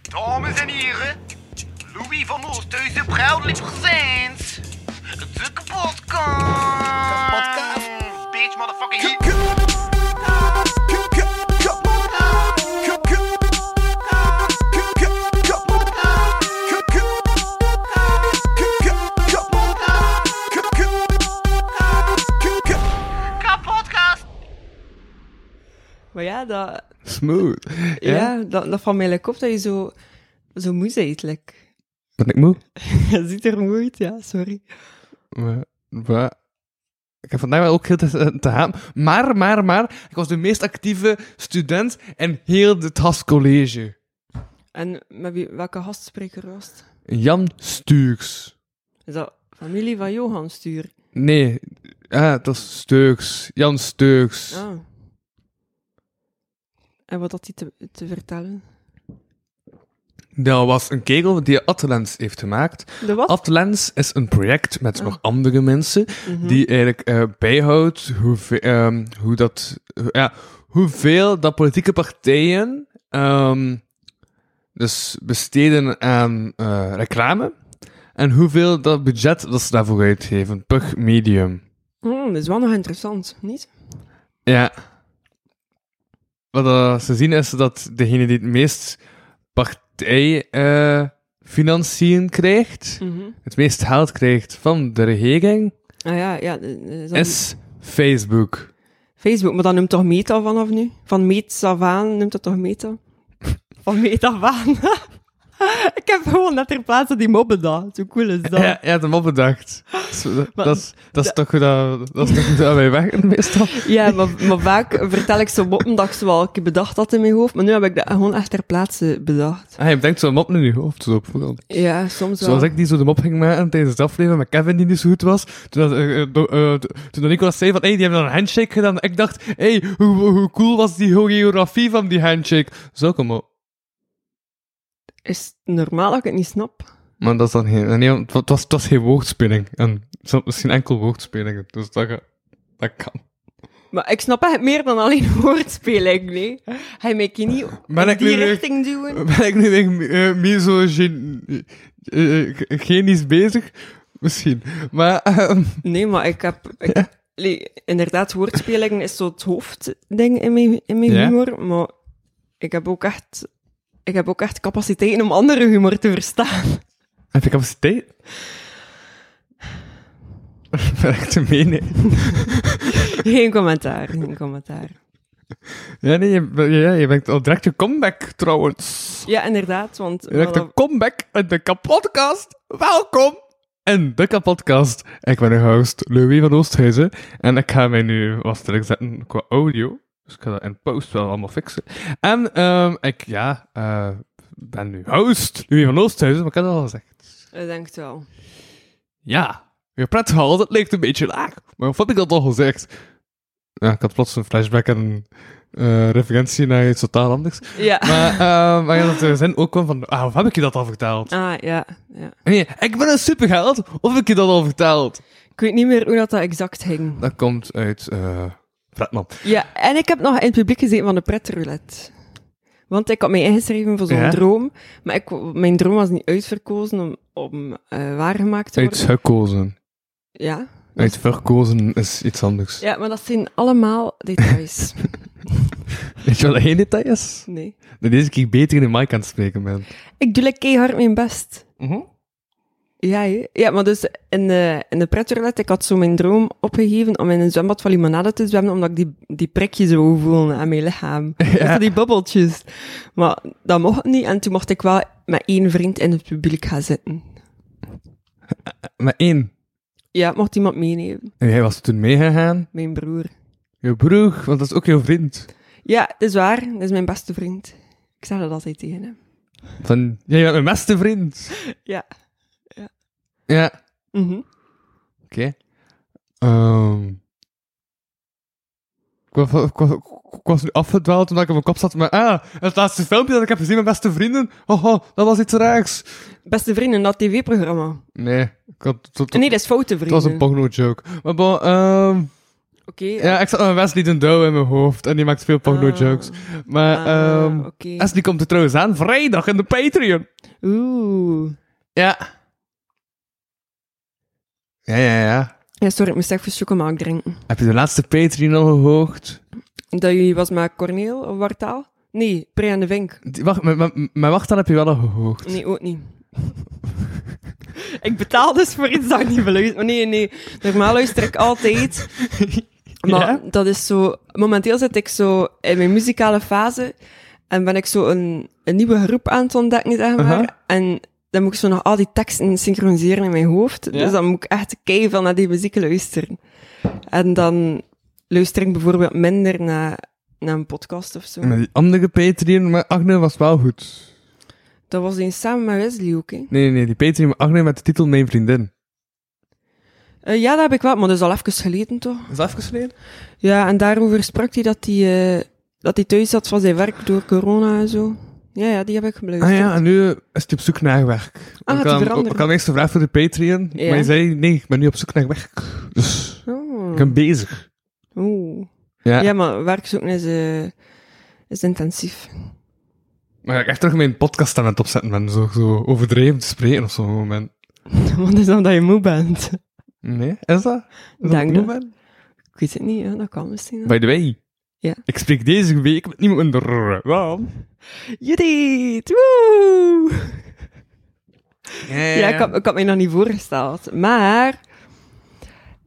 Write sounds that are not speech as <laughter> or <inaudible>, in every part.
Dames en heren, Louis van Oosthuizen, proudly presents de kapotkast. Kapotkast. Bitch, motherfucking hit. Kapotkast. Maar ja, dat, Smooth. ja? dat, dat valt mij like op dat je zo, zo moe bent. Like. Ben ik moe? <laughs> je ziet er moe uit, ja, sorry. Maar, maar- Ik heb vandaag wel ook heel eh, te, te gaan. Maar, maar, maar, ik was de meest actieve student in heel het HAS College. En met wie, welke gastspreker was het? Jan Stuks. Is dat familie van Johan Stuur? Nee, ah, dat is Stuks. Jan Stuks. Ah. En wat had hij te, te vertellen? Dat was een kegel die Atlens heeft gemaakt. De wat? Atlens is een project met Ah. nog andere mensen Mhm. die eigenlijk eh, bijhoudt hoeveel, ehm, hoe dat, hoe- ja, hoeveel dat politieke partijen ehm, dus besteden aan eh, reclame en hoeveel dat budget dat ze daarvoor uitgeven per medium. Hmm, dat is wel nog interessant, niet? Ja. Wat eh, ze zien is dat degene die het meest partijfinanciën financiën krijgt, Mhm. het meest geld krijgt van de regering, Ah ja, ja. eh, eh, dan- is Facebook. Facebook, maar dat noemt toch Meta vanaf nu? Van meets af aan noemt dat toch Meta? <laughs> Van meet af aan. <laughs> ik heb gewoon net ter plaatse die mobben daar. Zo cool <laughs> is dat. Ja, ja, dat mop bedacht. Dat is- <gasps> Maar- Dat is- dat is toch hoe dat- dat is toch <laughs> hoe dat wij werken meestal. Ja, maar, maar vaak vertel ik zo mop omdat ik ze wel een keer bedacht had in mijn hoofd, maar nu heb ik dat gewoon echt ter plaatse bedacht. Ah, je denkt zo'n mop nu in je hoofd zo op voorhand. Ja, soms wel. Zoals ik die zo de mop ging maken tijdens de aflevering met Kevin die niet zo goed was. Toen, dat, eh, eh, do- eh, to- toen dat Nicolas zei van, hey, die hebben dan een handshake gedaan. Ik dacht, hey, hoe, hoe cool was die choreografie van die handshake? Zo kom op. Is het normaal dat ik het niet snap? Maar dat is dan geen... Nee, want het was, het was geen woordspeling. En er zat misschien enkel woordspelingen. Dus dat, ga- dat kan. Maar ik snap echt meer dan alleen <laughs> woordspeling, nee. Hij mij kan niet Ben in ik die nu weer- richting duwen. <laughs> Ben ik nu weer eh, misogynisch bezig? Misschien. Maar ehm, <laughs> Nee, maar ik heb... Ik, nee, inderdaad, woordspeling is zo het hoofdding in mijn, in mijn Ja. humor, maar ik heb ook echt... Ik heb ook echt capaciteiten om andere humor te verstaan. <laughs> heb je capaciteit? <laughs> ben ik te meen? hè? Geen commentaar, geen commentaar. Ja, nee, je, ben- ja, je bent al direct een comeback trouwens. Ja, inderdaad, want... Direct maar een comeback in de kapotkast. Welkom in de kapotkast. Ik ben uw host Louis van Oosthuizen. En ik ga mij nu wat druk zetten qua audio. Dus ik ga dat in post wel allemaal fixen. En ehm, ik, ja, eh, ben nu host Louis van Oosthuizen, maar ik had het al gezegd. Ik denk het wel. Ja, je pretgehal, dat leek een beetje laag. Maar wat heb ik dat al gezegd? Ja, ik had plots een flashback en een eh, referentie naar iets totaal anders. Ja. Maar, <laughs> eh maar ja, dat er zijn ook kwam van, ah, of heb ik je dat al verteld? Ah, ja, ja. Nee, ik ben een supergeld, of heb ik je dat al verteld? Ik weet niet meer hoe dat, dat exact ging. Dat komt uit eh Pretman. Ja, en ik heb nog in het publiek gezeten van de pretroulette. Want ik had mij ingeschreven voor zo'n Ja? droom. Maar ik, wou- mijn droom was niet uitverkozen om, om eh, waargemaakt te worden. Uitgekozen. Ja. Uitverkozen is iets anders. ja, maar dat zijn allemaal details. Weet je wat geen detail is? nee. Dat deze keer beter in de mic aan het spreken ben. Ik doe like keihard mijn best. Ja, hè. ja maar dus in de, in de pretroulette, ik had zo mijn droom opgegeven om in een zwembad van limonade te zwemmen, omdat ik die, die prikjes wou voelen aan mijn <laughs> lichaam. Dat zijn die bubbeltjes. Maar dat mocht niet, en toen mocht ik wel met één vriend in het publiek gaan zitten. Maar één, Ja, mocht iemand meenemen. en jij was toen meegegaan. Mijn broer. Je broer, want dat is ook jouw vriend. Ja, dat is waar. Dat is mijn beste vriend. Ik zeg dat altijd tegen hem. Van, jij bent mijn beste vriend. Ja. Ja. Mhm. Oké. Ehm. ik, was, ik, was, ik was nu afgedwaald omdat ik op mijn kop zat. Maar ah, het laatste filmpje dat ik heb gezien met beste vrienden. Oh, oh dat was iets raars. Beste vrienden, dat tv-programma. Nee, ik had, tot, tot- Nee, dat is foute het was vrienden. een porno joke. Maar bon, ehm, Oké. Ja, ik zat met Wesley den Douw in mijn hoofd en die maakt veel porno jokes. Maar Ah, ehm oké. Wesley komt er trouwens aan vrijdag in de Patreon. Oeh. Ja. Ja, ja, ja. Ja, sorry, ik moest echt voor chocomel drinken. Heb je de laatste Patreon al gehoogd? Dat jullie was met Corneel of Wartaal? Nee, Pre en de Vink. Die- Wacht, maar- maar maar wacht, dan heb je wel al gehoogd. Nee, ook niet. ik betaal dus voor iets dat ik niet beluister. Maar Oh, nee, nee. Normaal luister ik <laughs> altijd. Maar Ja? dat is zo... Momenteel zit ik zo in mijn muzikale fase. En ben ik zo een, een nieuwe groep aan het ontdekken, zeg maar. Aha. En dan moet ik zo nog al die teksten synchroniseren in mijn hoofd. Ja? Dus dan moet ik echt keihard naar die muziek luisteren. En dan luister ik bijvoorbeeld minder naar, naar een podcast of zo. Maar die andere Patreon met Agne was wel goed. Dat was eens samen met Wesley ook, hè. Nee, nee, nee, die Patreon met Agne met de titel Mijn Vriendin. Eh, ja, dat heb ik wel, maar dat is al even geleden, toch? Is dat afgesneden? Ja, en daarover sprak hij dat hij, eh, dat hij thuis zat van zijn werk door corona en zo. Ja, ja, die heb ik Ah geluisterd. ja, en nu is hij op zoek naar werk. Ah, ik het had hem- veranderen. ik had hem eerst gevraagd voor de Patreon, Ja. maar hij zei, nee, ik ben nu op zoek naar werk. Dus, Oh. ik ben bezig. Oeh. Ja. Ja, maar werkzoeken is, eh, is intensief. <laughs> Maar ik echt terug mijn podcast aan het opzetten ben, zo, zo overdreven te spreken op zo'n moment. Want is omdat je moe bent. Nee, is dat? Is dat Denk een dat. moment? Ik weet het niet, ja, dat kan misschien. By the way. Ja. Ik spreek deze week met niemand onder. Waarom? Judith! Woe! Ja, ik kan. had, ik had mij nog niet voorgesteld. Maar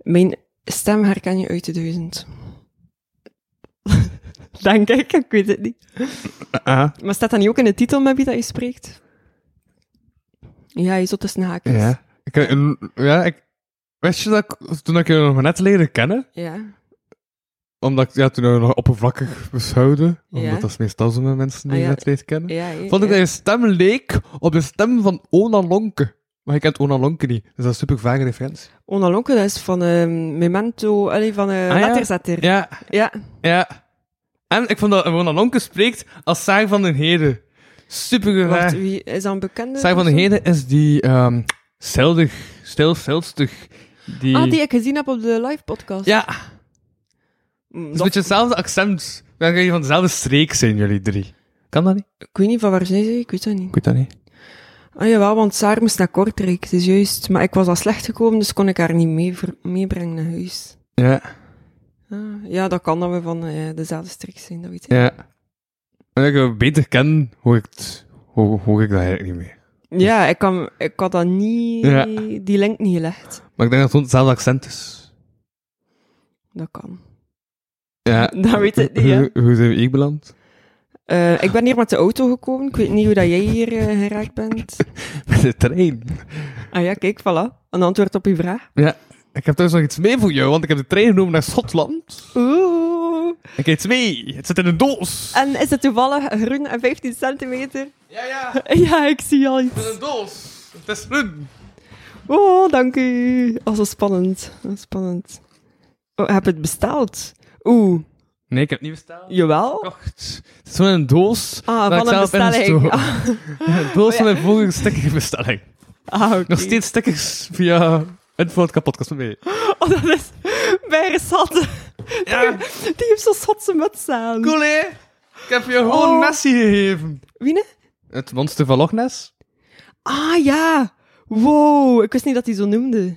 mijn stem herken je uit de duizend. <laughs> Denk ik, ik weet het niet. Maar staat dat niet ook in de titel met wie dat je spreekt? Ja, je zult tussen haakjes. Ja. Ik, en- ja, ik, wist je dat ik, toen ik je nog net leerde kennen, Ja. omdat ik ja, toen we nog oppervlakkig beschouwde, omdat Ja. dat is meestal zo met mensen die Ah, je ja. net leert kennen, Ja, ja, vond ik ja. dat je stem leek op de stem van Ona Lonke. Maar je kent Ona Lonke niet, dus dat is een super vage referentie. Ona Lonke, dat is van ehm, Memento, allee, van eh Ah, ja. Letterzetter. Ja. Ja, ja. En ik vond dat Ona Lonke spreekt als Saar van den Heden. Super Wacht, gewaagd. wie is dat een bekende? Saar van den persoon? Heden is die ehm stildig, stil, stilstig. Die... Ah, die ik gezien heb op de live podcast. Ja, het Mm, is een dat- beetje hetzelfde accent. Dan kan je van dezelfde streek zijn, jullie drie. Kan dat niet? Ik weet niet van waar zij zijn, ik weet dat niet. Ik weet dat niet. Ah jawel, want Saar moest naar Kortrijk, het is juist. Maar ik was al slecht gekomen, dus kon ik haar niet mee ver- meebrengen naar huis. Ja, Ah, ja, dat kan dat we van eh, dezelfde strik zijn, dat weet ik. ja. En dat ik het beter ken, hoor ik, het, hoor, hoor ik dat eigenlijk niet meer. Ja, ik, kan, ik had dat niet, Ja. die link niet gelegd. Maar ik denk dat het gewoon hetzelfde accent is. Dat <laughs> kan. Ja. Dat weet ik niet, hè. Hoe, hoe zijn we hier beland? Eh, ik ben hier met de auto gekomen. Ik weet niet hoe dat jij hier eh, geraakt <laughs> bent. <laughs> Met de trein. Ah ja, kijk, voilà. Een antwoord op uw vraag. Ja. Ik heb trouwens nog iets mee voor jou, want ik heb de trein genomen naar Schotland. Oeh. Ik eet mee. Het zit in een doos. En is het toevallig groen en 15 centimeter? <laughs> Ja, ja. Het Ja, ik zie al is iets. een doos. Het is run. Oh, dank u. Oh, zo spannend. Oh, spannend. Oh, heb het besteld? Oeh, Nee, ik heb het niet besteld. jawel. gekocht. Het is van een doos. Ah, dat ik van een zelf in bestelling. gestoken. Ah, Ja, <laughs> een doos van een vorige stekkerbestelling. ah, oké. Nog steeds stickers via info.kapotkast mee. Oh, dat is bij Satte. Die heeft zo'n zotse muts aan. Cool, hè? Ik heb je gewoon Oh. Nessie gegeven. Wiene? Het monster van Loch Ness? Ah ja, wow, ik wist niet dat hij zo noemde.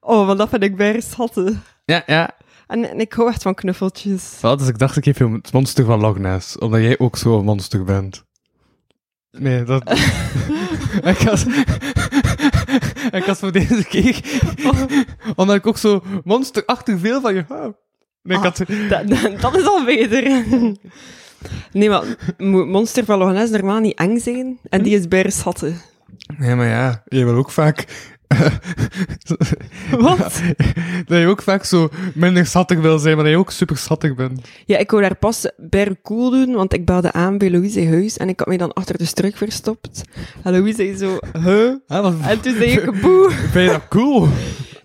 Oh, want dat vind ik bij schatten. Ja, ja. En, en ik hou echt van <laughs> knuffeltjes. Wel, dus ik dacht, ik geef je het monster van Loch Ness. Omdat jij ook zo'n monster bent. Nee, dat... <laughs> ik, had... <laughs> ik had voor deze keer... Omdat ik ook zo monsterachtig veel van je hou. Nee, ik Ah. had... Dat, dat, dat is al beter. Nee, maar mo- Monster van Loch Ness normaal niet eng zijn. En die is bij schatten. Nee, maar ja, jij wil ook vaak. <laughs> Wat? dat je ook vaak zo minder schattig wil zijn, maar dat je ook super schattig bent. Ja, ik wou daar pas bij cool doen, want ik belde aan bij Louise huis en ik had mij dan achter de struik verstopt. En Louise zei zo, huh? Ah, wat, En toen zei ik, boe, vind je dat cool?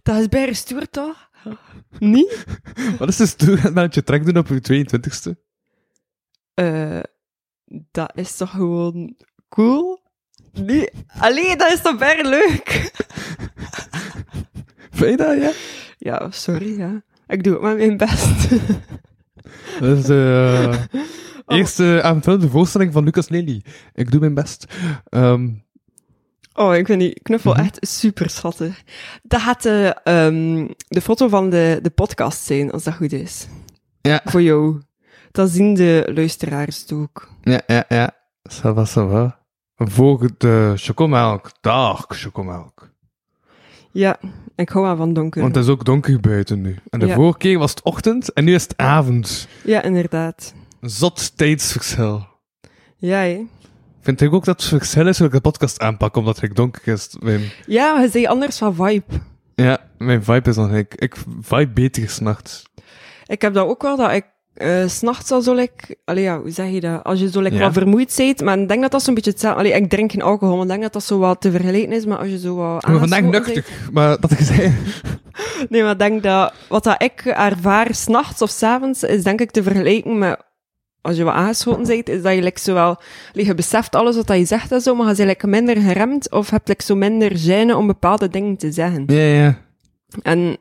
dat is bij stoer toch? Niet? <laughs> Wat is dus toen dat je trek doen op je 22e? eh, dat is toch gewoon cool? Nee. Allee, dat is toch ver leuk? Vind je dat, ja? Ja, sorry, ja. Ik doe ook maar mijn best. Dat is de <laughs> eh, eerste aanvullende voorstelling van Lucas Lely. Ik doe mijn best. Ehm, Oh, ik vind die knuffel Mhm. echt super schattig. Dat gaat de, ehm, de foto van de, de podcast zijn, als dat goed is. Ja. Voor jou. Dat zien de luisteraars het ook. ja, ja, ja. Ça va, ça va. Volgende chocomelk. Dag, chocomelk. Ja, ik hou maar van donker. Want het is ook donker buiten nu. En de Ja. vorige keer was het ochtend en nu is het avond. Ja, inderdaad. Een zot tijdsverschil. Ja, hè. Vind ik ook dat het verschil is hoe ik de podcast aanpak, omdat het donker is. Mijn, ja maar je zei anders van vibe. ja, mijn vibe is dan ik. Ik vibe beter s'nachts. Ik heb dat ook wel, dat ik eh, 's s'nachts al zo like, allee, ja, hoe zeg je dat? Als je zo like Ja. wat vermoeid bent, maar ik denk dat dat zo'n beetje hetzelfde... Allee, ik drink geen alcohol, maar ik denk dat dat zo wat te vergelijken Ah, is, maar als je zo wat Ik ben vandaag aangeschoten bent- nuchtig, maar dat gezegd. Nee, maar ik denk dat wat dat ik ervaar s'nachts of s'avonds, is denk ik te vergelijken met als je wat aangeschoten bent, is dat je like, zowel, like, je beseft alles wat dat je zegt en zo, maar je bent like, minder geremd of hebt like, zo minder gêne om bepaalde dingen te zeggen. Ja, ja. En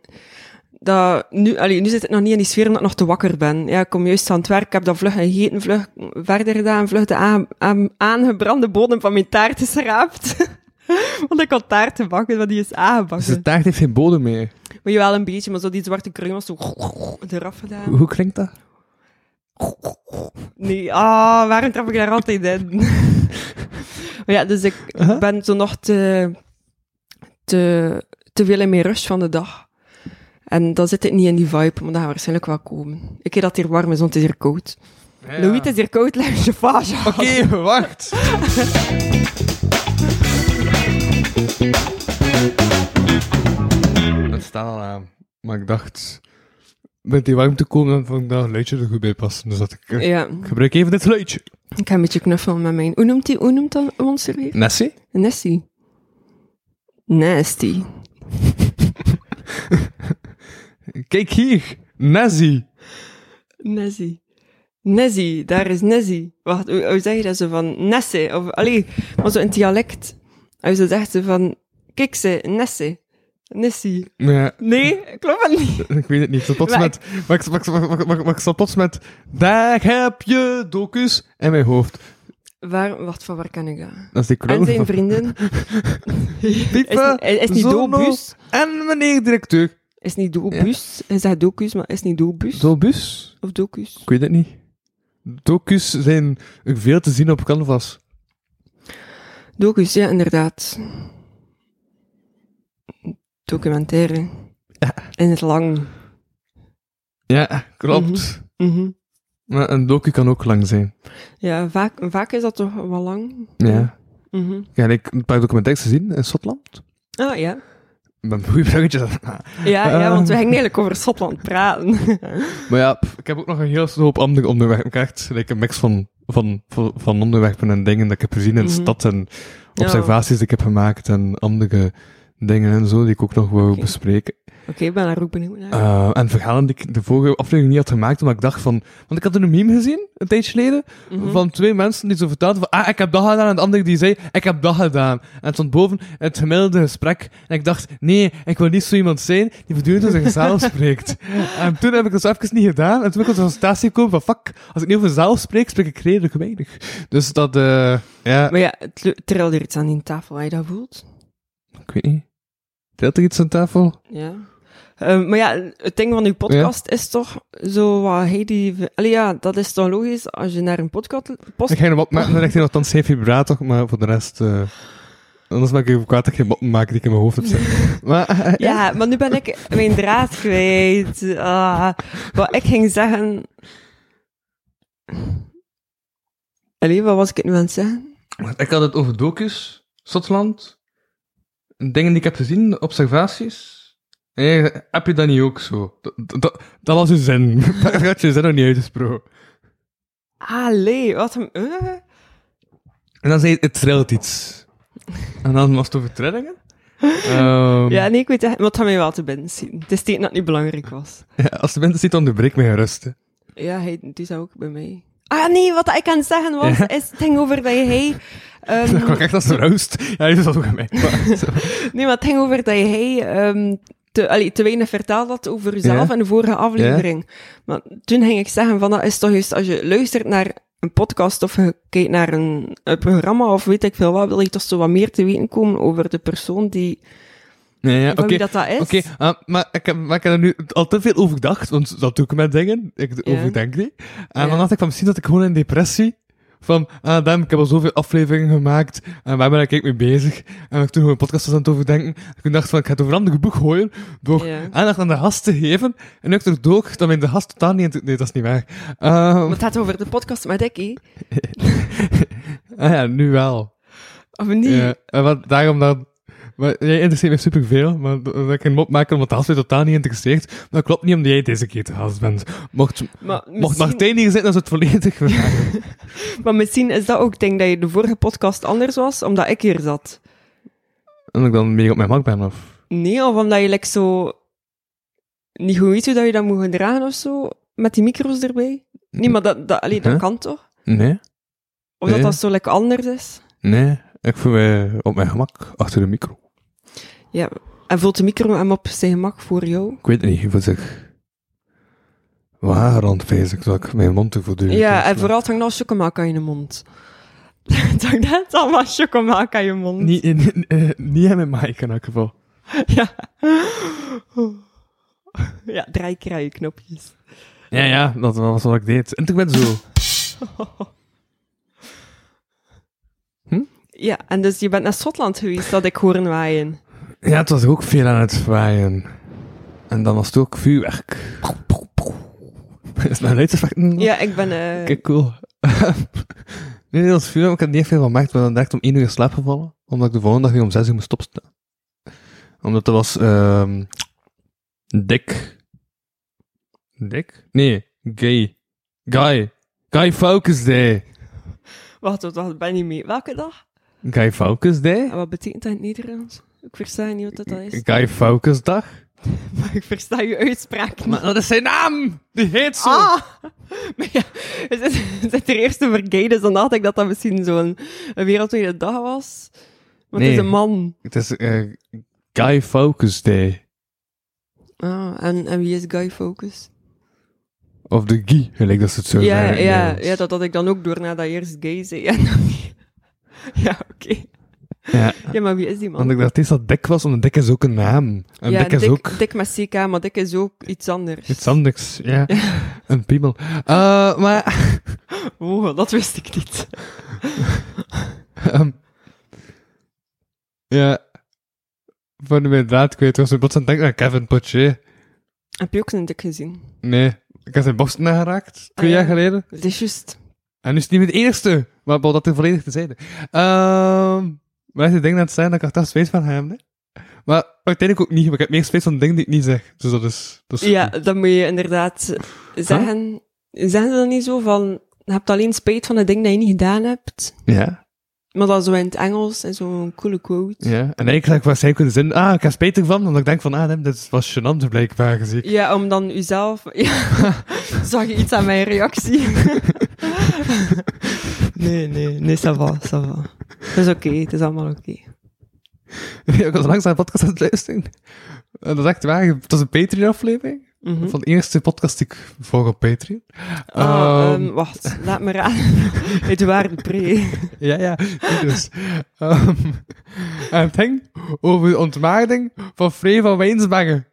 dat, nu, allee, nu zit het nog niet in die sfeer omdat ik nog te wakker ben. Ja, ik kom juist aan het werk, ik heb dat vlug gegeten, vlug verder gedaan, vlug de aan, aan- aangebrande bodem van mijn taart is geraapt. <laughs> Want ik had taart te bakken, want die is Dus de aangebakken. taart heeft geen bodem meer. Maar je wel een beetje, maar zo die zwarte kruim was zo <laughs> eraf gedaan. Hoe klinkt dat? Nee, ah, waarom trap ik daar altijd in? <laughs> maar ja, dus ik ben zo nog te, te, te veel in mijn rush van de dag. En dan zit het niet in die vibe, maar dat gaat waarschijnlijk wel komen. Ik keer dat het hier warm is, want het is hier koud. Louis, het is hier koud, <laughs> leg je vaasje aan. Oké, <laughs> wacht. Het staat al aan. Maar ik dacht, met die warmte komen, dan vond ik dat luidje er goed bij passen. Dus dat ik, eh, Ja, ik gebruik even dit luidje. ik ga een beetje knuffelen met mijn... Hoe noemt, die, hoe noemt dat ons er weer? Nessie? Nessie. Nasty. Kijk hier. Nessie. Nessie. Nessie, daar is Nessie. Wacht, hoe, hoe zeg je dat zo van Nesse? Of, allee, maar zo in het dialect. Hij zo zegt ze van, kijk ze, Nesse. Nessie. Ja, Nee, klopt het niet. ik weet het niet. Ik zat plots Maar met... Maar ik, maar ik- maar ik- maar ik- maar ik zat plots met... Daar heb je docus in mijn hoofd. Waar, wacht, van waar kan ik dat? Dat is die En clown. zijn van- vrienden. Piepen, Is, is niet Zono Dobus. En meneer directeur. Is niet Dobus. Hij zegt Docus, maar is niet Dobus. Dobus? of Docus. Ik weet het niet. Docus zijn veel te zien op canvas. Docus, ja, inderdaad. Documentaire. In het lang. Ja, klopt. Mhm. Maar een docu kan ook lang zijn. Ja, vaak, vaak is dat toch wel lang. Ja. Mhm. Ja, en ik heb een paar documentaires gezien in Schotland. Ah ja. Ik ben <laughs> goede bruggetjes aan het maken. Ja, ja, Ah. want we gingen eigenlijk over Schotland praten. <laughs> Maar ja, pff, ik heb ook nog een hele hoop andere onderwerpen. Ik heb echt like, een mix van, van, van, van onderwerpen en dingen dat ik heb gezien in de Mhm. stad. En observaties die ik heb gemaakt. En andere dingen en zo die ik ook nog wou Oké. bespreken. Oké, ik ben daar ook benieuwd naar. Eh, en verhalen die ik de vorige aflevering niet had gemaakt, omdat ik dacht van... Want ik had een meme gezien, een tijdje geleden, Mhm. van twee mensen die zo vertelden van... Ah, ik heb dat gedaan, en de andere die zei, ik heb dat gedaan. En het stond boven het gemiddelde gesprek. En ik dacht, nee, ik wil niet zo iemand zijn die voortdurend over zichzelf spreekt. En toen heb ik dat zo even niet gedaan. En toen ben ik tot de constatatie gekomen van, fuck, als ik niet over zelf spreek, spreek ik redelijk weinig. Dus dat, eh ja, Maar ja, het lu- trilde er iets aan die tafel, als je dat voelt. ik weet niet. Telt er iets aan tafel? Ja. Ehm, maar ja, het ding van uw podcast is toch zo wat Heidi... Allee, ja, dat is toch logisch als je naar een podcast... Post... Ik ga hem opmaken, dan ligt hij althans geen vibrator, maar voor de rest... eh, anders maak ik ook kwaad dat ik geen botten maak die ik in mijn hoofd heb <laughs> zitten. Maar, eh, Ja, maar nu ben ik mijn draad kwijt. Ah, wat ik ging zeggen... Allee, wat was ik het nu aan het zeggen? want Ik had het over docus, Schotland, dingen die ik heb gezien, observaties. En jij zegt, heb je dat niet ook zo? Dat, dat, dat was je <laughs> zin. Daar had je zin nog niet uitgesproken. Allee, wat een... eh? En dan zei je, het trilt iets. En dan was het over trillingen. Ehm, Ja, nee, ik weet het, maar het gaat mij wel te binnen zien. Het is tegen dat het niet belangrijk was. ja, als de mensen niet onderbreek mij gerust. hè. <laughs> Ja, hij doet dat ook bij mij. Ah nee, wat ik aan het zeggen was, Ja. is het ging over dat hij... <laughs> ehm, <laughs> Dat kwam echt als een roast. Ja, dat is ook aan mij. Maar, zo. nee, maar het ging over dat hij ehm, te, allee, te weinig verteld had over jezelf Ja. in de vorige aflevering. Maar toen ging ik zeggen van, dat is toch juist, als je luistert naar een podcast of je kijkt naar een, een programma of weet ik veel wat, wil je toch zo wat meer te weten komen over de persoon die, Ja, ja, van oké. wie dat dat is. Oké, ah, maar, ik heb, maar ik heb er nu al te veel over gedacht, want dat doe ik met dingen. Ik Ja. overdenk die. En Ja. dan dacht ik van misschien dat ik gewoon in depressie. Van, ah, damn, ik heb al zoveel afleveringen gemaakt. En waar ben ik eigenlijk mee bezig? En ik toen gewoon een podcast was aan het overdenken. Toen dacht ik van, ik ga het over een ander boek gooien. Door Ja. aandacht aan de gast te geven. En nu ik er dook, dan ben de gast totaal niet... in het- Nee, dat is niet waar. Ehm, Maar het gaat over de podcast met Dickie. ah ja, nu wel. Of niet? Ja, en wat, daarom dan... Maar, jij interesseert me superveel, maar dat dat ik een mop maken omdat Hans mij totaal niet interesseert. Maar dat klopt niet omdat jij deze keer te gast bent. Mocht, Maar mocht misschien- Martijn hier zitten, dan is het volledig waar. Maar misschien is dat ook, ik denk dat je de vorige podcast anders was, omdat ik hier zat. <laughs> En ik dan meer op mijn mak ben, of... Nee, of omdat je like, zo niet goed weet hoe dat je dat moet gedragen of zo, met die micro's erbij. Nee, maar dat, dat, allee, dat Huh? kan toch? Nee, Of dat Ja. dat zo like, anders is? nee. Ik voel me op mijn gemak achter de micro. Ja. En voelt de micro hem op zijn gemak voor jou? Ik weet het niet, ik voel zich... Waar rondveilig, zodat ik mijn mond te voortdurend... Ja, en afsla. vooral het hangt al chocomaka in je mond. <laughs> Het hangt net allemaal chocomaka in je mond. Niet, in, eh, niet in mijn mic in elk geval. Ja. Ja, draai kraai knopjes. Ja, ja, dat was wat ik deed. En toen ben ik zo... Ja, en dus je bent naar Schotland geweest, dat ik horen <laughs> waaien. Ja, het was ook veel aan het waaien. En dan was het ook vuurwerk. <laughs> Is mijn luidseffecten? Ja, ik ben... eh, Kijk, cool. <laughs> nee, dat was vuurwerk. Ik had er niet veel van gemaakt. Ik ben dan direct om 1 uur in slaap gevallen. Omdat ik de volgende dag weer om 6 uur moest opstaan. Omdat dat was... ehm dik. Dik? Nee, gay. Guy. Guy Focus Day. Wacht, wacht, wacht, ben niet mee. Welke dag? Guy Focus Day? En wat betekent dat in het Nederlands? Ik versta niet wat dat dan is. Guy Focus Dag? Maar ik versta je uitspraak niet. Maar dat is zijn naam! Die heet zo! Ah! <laughs> Maar ja, het is, het is er eerst over gay, dus dan dacht ik dat dat misschien zo'n een wereldwijde dag was. Want Nee. het is een man. Het is eh, Guy Focus Day. Ah, en, en wie is Guy Focus? Of de Guy, gelijk dat ze het zo ja, zeggen. ja, ja, dat had ik dan ook door nadat je eerst gay zei. <laughs> Ja, dan- ja oké. Ja, Ja, maar wie is die Want man? ik dacht eerst dat Dick was, want Dick is ook een naam. En ja, Dick is ook Dick met CK, maar Dick is ook iets anders. iets anders. <laughs> Ja, een piemel. Eh, maar... Oh, dat wist ik <laughs> niet. ehm, ja... Voor de inderdaad kwijt was. Ik plots aan het denken aan Kevin Potje. Heb je ook zijn Dick gezien? Nee, ik heb zijn borsten aangeraakt. Twee Ah, ja. jaar geleden. Het is juist... En nu is het niet meer de eerste, maar wel dat er volledig te zijn. Ehm maar echt, ik denk dat het zijn dat ik achteraf spijt van hem, hè. Maar uiteindelijk ook niet, maar ik heb meer spijt van dingen die ik niet zeg. Dus dat is... Dat is Ja, dat moet je inderdaad zeggen. Zeggen ze dan niet zo van... Je hebt alleen spijt van het ding dat je niet gedaan hebt. Ja, Maar dat zo in het Engels en zo'n coole quote. ja. En eigenlijk zeg ik waarschijnlijk in de zin, ah, ik heb spijt ervan, omdat ik denk van, ah, nee, dit was gênant blijkbaar, zie ik. <laughs> Ja, om dan uzelf... <laughs> Ja, zag je iets aan mijn reactie? <laughs> nee, nee, nee, ça va, ça va. Het is oké, het is allemaal oké. ik was langs naar een podcast aan het luisteren. En dat is echt waar, het was een Patreon-aflevering. Mhm. Van de eerste podcast die ik volg op Patreon. Ah, Ehm, ehm, wacht, laat me raden. <laughs> Edouard Pre. Ja, ja, die dus. Ehm, <laughs> en het ging over de ontmaagding van Frey van Wijnsbergen.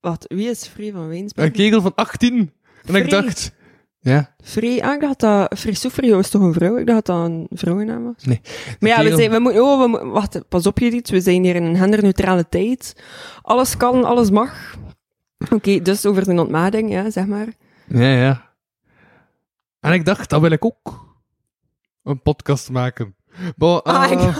Wat, wie is Free van Wijnsberg? Een kegel van 18. En ik Free? dacht... Ja, Free, ah, ik dacht dat... Free Soufrio is toch een vrouw? Ik dacht dat dat een vrouwennaam was. nee. Maar ja, Een we kerel- zijn, we moeten, oh, we moeten- wacht, pas op Judith, we zijn hier in een genderneutrale tijd. Alles kan, alles mag. Oké, dus over zijn ontmading, ja, zeg maar. <laughs> Ja, ja. En ik dacht, dat wil ik ook. Een podcast maken. Bo, Ah, ik... eh,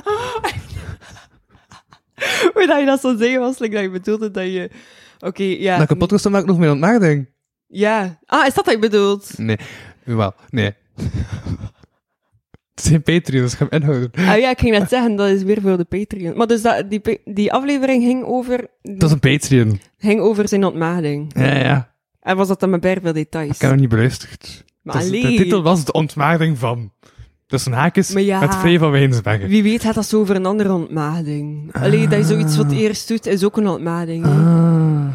Hoe dat je dat zo zei was, like, dat je bedoelde dat je... Oké, ja. Dat ik een podcast wil maken nog meer ontmaagding. Ja. Ah, is dat wat je bedoelt? Nee, wel, nee. Het is geen Patreon, dus ik ga hem inhouden. Ah ja, ik ging net zeggen, dat is weer voor de Patreon. Maar dus dat, die, pa- die aflevering ging over, Dat is een Patreon. ging over zijn ontmading. Ja, ja. En was dat dan met bij veel details? Ik heb hem niet beluisterd. maar Het was- alleen... De titel was De Ontmaagding van. Tussen haakjes, Maar ja. het vee van Wijnsbergen. Wie weet gaat dat zo over een andere ontmaagding. Ah. Allee, dat je zoiets wat eerst doet, is ook een ontmaagding. hè. Ah.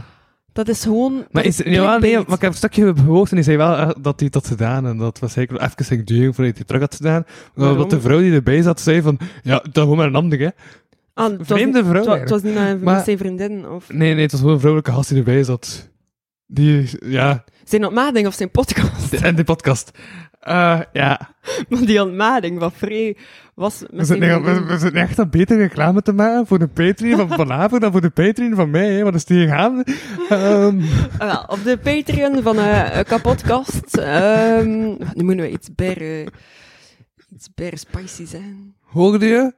Dat is gewoon... Maar, is, ja, nee, maar ik heb een stukje gehoord en die zei wel eh, dat hij dat gedaan en dat was eigenlijk wel even een duur voordat hij terug had gedaan. Maar Waarom? Omdat de vrouw die erbij zat zei van, ja, dat gewoon maar een ander, hè. Ah, het was vreemde niet- vrouw het wa- Het was niet naar Maar- met zijn vriendin, of... Nee, nee, het was gewoon een vrouwelijke gast die erbij zat. Die, ja, Zijn ontmaagding of zijn podcast. <laughs> de- en die podcast. Eh, ja, Maar die ontmaagding van Free was... we Met zijn zitten, echt- we, vriendin. we zitten echt aan betere reclame te maken voor de Patreon van Palaver dan voor de Patreon van mij, hè, want dat is die gaan. Ehm, Ah, wel, op de Patreon van eh eh, Kapotkast. ehm, nu moeten we iets ber... eh, iets ber spicy zijn. Hoorde je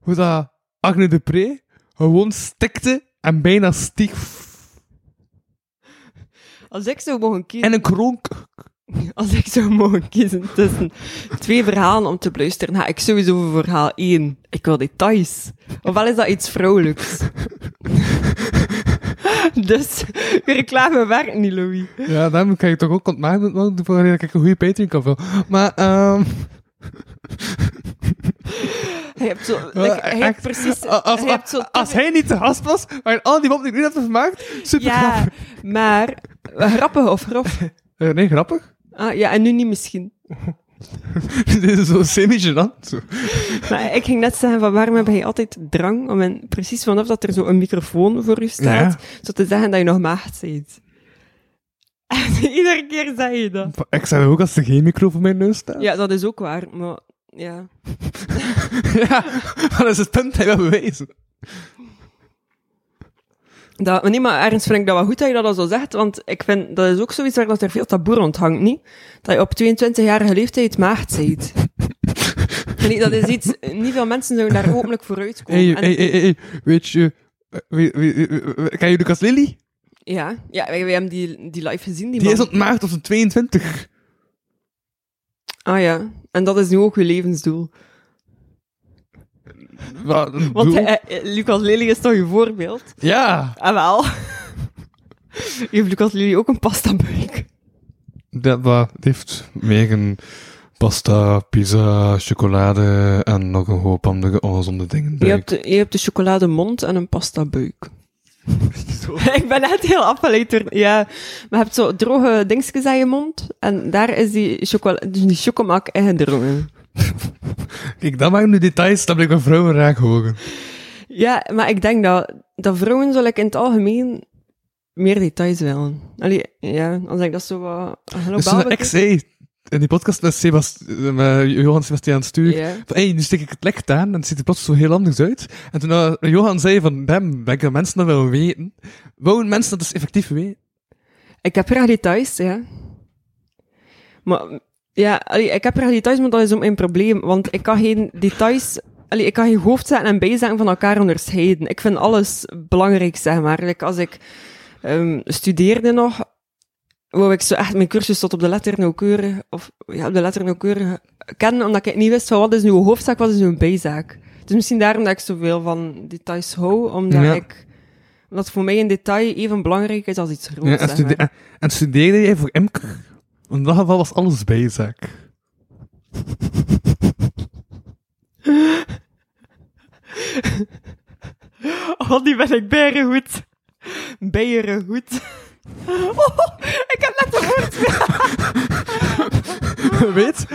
hoe dat Agne de Pre gewoon stikte en bijna stiek Als ik zou mogen kiezen... en een kronk? Als ik zou mogen kiezen tussen twee verhalen om te beluisteren, ga ik sowieso voor verhaal één. Ik wil details. Ofwel is dat iets vrouwelijks. <laughs> dus, je reclame werkt niet, Louis. Ja, daarom kan je toch ook ontmaken worden voordat ik een goede Patreon kan vullen. Maar, <laughs> ehm Hij hebt zo... like, hij Eh, echt, heeft precies... als, als, hij heeft zo als hij niet te gast was, waren al die wat ik nu had gemaakt, super Ja, grappig. maar... Grappig of grof? Eh, nee, grappig. <laughs> Ah, ja, en nu niet misschien. Dit is zo semi-gênant. zo. Maar ik ging net zeggen van waarom heb je altijd drang om en precies vanaf dat er zo een microfoon voor je staat, zo te zeggen dat je nog maagd bent. En <laughs> iedere keer zeg je dat. Ik zei ook als er geen micro voor mijn neus staat. Ja, dat is ook waar, maar ja. <laughs> Ja, dat is het punt dat je wil bewijzen. Dat, maar nee, maar ergens vind ik dat wel goed dat je dat al zo zegt, want ik vind, dat is ook zoiets waar dat er veel taboe rond hangt, niet? Dat je op 22-jarige leeftijd maagd bent. Nee, dat is iets, niet veel mensen zouden daar openlijk voor uitkomen. Hey, En- hey, hey, hey, hey, weet je... eh, wie- wie- wie- wie- Ken je Lucas Lely? Ja, ja wij, wij hebben die, die live gezien, die, Die man. is ontmaagd op zijn 22. Ah ja, en dat is nu ook je levensdoel. Wat een Want doel. eh, eh, Lucas Lely is toch je voorbeeld? Ja, Ah wel. <laughs> Heeft Lucas Lely ook een pastabuik? dat wat heeft wegen pasta, pizza, chocolade en nog een hoop andere ongezonde dingen. Je hebt, je hebt de chocolademond en een pastabuik. <laughs> Ik ben net heel afgeleid door... Ja, maar je hebt zo droge dingetjes aan je mond. En daar is die, chocola, dus die chocomaak ingedrongen. Kijk, dat maakt nu details, dat blijkbaar vrouwen raak horen. Ja, maar ik denk dat, dat vrouwen zal ik in het algemeen meer details willen. Allee, ja, als ik dat zo wat globaal Dus een bekijk. ex zei in die podcast met, Sebast eh, met Johan Sebastiaan Stuur. Ja. Van, hey, nu steek ik het lekt aan en het ziet er plots zo heel anders uit. En toen eh, Johan zei van, damn, denk dat mensen dat willen weten. Wouden mensen dat dus effectief weten? Ik heb graag details, ja. Maar ja, allee, ik heb graag details, maar dat is ook mijn probleem. Want ik kan geen details... Allee, ik kan geen hoofdzaken en bijzaken van elkaar onderscheiden. Ik vind alles belangrijk, zeg maar. Like, als ik ehm, studeerde nog, wou ik zo echt mijn cursus tot op de letter nauwkeurig... Of ja, op de letter nauwkeurig kennen, omdat ik niet wist van wat is nu een hoofdzaak, wat is nu een bijzaak. Dus misschien daarom dat ik zoveel van details hou, omdat Ja. ik... Omdat voor mij een detail even belangrijk is als iets groots, Ja, zeg en, maar. stude- en- en studeerde jij voor Imker? Want in dat geval was alles bijzaak. Oh, die ben ik berengoed. Berengoed. Oh, <laughs> ik heb net een woord. <laughs> weet,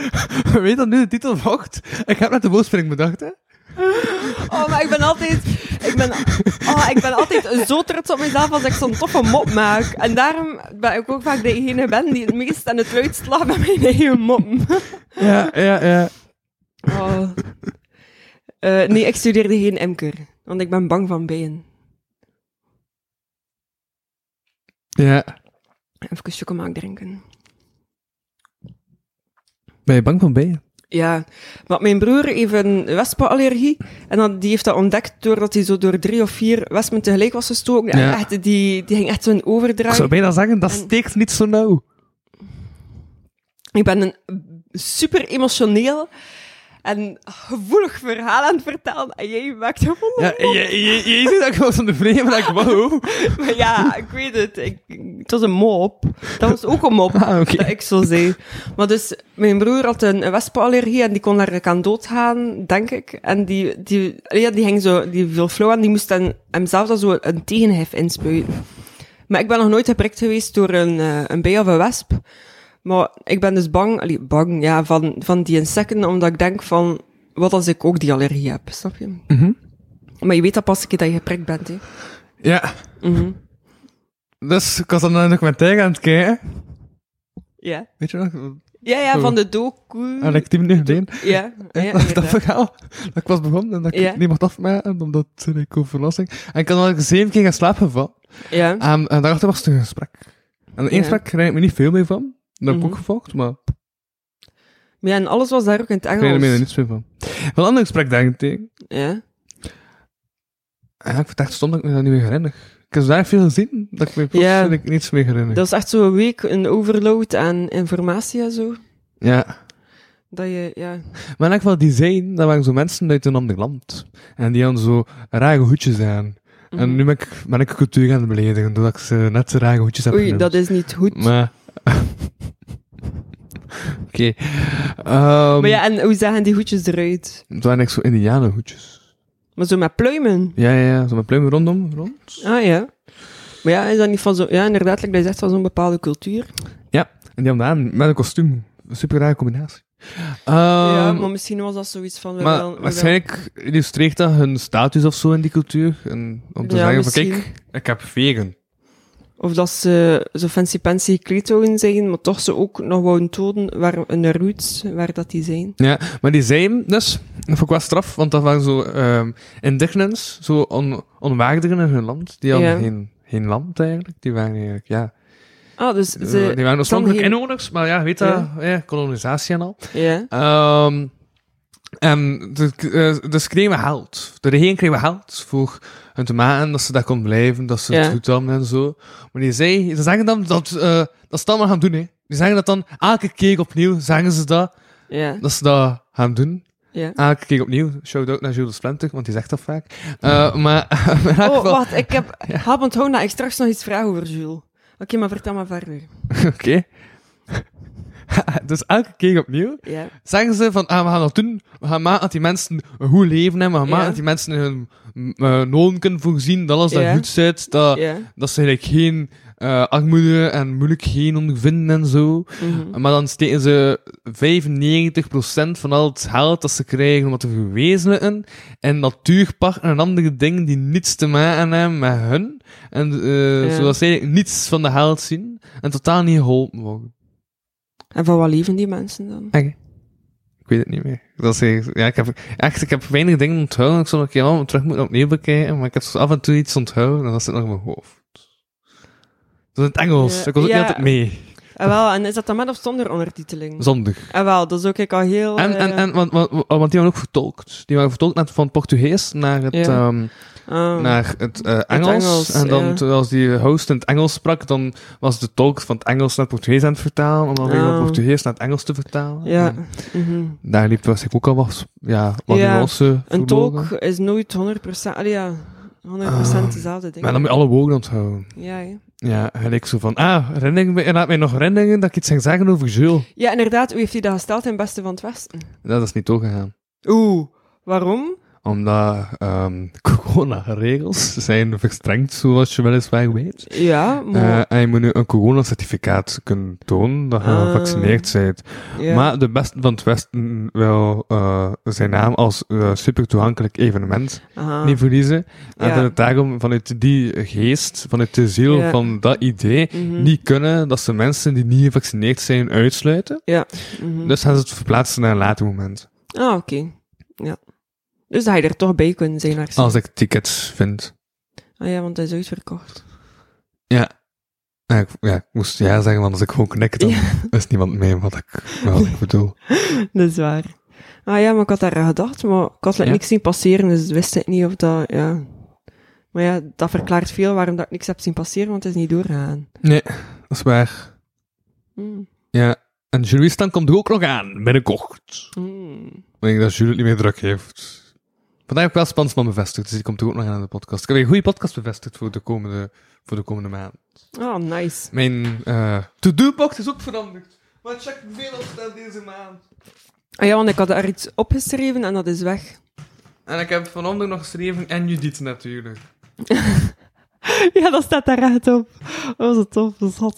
weet dat nu de titel vocht? Ik heb net de woordspeling bedacht, hè? Oh, maar ik ben altijd... Ik ben, oh, ik ben altijd zo trots op mezelf als ik zo'n toffe mop maak. En daarom ben ik ook vaak degene ben die het meest en het luidst lacht bij mijn eigen moppen. Ja, ja, ja. Oh. Eh, nee, ik studeerde geen emker. Want ik ben bang van bijen. Ja. Even chocomel drinken. Ben je bang van bijen? Ja, maar mijn broer heeft een wespenallergie. En dan, die heeft dat ontdekt doordat hij zo door drie of vier wespen tegelijk was gestoken. En Ja. echt, die, die ging echt zo'n Ik overdraai. zou bijna zeggen, dat En- steekt niet zo nauw. Ik ben een super emotioneel een gevoelig verhaal aan het vertellen en jij maakt een Ja, je, je, je ziet dat ik wel zo'n vreemde, maar ik, wow. Maar ja, ik weet het. Ik, het was een mop. Dat was ook een mop, <laughs> Ah, oké. dat ik zo zei. Maar dus, mijn broer had een een wespenallergie en die kon daar aan doodgaan, denk ik. En die, die, ja, die ging zo, die viel flow en die moest dan hem zelf dan zo een tegenhef inspuiten. Maar ik ben nog nooit geprikt geweest door een, eh, een bij of een wesp. Maar ik ben dus bang, allee, bang, ja, van, van die insecten, omdat ik denk van, wat als ik ook die allergie heb, snap je? Mhm. Maar je weet dat pas een keer dat je geprikt bent, hè. Mhm. Ja. Mhm. Dus ik was dan een documentaire aan het kijken. Ja. Weet je nog? Ja, ja, Oh. van de docu. En ik tien minuten geleden. <laughs> Ja, ja, dat inderdaad. verhaal. Dat ik was begonnen en dat ik Ja. niet mocht afmaken, omdat eh, ik over verlossing. En ik had al zeven keer gaan slapen van. ja. En, en daarachter was het een gesprek. En de Ja. Mhm. één gesprek kreeg ik me niet veel mee van. Dat heb ik ook gevolgd, maar ik Maar ja, en alles was daar ook in het kreeg er meer Engels. niets meer van. Van een ander gesprek denk ik tegen. Ja. En ik vind het echt stom dat ik me dat niet meer herinner. Ik heb daar veel gezien, dat ik me plots Ja. dat ik niets meer herinner. Dat was echt zo'n week een overload aan informatie en zo. Ja. Dat je, ja. Maar in elk geval, die zijn, dat waren zo mensen uit een ander land. En die hadden zo rare hoedjes aan. Mhm. En nu ben ik, ben ik cultuur aan het beledigen, doordat ik ze net rare hoedjes heb Oei, genoemd. dat is niet goed. Maar, Maar. <laughs> Oké. Ehm, ja, en hoe zagen die hoedjes eruit? Het waren echt zo indianenhoedjes. Maar zo met pluimen. Ja, ja, ja. Zo met pluimen rondom. Rond. Ah ja. Maar ja, is dat niet van zo... Ja, inderdaad, like dat zegt, van zo'n bepaalde cultuur. Ja. En die hadden aan met een kostuum. Een super rare combinatie. Ehm, ja, maar maar misschien was dat zoiets van... we willen- we willen- waarschijnlijk illustreert dat hun status of zo in die cultuur. En om te Ja, zeggen: van misschien. kijk, ik heb vegen. Of dat ze zo fancy-pansy gekleed zouden zijn, maar toch ze ook nog wouden tonen waar hun roots, waar dat die zijn. Ja, maar die zijn dus, dat vond ik wel straf, want dat waren zo ehm indigenous, zo on, onwaardigen in hun land. Die hadden Ja. geen, geen land eigenlijk. Die waren eigenlijk, ja. Ah, dus eh, ze... die waren oorspronkelijk geen- inwoners, maar ja, weet dat, Ja. ja. kolonisatie en al. Ja. Ehm en de, eh, dus kregen we geld. De regering kreeg we geld voor hun te maken, dat ze daar kon blijven, dat ze Ja. het goed hadden en zo. Maar die zei, ze zeggen dan dat, eh, dat ze dat maar gaan doen, hè. Die zeggen dat dan elke keer opnieuw, zeggen ze dat, Ja, dat ze dat gaan doen. ja. Elke keer opnieuw, shout-out naar Jules Splinter, want die zegt dat vaak. Eh, maar <laughs> in elk Oh, geval... wacht, ik heb... <laughs> Hap onthouden dat ik straks nog iets vraag over Jules. Oké, maar vertel maar verder. Oké. <laughs> dus elke keer opnieuw Ja, zeggen ze van, ah, we gaan dat doen. We gaan maken dat die mensen een goed leven hebben. We gaan Ja. maken dat die mensen hun eh, noden kunnen voorzien. Dat alles Ja. daar goed zit. Dat, ja. dat ze eigenlijk geen eh, armoede en moeilijkheden ondervinden en zo. mhm. Maar dan steken ze 95% van al het geld dat ze krijgen om dat te verwezenlijken in natuurparken en andere dingen die niets te maken hebben met hun. En, eh, Ja. Zodat ze eigenlijk niets van de geld zien en totaal niet geholpen worden. En van wat leven die mensen dan? Ik weet het niet meer. Dat is, eigenlijk- ja, ik, heb, echt, ik heb weinig dingen onthouden. Ik zal nog een keer allemaal terug moeten opnieuw bekijken. Maar ik heb zo af en toe iets onthouden en dat zit nog in mijn hoofd. Dat is in het Engels. Ja. Ik was ook Ja. niet altijd mee. En Ah, wel, en is dat dan met of zonder ondertiteling? Zondig. En wel, dat is ook ik al heel... En, en, eh, en want, want, want die waren ook vertolkt. Die waren vertolkt naar, van Portugees naar het, Ja. ehm, ah, naar het eh, Engels. Engels, En dan, ja. terwijl als die host in het Engels sprak, dan was de tolk van het Engels naar het Portugees aan het vertalen. Om dan weer van Ah. het Portugees naar het Engels te vertalen. Ja. En mhm. daar liep waarschijnlijk ook al wat, ja, wat Ja, nuance Een verloren. tolk is nooit 100%... Allee, ja, 100% Ah, dezelfde ding. Maar dan moet je alle woorden onthouden. Ja, hè. Ja, gelijk zo van, ah, herinnering, me- laat mij nog herinneren dat ik iets ging zeggen over Jules. ja, inderdaad, hoe heeft hij dat gesteld in Beste van het Westen? Dat is niet doorgegaan. Oeh, waarom? Omdat ehm <laughs> corona-regels zijn verstrengd, zoals je weliswaar weet. Ja, maar... Eh en je moet nu een coronacertificaat kunnen tonen dat je Ah. gevaccineerd bent. ja. Maar de Besten van het Westen wil eh, zijn naam als eh, super toegankelijk evenement Aha. niet verliezen. En Ah. Ja. dat het daarom vanuit die geest, vanuit de ziel Ja. van dat idee, Mhm. niet kunnen dat ze mensen die niet gevaccineerd zijn uitsluiten. Ja. mhm. Dus gaan ze het verplaatsen naar een later moment. Ah, oké. Ja. Dus dat je er toch bij kunnen zijn. Naar Als ik tickets vind. Ah ja, want hij is uitverkocht. Ja, ik, ja, ik moest ja zeggen, want als ik gewoon knik, dan Ja. <laughs> is niemand mee wat ik, wat ik bedoel. <laughs> Dat is waar. Ah ja, maar ik had daar aan gedacht, maar ik had like, Ja. niks zien passeren, dus wist ik niet of dat, ja... Maar ja, dat verklaart veel waarom dat ik niks heb zien passeren, want het is niet doorgaan. Nee, dat is waar. Mm. Ja, en Julie Stan komt er ook nog aan, binnenkort. Mm. Ik denk dat Jules het niet meer druk heeft. Vandaag heb ik wel Spansman bevestigd, dus die komt er ook nog aan in de podcast. Ik heb weer een goede podcast bevestigd voor de komende, voor de komende maand. Oh, nice. Mijn eh to-do-box is ook veranderd. Maar check hoeveel staan deze maand. Ah ja, want ik had daar iets opgeschreven en dat is weg. <laughs> En ik heb vanochtend nog geschreven en Judith natuurlijk. Ja, dat staat daar echt op. Oh, zo tof, dat zat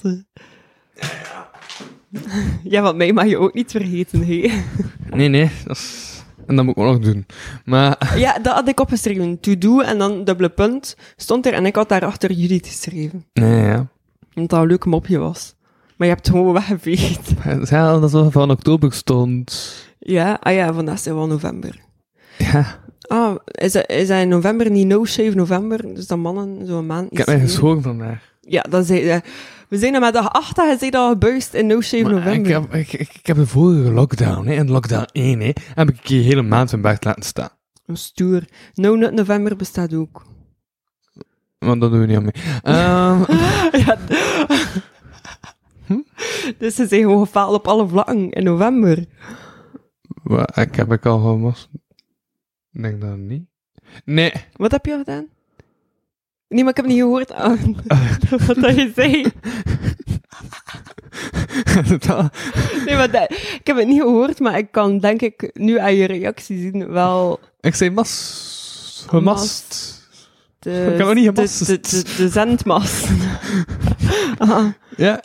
Ja, <laughs> ja, want mij mag je ook niet vergeten, hé. Nee, nee. Dat is... En dat moet ik ook nog doen. Maar Ja, dat had ik opgeschreven. To-do en dan dubbele punt stond er en ik had daarachter Judith geschreven. nee, ja. Omdat dat een leuk mopje was. Maar je hebt het gewoon weggeveegd. Ja, dat is wel van oktober stond. <laughs> Ja, ah ja, vandaag is het wel november. Ja. Ah, is dat, is dat in november niet No Shave November? Dus dat mannen zo'n maand Ik niet heb mij scheren. geschoren vandaag. Ja, dat zei eh, We zijn er met dag 8 en je zei dat al gebuist in No Shave Maar Ik November. heb, ik, ik, ik heb de vorige lockdown, hè, in lockdown 1, hè, heb ik een keer een hele maand van buiten laten staan. Een Stoer. No Nut November bestaat ook. Want dat doen we niet aan mee. Ehm, <laughs> ja. Dus ze zijn gewoon gefaald op alle vlakken in november. wa- ik heb ik al gemast. Ik denk dat niet. Nee. <laughs> Wat heb je al gedaan? Nee, maar ik heb niet gehoord aan <laughs> wat dat je zei. Dat- Nee, maar dat- ik heb het niet gehoord, maar ik kan denk ik nu aan je reactie zien wel ik zei mas. Gemast. de, Ik heb het niet gemast. de, de, de, de zendmast. <laughs> Ah, Ja.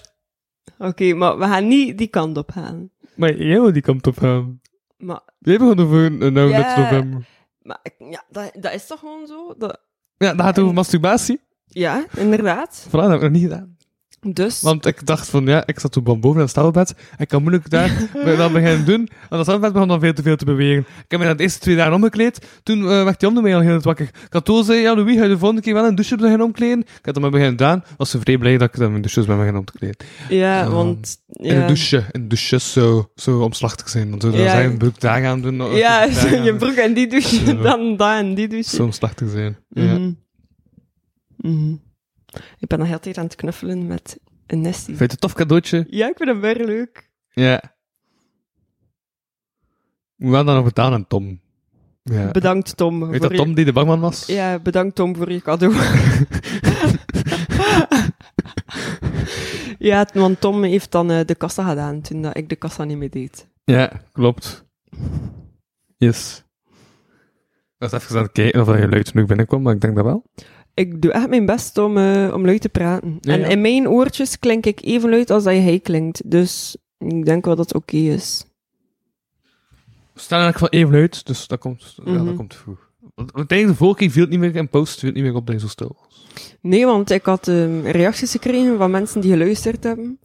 Oké, maar we gaan niet die kant op gaan. Maar jij wil die kant op ehm, gaan. Maar, Jij begon over een nou Ja. net november. maar ik- ja, dat, dat is toch gewoon zo? Dat, Ja, dat gaat over masturbatie. ja, inderdaad. Voilà, dat heb ik nog niet gedaan. Dus... Want ik dacht van, ja, ik zat toen van boven in het stelbed. Ik kan moeilijk daar dat beginnen doen. Want dat stelbed begon dan veel te veel te bewegen. Ik heb me dat de eerste twee dagen omgekleed. Toen eh, werd die onder mij al heel wakker. Kato zei, ja Louis, ga je de volgende keer wel een douche beginnen omkleden? Ik had dat maar beginnen gedaan. Was ze vrij blij dat ik dan mijn douches ben beginnen om te kleden. Ja, Ehm, want... Ja, In een douche. In douches zo, zo omslachtig zijn. Want zo dan Ja. zijn een broek daar gaan doen. of ja een broek <laughs> daar gaan <laughs> je doen. broek en die douche, Zo. dan dat en die douche. Zo omslachtig zijn. Ja. Mhm. Mhm. Ik ben nog heel de tijd aan het knuffelen met een Nessie. Vind je het een tof cadeautje? Ja, ik vind hem weer leuk. Ja. Moet wel dan nog betalen aan Tom. Ja. Bedankt, Tom. Weet voor dat Tom die de barman was? Je... Ja, bedankt, Tom, voor je cadeau. <laughs> ja, t- want Tom heeft dan eh, de kassa gedaan toen dat ik de kassa niet meer deed. Ja, klopt. Yes. Ik was even aan het kijken of je luid genoeg binnenkomt, maar ik denk dat wel. Ik doe echt mijn best om, eh, om luid te praten. Ja, en ja. in mijn oortjes klink ik even luid als dat hij klinkt. Dus ik denk wel dat het oké is. We staan in elk geval even luid, dus dat komt, ja, dat Mhm. komt vroeg. Want want tijdens de vorige keer viel het niet meer in post, viel het niet meer op dat je zo stil was. Nee, want ik had ehm, reacties gekregen van mensen die geluisterd hebben.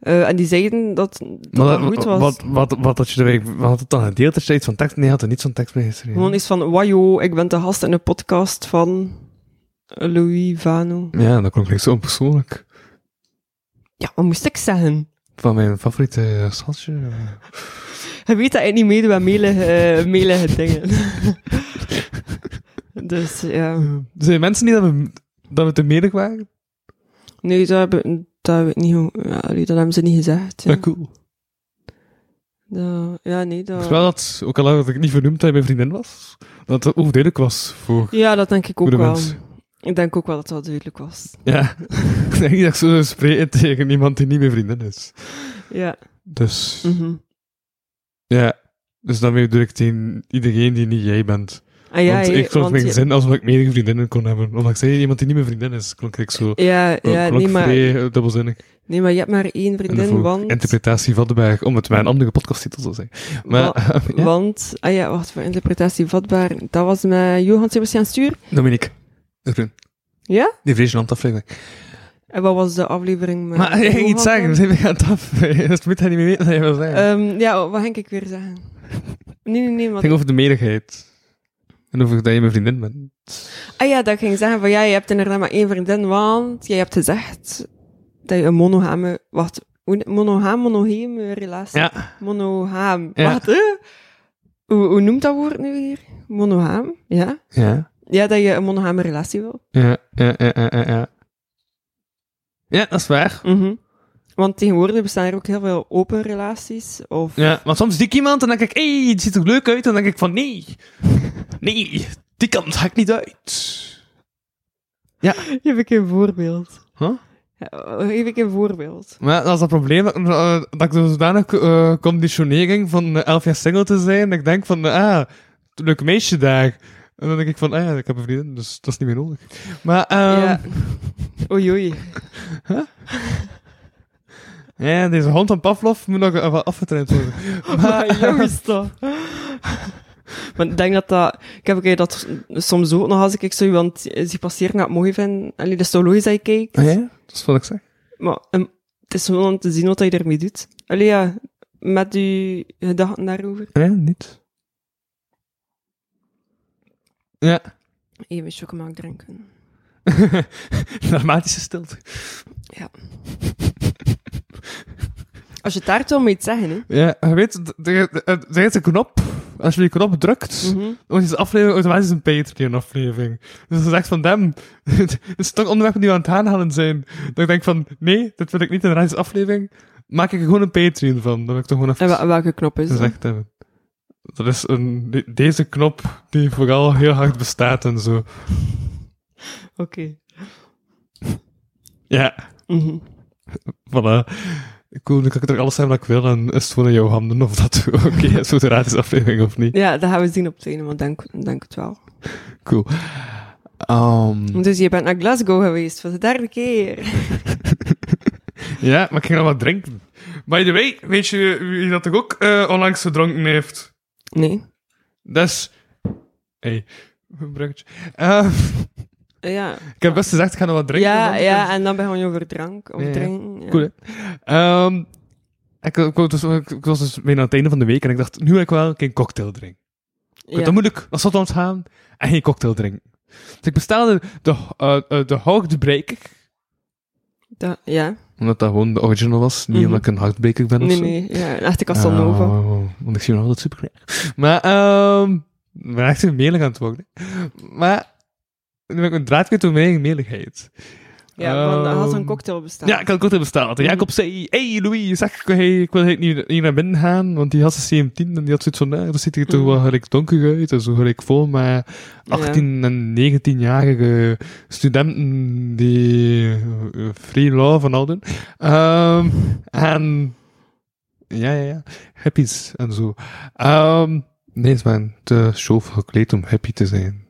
Eh, en die zeiden dat dat, dat dat- goed was. Wat, wat, wat, had je er eigenlijk- wat had het dan gedeeld? Had je iets van tekst? Nee, had er niets van tekst mee geschreven. Gewoon iets van, wajo, ik ben te gast in een podcast van Louis Vano. Ja, dat klonk echt zo onpersoonlijk. Ja, wat moest ik zeggen? Van mijn favoriete eh, schatje. eh. Je weet dat ik niet meedoe aan melige, eh, melige <laughs> dingen. dus ja, Er Zijn mensen niet dat we, dat we te menig waren? nee, dat hebben, dat heb ik niet, hoe- ja, allee, dat hebben ze niet gezegd. Ja, Ja, cool. Dat- ja nee, Ik dat... wist wel dat, ook al had ik niet vernoemd dat je mijn vriendin was, dat het overduidelijk was voor Ja, dat denk ik ook Goede wel. mensen. Ik denk ook wel dat dat duidelijk was. Ja, <laughs> ik denk niet dat ik zo zou spreken tegen iemand die niet mijn vriendin is. Ja. Dus, mhm. ja. Dus daarmee bedoel ik tegen iedereen die niet jij bent. Ah, ja, want ja, ik vond want mijn je- zin alsof ik meerdere vriendinnen kon hebben. Omdat ik zei, iemand die niet mijn vriendin is, klonk ik zo... Ja, ja klonk nee, maar, vrij eh, dubbelzinnig. En nee, maar je hebt maar één dat vriendin, vond ik want... Interpretatie van de berg, om het mijn andere podcasttitel zou zijn. Maar, wa- <laughs> ja, Want, ah ja, wacht, voor interpretatie vatbaar. Dat was met Johan Sebastian Stuur. Dominique. De Groen. Ja? Die Friesland aflevering. En wat was de aflevering met Maar <laughs> ik ging Johan iets zeggen, dan? we zijn weer aan het af. <laughs> Dus moet hij niet meer weten wat je wil zeggen. Ehm, ja, wat ging ik weer zeggen? Nee, nee, nee, het want... ging over de meerigheid. En over dat je mijn vriendin bent. Ah ja, dat ging zeggen van, ja, je hebt inderdaad maar één vriendin, want jij hebt gezegd dat je een monogame... Wacht, hoe- monogaam, monogame relatie... Ja. Monogaam. Ja. Wacht, hè? Hoe, hoe noemt dat woord nu weer? Monogaam, ja? Ja. Ja, dat je een monogame relatie wil. Ja, ja, ja, ja, ja. Ja, dat is waar. Mhm. Want tegenwoordig bestaan er ook heel veel open relaties. Of... Ja, want soms zie ik iemand en dan denk ik, hé, het ziet er leuk uit. En dan denk ik van, nee, nee, die kant ga ik niet uit. <laughs> Geef ik een voorbeeld. Huh? Ja, eh, Geef ik een voorbeeld. Maar dat is het probleem, dat, eh, dat ik dus zodanig eh, conditionering van eh, 11 jaar single te zijn. Dat ik denk van, ah, leuk meisje daar. En dan denk ik van, ah ja, ik heb een vriendin, dus dat is niet meer nodig. Maar, ehm, Ja. Oei, oei. ja, deze hond van Pavlov moet nog eh, wat afgetraind worden. <laughs> Maar jongens Ah, toch. Maar ik denk dat dat... Ik heb een keer dat soms ook nog, als ik zo iemand zie passeren, dat ik mooi vind. Allee, dat is toch logisch dat je kijkt. Ah, ja, dat is wat ik zeg. Maar ehm, het is gewoon om te zien wat je ermee doet. Allee, ja, met je gedachten daarover. Ja, niet. Ja, Even chocomel drinken. dramatische stilte. Als je het daar toch mee zeggen, hè. Ja, je weet, er er- er is een knop. Als je die knop drukt, Mhm. Dan is deze aflevering automatisch een Patreon-aflevering. Dus dat is echt van dem. <laughs> Het is toch onderwerpen die we aan het aanhalen zijn. Dat ik denk van, nee, dit wil ik niet in de rest aflevering. Maak ik er gewoon een Patreon van. Dat wil ik toch gewoon even En wa- welke knop is dat? gezegd hebben. Dat is een, de- deze knop die vooral heel hard bestaat en zo. Oké. Ja, Mhm. voilà. Cool, nu kan ik er alles hebben wat ik wil en is het gewoon in jouw handen of dat <laughs> oké is voor de gratis aflevering of niet. Ja, dat gaan we zien op het einde, want denk, denk het wel. Cool. Ehm, Dus je bent naar Glasgow geweest voor de derde keer. Ja, maar ik ging nog wat drinken. By the way, weet je wie dat toch ook eh, onlangs gedronken heeft? Nee. Dat is... Hey, een bruggetje. Eh, Ja, ik heb best gezegd, ik ga nog wat drinken. ja, want ik ja heb- en dan begon je over drank, over Ja, ja. drinken. Ja. Cool, hè? Ehm, ik, ik, was dus, ik, ik was dus bijna aan het einde van de week en ik dacht, nu wil ik wel geen cocktail drinken. Ja. Dat moet ik, dat zat ons gaan, en geen cocktail drinken. Dus ik bestelde de, eh eh, de houtbreker, Dat- ja. omdat dat gewoon de original was, niet Mhm. omdat ik een houtbreker ben of Nee, zo. nee. Ja, een echte Casanova. Oh, want ik zie nog altijd super Maar, ehm ik ben echt een meelig aan het worden. Maar, nu ben ik een draad kwijt door mijn eigen meligheid. Ja, want hij had Ehm, een cocktail bestaan. Ja, ik had kort besteld. En Jacob zei, hey Louis, zeg, ik wil, hey, ik wil hey, niet, niet naar binnen gaan, want die had zijn CM10 en die had zoiets van, nou, dat ziet er toch Mm. wel gelijk donker uit, en zo gelijk vol, maar 18 en 19-jarige studenten die eh, free love en al doen. Ehm, en ja, ja, ja, hippies en zo. Ehm, nee, het is maar te chauve gekleed om happy te zijn.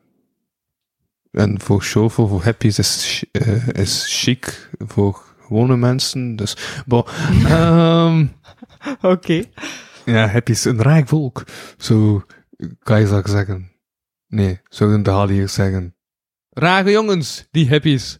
En voor chauve, voor hippies is, chi- eh, is chic voor gewone mensen, dus bon. Ehm, Oké. ja, hippies, een rijk volk. Zo kan je dat zeggen. Nee, zouden de hal hier zeggen. Rage jongens, die hippies.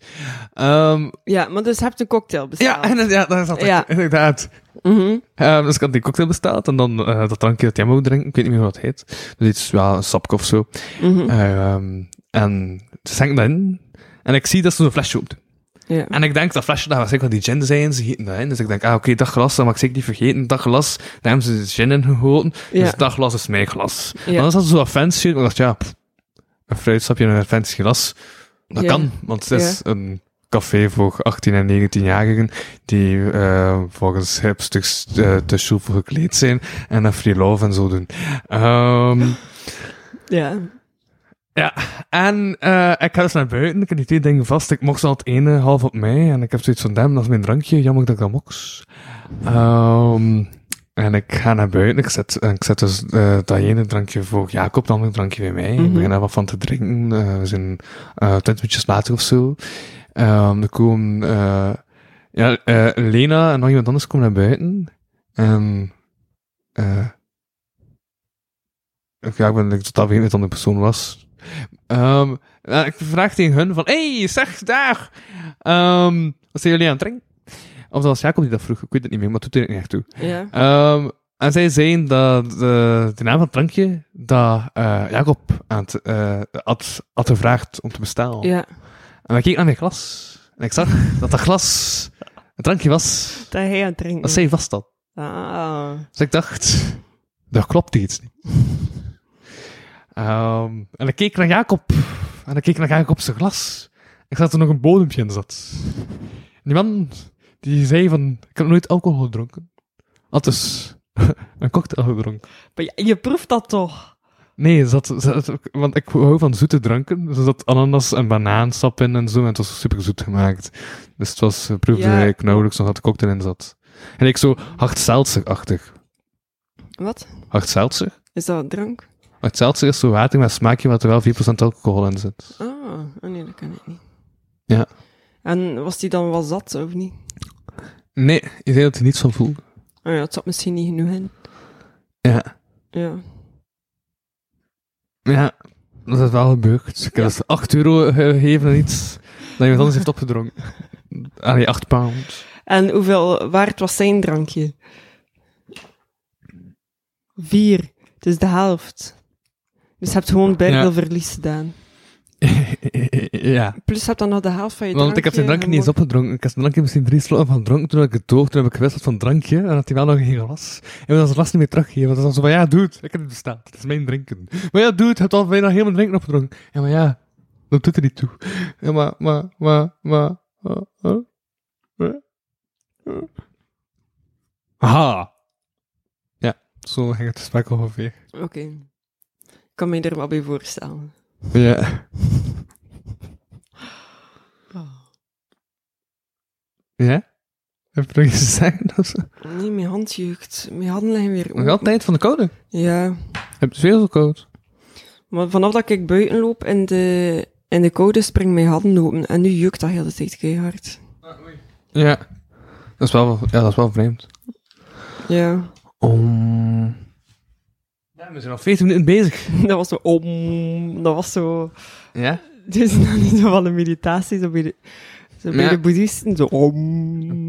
Ehm, Ja, maar dus je hebt een cocktail ja, besteld. en, ja, dat is altijd, Ja. inderdaad. Mhm. Ehm, dus ik had die cocktail besteld en dan eh, dat drankje dat jij moet drinken, ik weet niet meer wat het heet. Dus iets, ja, een sapje of zo. Mhm. Ehm, en ze schenken dat in. En ik zie dat ze zo'n flesje opdoen. Ja. En ik denk dat flesje, daar was zeker die gin zijn, ze gieten dat in. Dus ik denk, ah oké, dat glas, dat mag ik zeker niet vergeten. Dat glas, daar hebben ze de gin in gegoten. Dus Ja. dat glas is mijn glas. Ja. Maar dan zat ze zo wat fancy, maar ik dacht, ja, pff, een fruitsapje en een fancy glas. Dat Ja. kan, want het is een café voor 18 en 19-jarigen die eh, volgens hipsters eh, te soepel gekleed zijn en een free love en zo doen. Ehm ja. ja, en eh, ik ga dus naar buiten. Ik heb die twee dingen vast. Ik mocht al het ene half op mij. En ik heb zoiets van, damn, dat is mijn drankje. Jammer dat ik dat moks. Ehm, en ik ga naar buiten. Ik zet, en ik zet dus eh, dat ene drankje voor Jacob, dat andere drankje bij mij. Ik Mhm. begin daar wat van te drinken. Eh, we zijn eh twintig minuutjes later of zo. Ehm er komen... eh, ja, eh, Lena en nog iemand anders komen naar buiten. En... eh, ik- ja, ik ben ik totaal vergeten wie dan de persoon was. Ehm, nou, ik vraag tegen hun van... hey, zeg, daar! Ehm, wat zijn jullie aan het drinken? Of dat was Jacob die dat vroeg, ik weet het niet meer, maar het doet er niet echt toe. Ja. Ehm, en zij zeiden dat de, de naam van het drankje dat eh, Jacob aan het, eh, had, had gevraagd om te bestellen. Ja. En ik keek naar mijn glas. En ik zag dat dat glas een drankje was Dat hij aan het drinken. dat zij vast had. Ah. Dus ik dacht, daar klopt iets niet. Ehm, en ik keek naar Jacob. En ik keek naar Jacob zijn glas. Ik zag dat er nog een bodempje in zat. En die man, Die zei van, ik heb nooit alcohol gedronken. Althans, <laughs> een cocktail gedronken. Maar ja, je proeft dat toch? Nee, er zat, er zat- want ik hou van zoete dranken. Dus er zat ananas en banaansap in en zo. En het was super zoet gemaakt. Dus het was, eh, proefde Ja. ik nauwelijks nog dat de cocktail in zat. En ik zo hartseltzer-achtig. Wat? Hartseltzer? Is dat drank? Hartseltzer is zo water met smaakje, maar er wel 4% alcohol in zit. Ah, oh nee, dat kan ik niet. Ja. En was die dan wel zat, of niet? Nee, ik denk dat hij niets van voelde. Oh ja, het zat misschien niet genoeg in. Ja. Ja. Ja, dat is wel gebeurd. Ik heb dus 8 euro gegeven en iets dat iemand anders heeft opgedronken. <laughs> Allee, 8 pound. En hoeveel waard was zijn drankje? Vier. Dus de helft. Dus je hebt gewoon bijna Ja. veel verlies gedaan. ja. Plus je hebt dan nog de helft van je drankje. Want ik heb zijn drankje niet eens gemor- opgedronken. Ik heb zijn drankje misschien drie sloten van gedronken. Toen heb ik het door, toen heb ik gewisseld van drankje. En had hij wel nog geen glas. En we dat glas niet meer teruggegeven. Want dan zo van, ja, dude, ik heb het bestaan. Het is mijn drinken. Maar ja, dude, je hebt al bijna helemaal drinken opgedronken. Ja, maar ja, dat doet er niet toe. Ja, maar, maar, maar, maar... eh, eh, eh, eh. Aha! Ja, zo ging het gesprek ongeveer. Oké. Ik kan me er wel bij voorstellen. Ja. Oh. Ja? Heb je nog iets te zeggen of zo? Nee, mijn hand jeukt. Mijn handen liggen weer Nog open. altijd van de code. Ja. Heb je veel zo koud? Maar vanaf dat ik buiten loop in de, in de koude, spring mijn handen open. En nu jeukt dat heel de tijd keihard. Ja. Dat is wel, ja, dat is wel vreemd. Ja. <laughs> Om... Ja, we zijn al 14 minuten bezig. Dat was zo... Om, dat was zo... Ja? Dus <laughs> dan is dat wel een meditatie, zo bij de, zo bij Ja. de boeddhisten. Zo, om.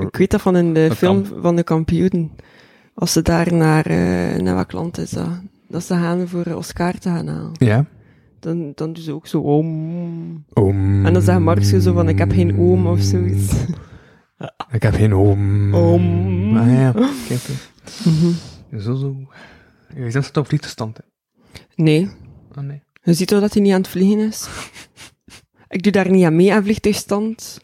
Ik weet dat van in de Dat film van de kampioenen. Als ze daar naar, eh, naar wat klant is dat, dat ze gaan voor eh, Oscar te gaan halen. Ja. Dan, dan doen ze ook zo om. Om. En dan zegt Marxio zo van, ik heb geen oom of zoiets. <laughs> Ik heb geen oom. Oom. Mhm. Ah <laughs> ja, kijk. hè. Zo zo. Je zet het op vliegtuigstand, hè. Nee, Ah nee. je ziet toch dat hij niet aan het vliegen is? Ik doe daar niet aan mee aan vliegtuigstand.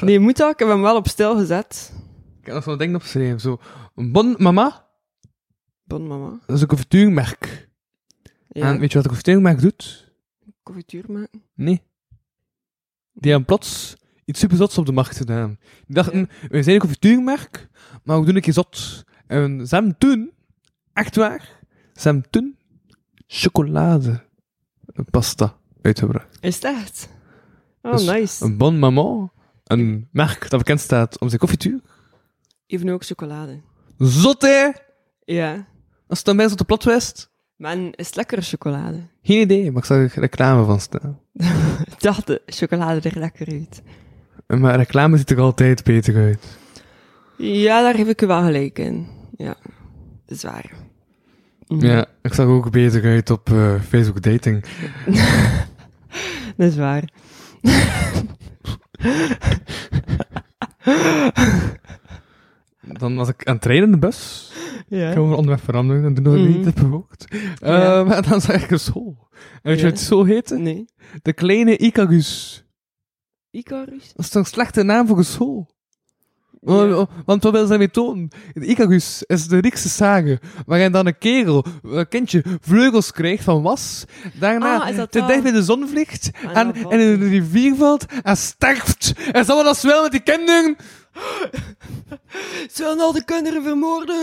Nee, moet dat? Ik heb hem wel op stil gezet. Ik heb nog zo'n ding opgeschreven, zo. Bon, mama, Bon mama. dat is een confituurmerk. Ja, En weet je wat een confituurmerk doet? confituur maken. Nee. Die hebben plots iets super zots op de markt gedaan. Die dachten, we zijn een confituurmerk, maar we doen een keer zot. En ze hebben toen, echt waar, ze hebben toen chocolade pasta uitgebracht. Is dat echt? Oh, Dus nice. Een bon maman, een merk dat bekend staat om zijn confituur. Even ook chocolade. Zot hè! Ja. Als het dan bij is op de platwest, Maar en is het lekkere chocolade? geen idee, maar ik zag er reclame van staan. Ik dacht de chocolade er lekker uit. Maar reclame ziet er altijd beter uit. Ja, daar heb ik je wel gelijk in. Ja, dat is waar. Mhm. Ja, ik zag er ook beter uit op eh, Facebook dating. Dat is waar. Dan was ik aan het rijden in de bus. Ik Ja. ga over onderweg veranderen en doen nog Mhm. niet dat bewookt. Ja. en dan zag ik een school. En weet je Ja. wat die school heette? Nee. De kleine Icarus. Icarus? Dat is toch een slechte naam voor een school? Wa- Ja. wa- Want wat wil ze daarmee tonen? De Icarus is de Griekse sage, waarin dan een kerel, een kindje, vleugels krijgt van was, daarna Ah, is dat te dat? dicht bij de zon vliegt, En en, dan en in de rivier valt, en sterft. En zal wel als wel met die kinderen? <laughs> Ze willen al de kinderen vermoorden!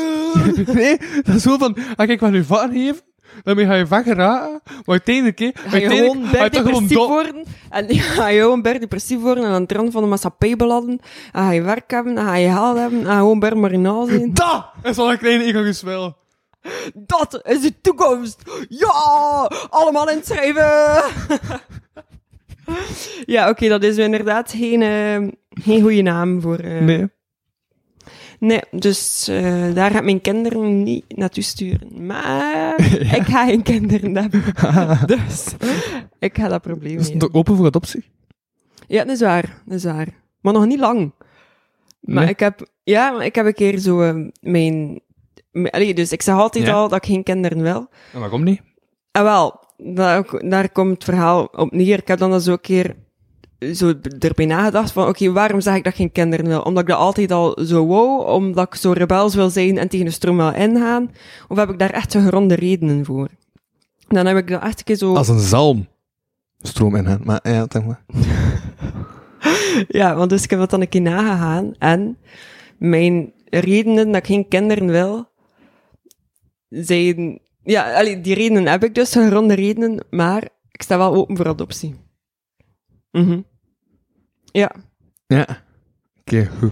Nee, dat is zo van, ah, kijk, wat nu van heeft, daarmee ga je van geraken, maar uiteindelijk, hè, Ga je uiteindelijk gewoon ga je toch gewoon depressief dood. worden? En ja, ga je gewoon depressief worden en aan het rand van de maatschappij belanden? En ga je werk hebben, en ga je geld hebben, en ga je gewoon ber marinaal zijn? Dat is wat een kleine Icarus wil. Dat is de toekomst! Ja! Allemaal inschrijven! <laughs> ja, oké, dat is inderdaad geen, eh, geen goede naam voor... eh, Nee. Nee, dus eh, daar ga ik mijn kinderen niet naartoe sturen. <laughs> Maar ik ga geen kinderen <laughs> hebben. dus ik ga dat probleem Is niet. het ook open voor adoptie? Ja, dat is waar. Dat is waar. Maar nog niet lang. Maar Nee. ik heb... Ja, maar ik heb een keer zo eh, mijn... mijn- allee, dus ik zeg altijd Ja. al dat ik geen kinderen wil. En waarom niet? En Ah, wel, daar, ook- daar komt het verhaal op neer. Ik heb dan dus ook een keer zo erbij nagedacht van, oké, waarom zeg ik dat ik geen kinderen wil? Omdat ik dat altijd al zo wou, omdat ik zo rebels wil zijn en tegen de stroom wil ingaan? Of heb ik daar echt gegronde redenen voor? En Dan heb ik dat echt een keer zo... Als een zalm. Stroom in hen, maar ja, zeg maar. Ja, want dus ik heb dat dan een keer nagegaan. En mijn redenen dat ik geen kinderen wil, zijn... Ja, allee, die redenen heb ik dus, gegronde redenen, maar ik sta wel open voor adoptie. Mhm. Ja. Ja. Oké, goed.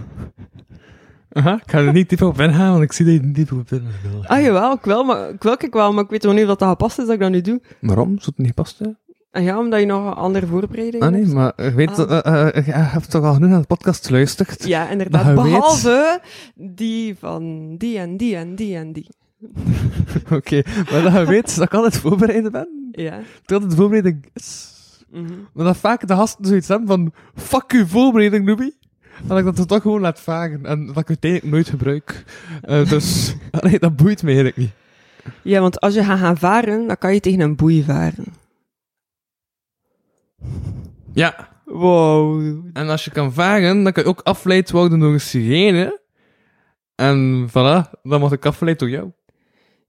Aha, ik ga er niet diep op ingaan, want ik zie dat je er niet diep op in wil. Ah, jawel, ik wil, maar, ik wil ik wel, maar ik weet nog niet of dat dat gepast is dat ik dat nu doe. Waarom? Zou het niet passen? En ja, omdat je nog een andere voorbereiding Ah nee, hebt. maar ik weet, dat eh, eh, je hebt toch al genoeg naar de podcast geluisterd? Ja, inderdaad. Maar je weet- Behalve die van die en die en die en die. <laughs> Oké, maar dat je weet dat ik altijd voorbereid ben. Ja. Dat het voorbereiding is. Mhm. Maar dat vaak de gasten zoiets hebben van... Fuck uw voorbereiding, Ruby. En dat ik dat er toch gewoon laat vagen. En dat ik uiteindelijk nooit gebruik. Eh, dus... <laughs> nee, dat boeit me eigenlijk niet. Ja, want als je gaat gaan varen, dan kan je tegen een boei varen. Ja. Wow. En als je kan vagen, dan kan je ook afgeleid worden door een sirene. En voilà, dan word ik afgeleid door jou.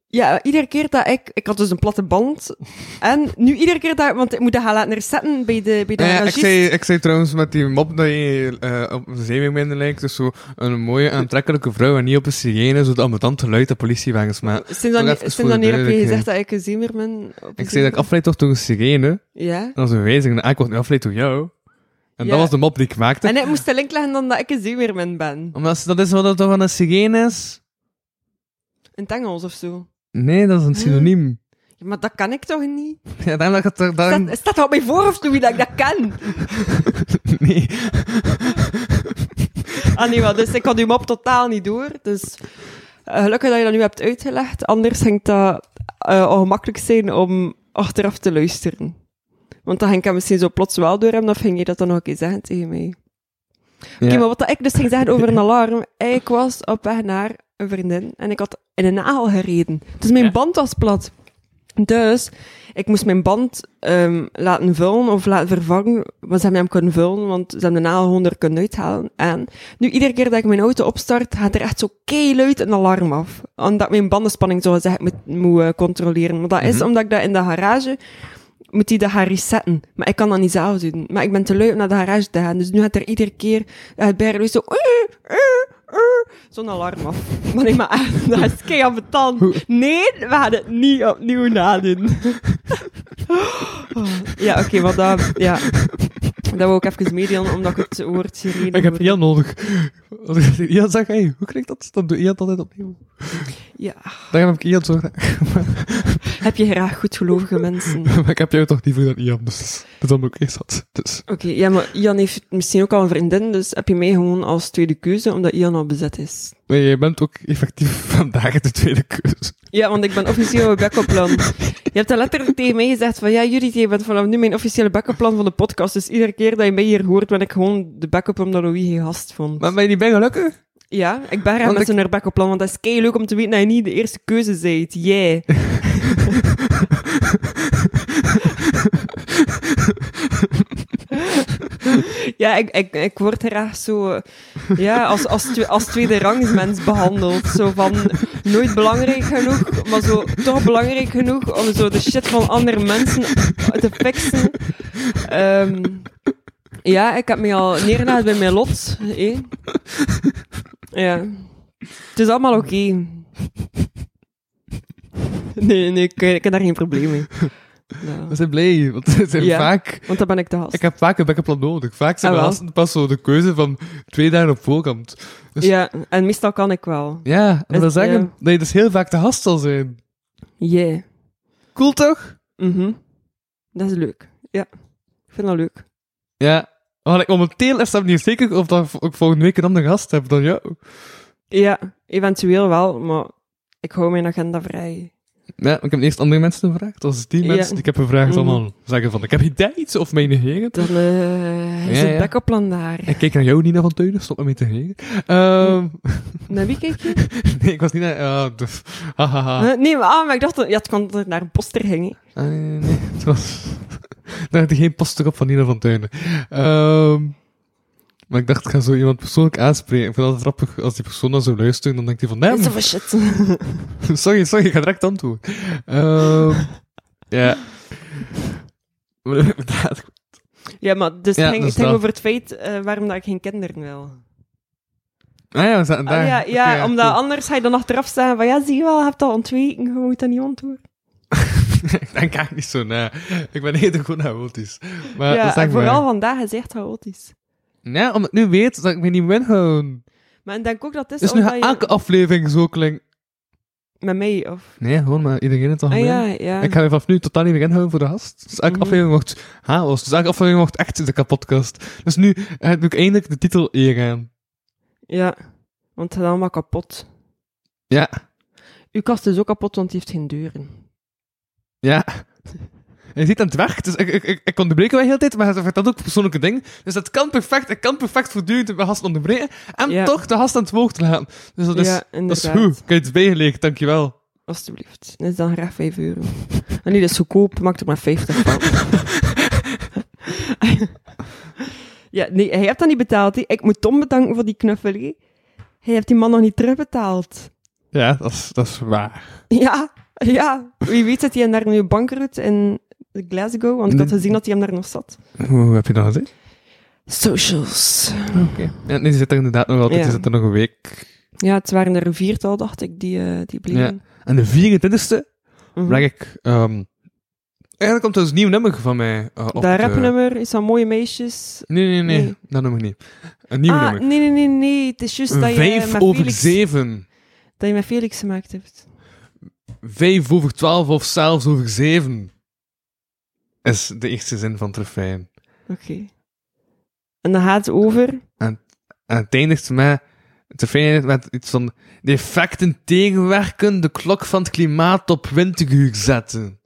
Ja, iedere keer dat ik... Ik had dus een platte band. En nu iedere keer dat... Want ik moet dat gaan laten resetten bij de, bij de Eh, ik, garagist. zei, ik zei trouwens met die mop dat je eh, op een zeemeermin lijkt. Dus zo een mooie, aantrekkelijke vrouw en niet op een sirene. Zodat ambetant geluid dat politiewagens maken. Sinds Nog dan, even sinds voor dan de hier heb je duidelijkheid. gezegd dat ik een zeemer ben. op Ik een zei dat ik afgeleid word door een sirene. zeemer. Ja. Dat was een wijziging. Ah, ik word nu afgeleid door jou. En Ja. dat was de mop die ik maakte. En ik moest de link leggen dan dat ik een zeemerman ben. Omdat ze- dat is wat dat toch van een sirene is? Een tangels of zo. Nee, dat is een Hm. synoniem. Ja, maar dat kan ik toch niet? Ja, daarom dat ik het er... daarom- Staat, staat dat op mijn voorhoofd, Louis, dat ik dat kan? <laughs> Nee. <laughs> Ah nee, maar dus ik had uw mop totaal niet door. Dus eh, gelukkig dat je dat nu hebt uitgelegd. Anders ging dat eh ongemakkelijk zijn om achteraf te luisteren. Want dan ging ik hem misschien zo plots wel door hebben, of ging je dat dan nog een keer zeggen tegen mij? Oké, Ja. maar wat dat ik dus ging zeggen over een alarm. Ik was op weg naar een vriendin en ik had in een nagel gereden. Dus mijn Ja. band was plat. Dus ik moest mijn band ehm, laten vullen of laten vervangen. Want ze hebben hem kunnen vullen, want ze hebben de nagel gewoon er kunnen uithalen. En nu, iedere keer dat ik mijn auto opstart, gaat er echt zo keihard een alarm af. Omdat mijn bandenspanning, zoals gezegd, moet, moet eh, controleren. Maar dat Mhm. is omdat ik dat in de garage moet die dat gaan resetten. Maar ik kan dat niet zelf doen. Maar ik ben te lui om naar de garage te gaan. Dus nu gaat er iedere keer eh, het bijrijden zo... "Eh, eh, eh," Zo'n alarm af. <laughs> Maar nee, maar echt, dat is keihard betaald. Nee, we gaan het niet opnieuw <laughs> nadoen. Ja, oké, maar dat... Ja. Dat wou ik even meedelen, omdat ik het woord sirene... Ik heb hoorde. Ian nodig. Als ik tegen Ian zeg, hey, hoe klinkt dat? Dan doe Ian het altijd opnieuw. Ja. Dan heb ik Ian zo graag. Heb je graag goedgelovige mensen? Oké, <laughs> Maar ik heb jou toch liever dan Ian, dus dat dan ook eerst had. Dus. ja, maar Ian heeft misschien ook al een vriendin, dus heb je mij gewoon als tweede keuze, omdat Ian al bezet is. Nee, jij bent ook effectief <laughs> vandaag de tweede keus. Ja, want ik ben officieel mijn backupplan. Je hebt dat letterlijk tegen mij gezegd van, ja, Judith, je bent vanaf nu mijn officiële backupplan van de podcast, dus iedere keer dat je mij hier hoort, ben ik gewoon de backup omdat Louis geen gast vond. Maar ben je niet bij gelukkig? Ja, ik ben graag Want met zo'n backupplan, want dat is kei leuk om te weten dat je niet de eerste keuze zijt. Jij. ja, ik, ik, ik word graag zo eh, ja, als, als, twe- als tweede rangsmens behandeld. Zo van nooit belangrijk genoeg, maar zo toch belangrijk genoeg om zo de shit van andere mensen te fixen. Ehm, ja, ik heb me al neergelegd bij mijn lot. hè. Ja. Het is allemaal oké. Nee, nee, ik, ik heb daar geen probleem mee. Ja. We zijn blij, want ze zijn Ja. vaak... Want dan ben ik de gast. Ik heb vaak een backupplan nodig. Vaak zijn Ah, mijn wel. gasten pas zo de keuze van twee dagen op voorkant. Dus ja, Ja, en meestal kan ik wel. en dat wil Het- zeggen ja. dat je dus heel vaak de gast zal zijn. Yeah. Cool toch? Mhm. Dat is leuk. Ja. Ik vind dat leuk. Ja. Maar ik momenteel is dat niet zeker of dat ik volgende week een andere gast heb dan jou. Ja, eventueel wel, maar ik hou mijn agenda vrij. Ja, maar ik heb eerst andere mensen gevraagd. Als die Ja. mensen die ik heb gevraagd Mhm. allemaal zeggen van, ik heb idee iets of mij negeren. Dan eh is Ja, ja. het backuplan <laughs> daar. Ik keek naar jou, Nina van Teunen, stop met mij te negeren. Ehm, <laughs> Naar wie kijk je? nee, ik was niet naar... ah, dus, hahaha. Huh? Nee, maar, ah, maar ik dacht, dat- ja, het kan dat het naar een poster ging. hè. Ah, nee, nee, nee. Het was... <laughs> Daar had ik geen poster op van Nina van Tuinen. Ehm, maar ik dacht, ik ga zo iemand persoonlijk aanspreken. Ik vind het altijd grappig als die persoon dan zo luistert. Dan denkt hij van, Is nee, dat voor shit? <laughs> sorry, sorry, ik ga direct antwoorden. Ehm, ja. <laughs> Maar inderdaad, <laughs> Ja, maar dus Ja, het ging, dat het is ging dat. over het feit eh, waarom dat ik geen kinderen wil. ah ja, we zaten Ah, daar. ja, Oké, ja, omdat cool. anders ga je dan achteraf staan van ja, zie je wel, je hebt dat ontweken, je moet dat niet ontdoen. <laughs> ik denk eigenlijk niet zo na. Ik ben eerder gewoon chaotisch. ja, Maar dat is en eigenlijk vooral waar. vandaag is echt chaotisch. Ja, omdat ik nu weet dat ik me niet win gewoon. Maar ik denk ook dat het is Dus nu omdat gaat je... elke aflevering zo klinkt. Met mij, of... Nee, gewoon maar iedereen het al Ah, ja, ja. Ik ga er vanaf nu totaal niet meer inhouden voor de gast. Dus elke Mhm. aflevering wordt chaos. Dus elke aflevering wordt echt de kapotkast. Dus nu eh, doe ik eindelijk de titel hier aan. ja, want het gaat allemaal kapot. Ja, Uw kast is ook kapot, want die heeft geen deuren. ja. En je ziet aan het werk, dus ik, ik, ik, ik onderbreek mij heel de tijd, maar hij vertelt ook persoonlijke dingen. Dus dat kan perfect, ik kan perfect voortdurend mijn gast onderbreken en Ja. toch de gast aan het woord laten. Dus dat is, ja, dat is inderdaad. goed. Ik heb iets bijgeleerd, dankjewel. Alsjeblieft. Dat is dan graag 5 <laughs> euro. En nu, dat is goedkoop, maak er maar 50 van. ja, nee, hij hebt dat niet betaald. hè. Ik moet Tom bedanken voor die knuffel. hè. Hij heeft die man nog niet terugbetaald. Ja, dat is, dat is waar. Ja, ja. Wie weet zit hij naar nu bankroet in Glasgow, want ik had Nee. gezien dat hij hem daar nog zat. Hoe heb je dat gezien? Socials. Oké. Ja, nee, die zit er inderdaad nog altijd, Ja. die zit er nog een week. Ja, het waren er een viertal, dacht ik, die, eh, die bleven. En de 24e Mhm. breng ik. ehm, eigenlijk komt er dus een nieuw nummer van mij. eh, Dat op de- rapnummer is aan mooie meisjes. Nee, nee, nee, Nee. Dat nummer niet. Een nieuw ah, nummer. nee, nee, nee, nee. Het is juist dat je, Vijf met over Felix, zeven. dat je met Felix gemaakt hebt. Vijf over twaalf of zelfs over zeven. Is de eerste zin van het refrein. Oké. En dan gaat het over. En het eindigt met. Het refrein eindigt met iets van. De effecten tegenwerken, de klok van het klimaat op 20 uur zetten.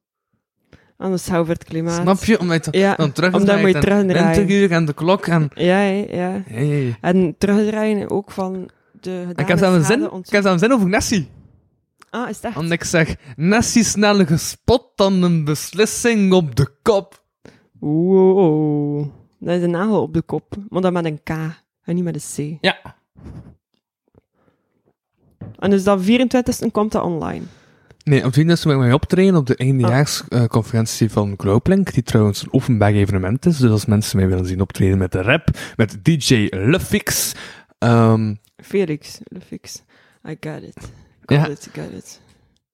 Anders zou over het klimaat. Snap je? Omdat je Ja. dan terug Omdat moet je terugdraaien. 20 uur en de klok en. Ja, hè, ja. Hey. En terugdraaien ook van de. Ik heb zelfs een zin, gedane schade ik heb zelfs een zin over Nessie. ont- Ah, is dat? Want ik zeg, Nessie sneller gespot dan een beslissing op de kop. Wow. Dat is een nagel op de kop. Maar dan met een K. En niet met een C. Ja. En dus dat 24e komt dat online. Nee, op 24 ben ik mee optreden op de eindejaarsconferentie van Glowplink, die trouwens een openbaar evenement is. Dus als mensen mij willen zien optreden met de rap, met DJ Luffix. Ehm Felix, Lefix. I got it. Got Ja. it, got it.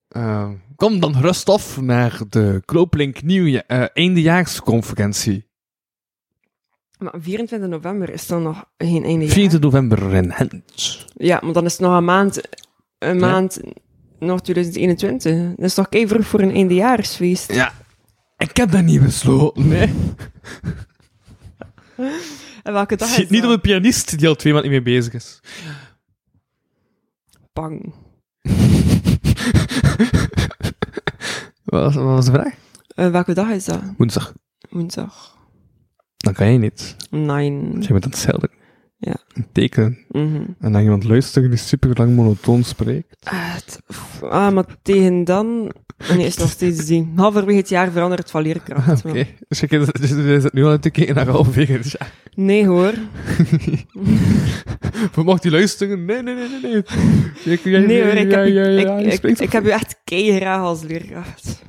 ehm, kom dan rust af naar de Glowplink nieuwja- eh, eindejaarsconferentie. Maar 24 november is dan nog geen einde jaar. 4 november in Gent. Ja, maar dan is het nog een maand, een maand nog 2021. Dat is nog keivroeg voor een eindejaarsfeest. Ja. Ik heb dat niet besloten, nee. En welke dag Schiet is eh, niet dat? op een pianist die al twee maanden niet mee bezig is. Bang. Wat was, wat was de vraag? Eh, welke dag is dat? Woensdag. Woensdag. Dan kan je niet. Nine. Want je bent aan het zelden. Ja. Een teken. Mhm. En dan iemand luisteren die super lang monotoon spreekt. Ah, het- pff, ah, maar tegen dan... Nee, is nog steeds die. Halverwege het jaar verandert het van leerkracht. <laughs> Oké. Dus je kijkt- dus je zit nu al te kijken naar halverwege. Dus <laughs> ja, maar- Nee hoor. we mocht die luisteren. Nee, nee, nee, nee. nee. Je- je- Nee hoor, ik ja, heb, u- ja, ja, je ik, ik, spreekt ik, heb u echt keihard als <laughs> leerkracht.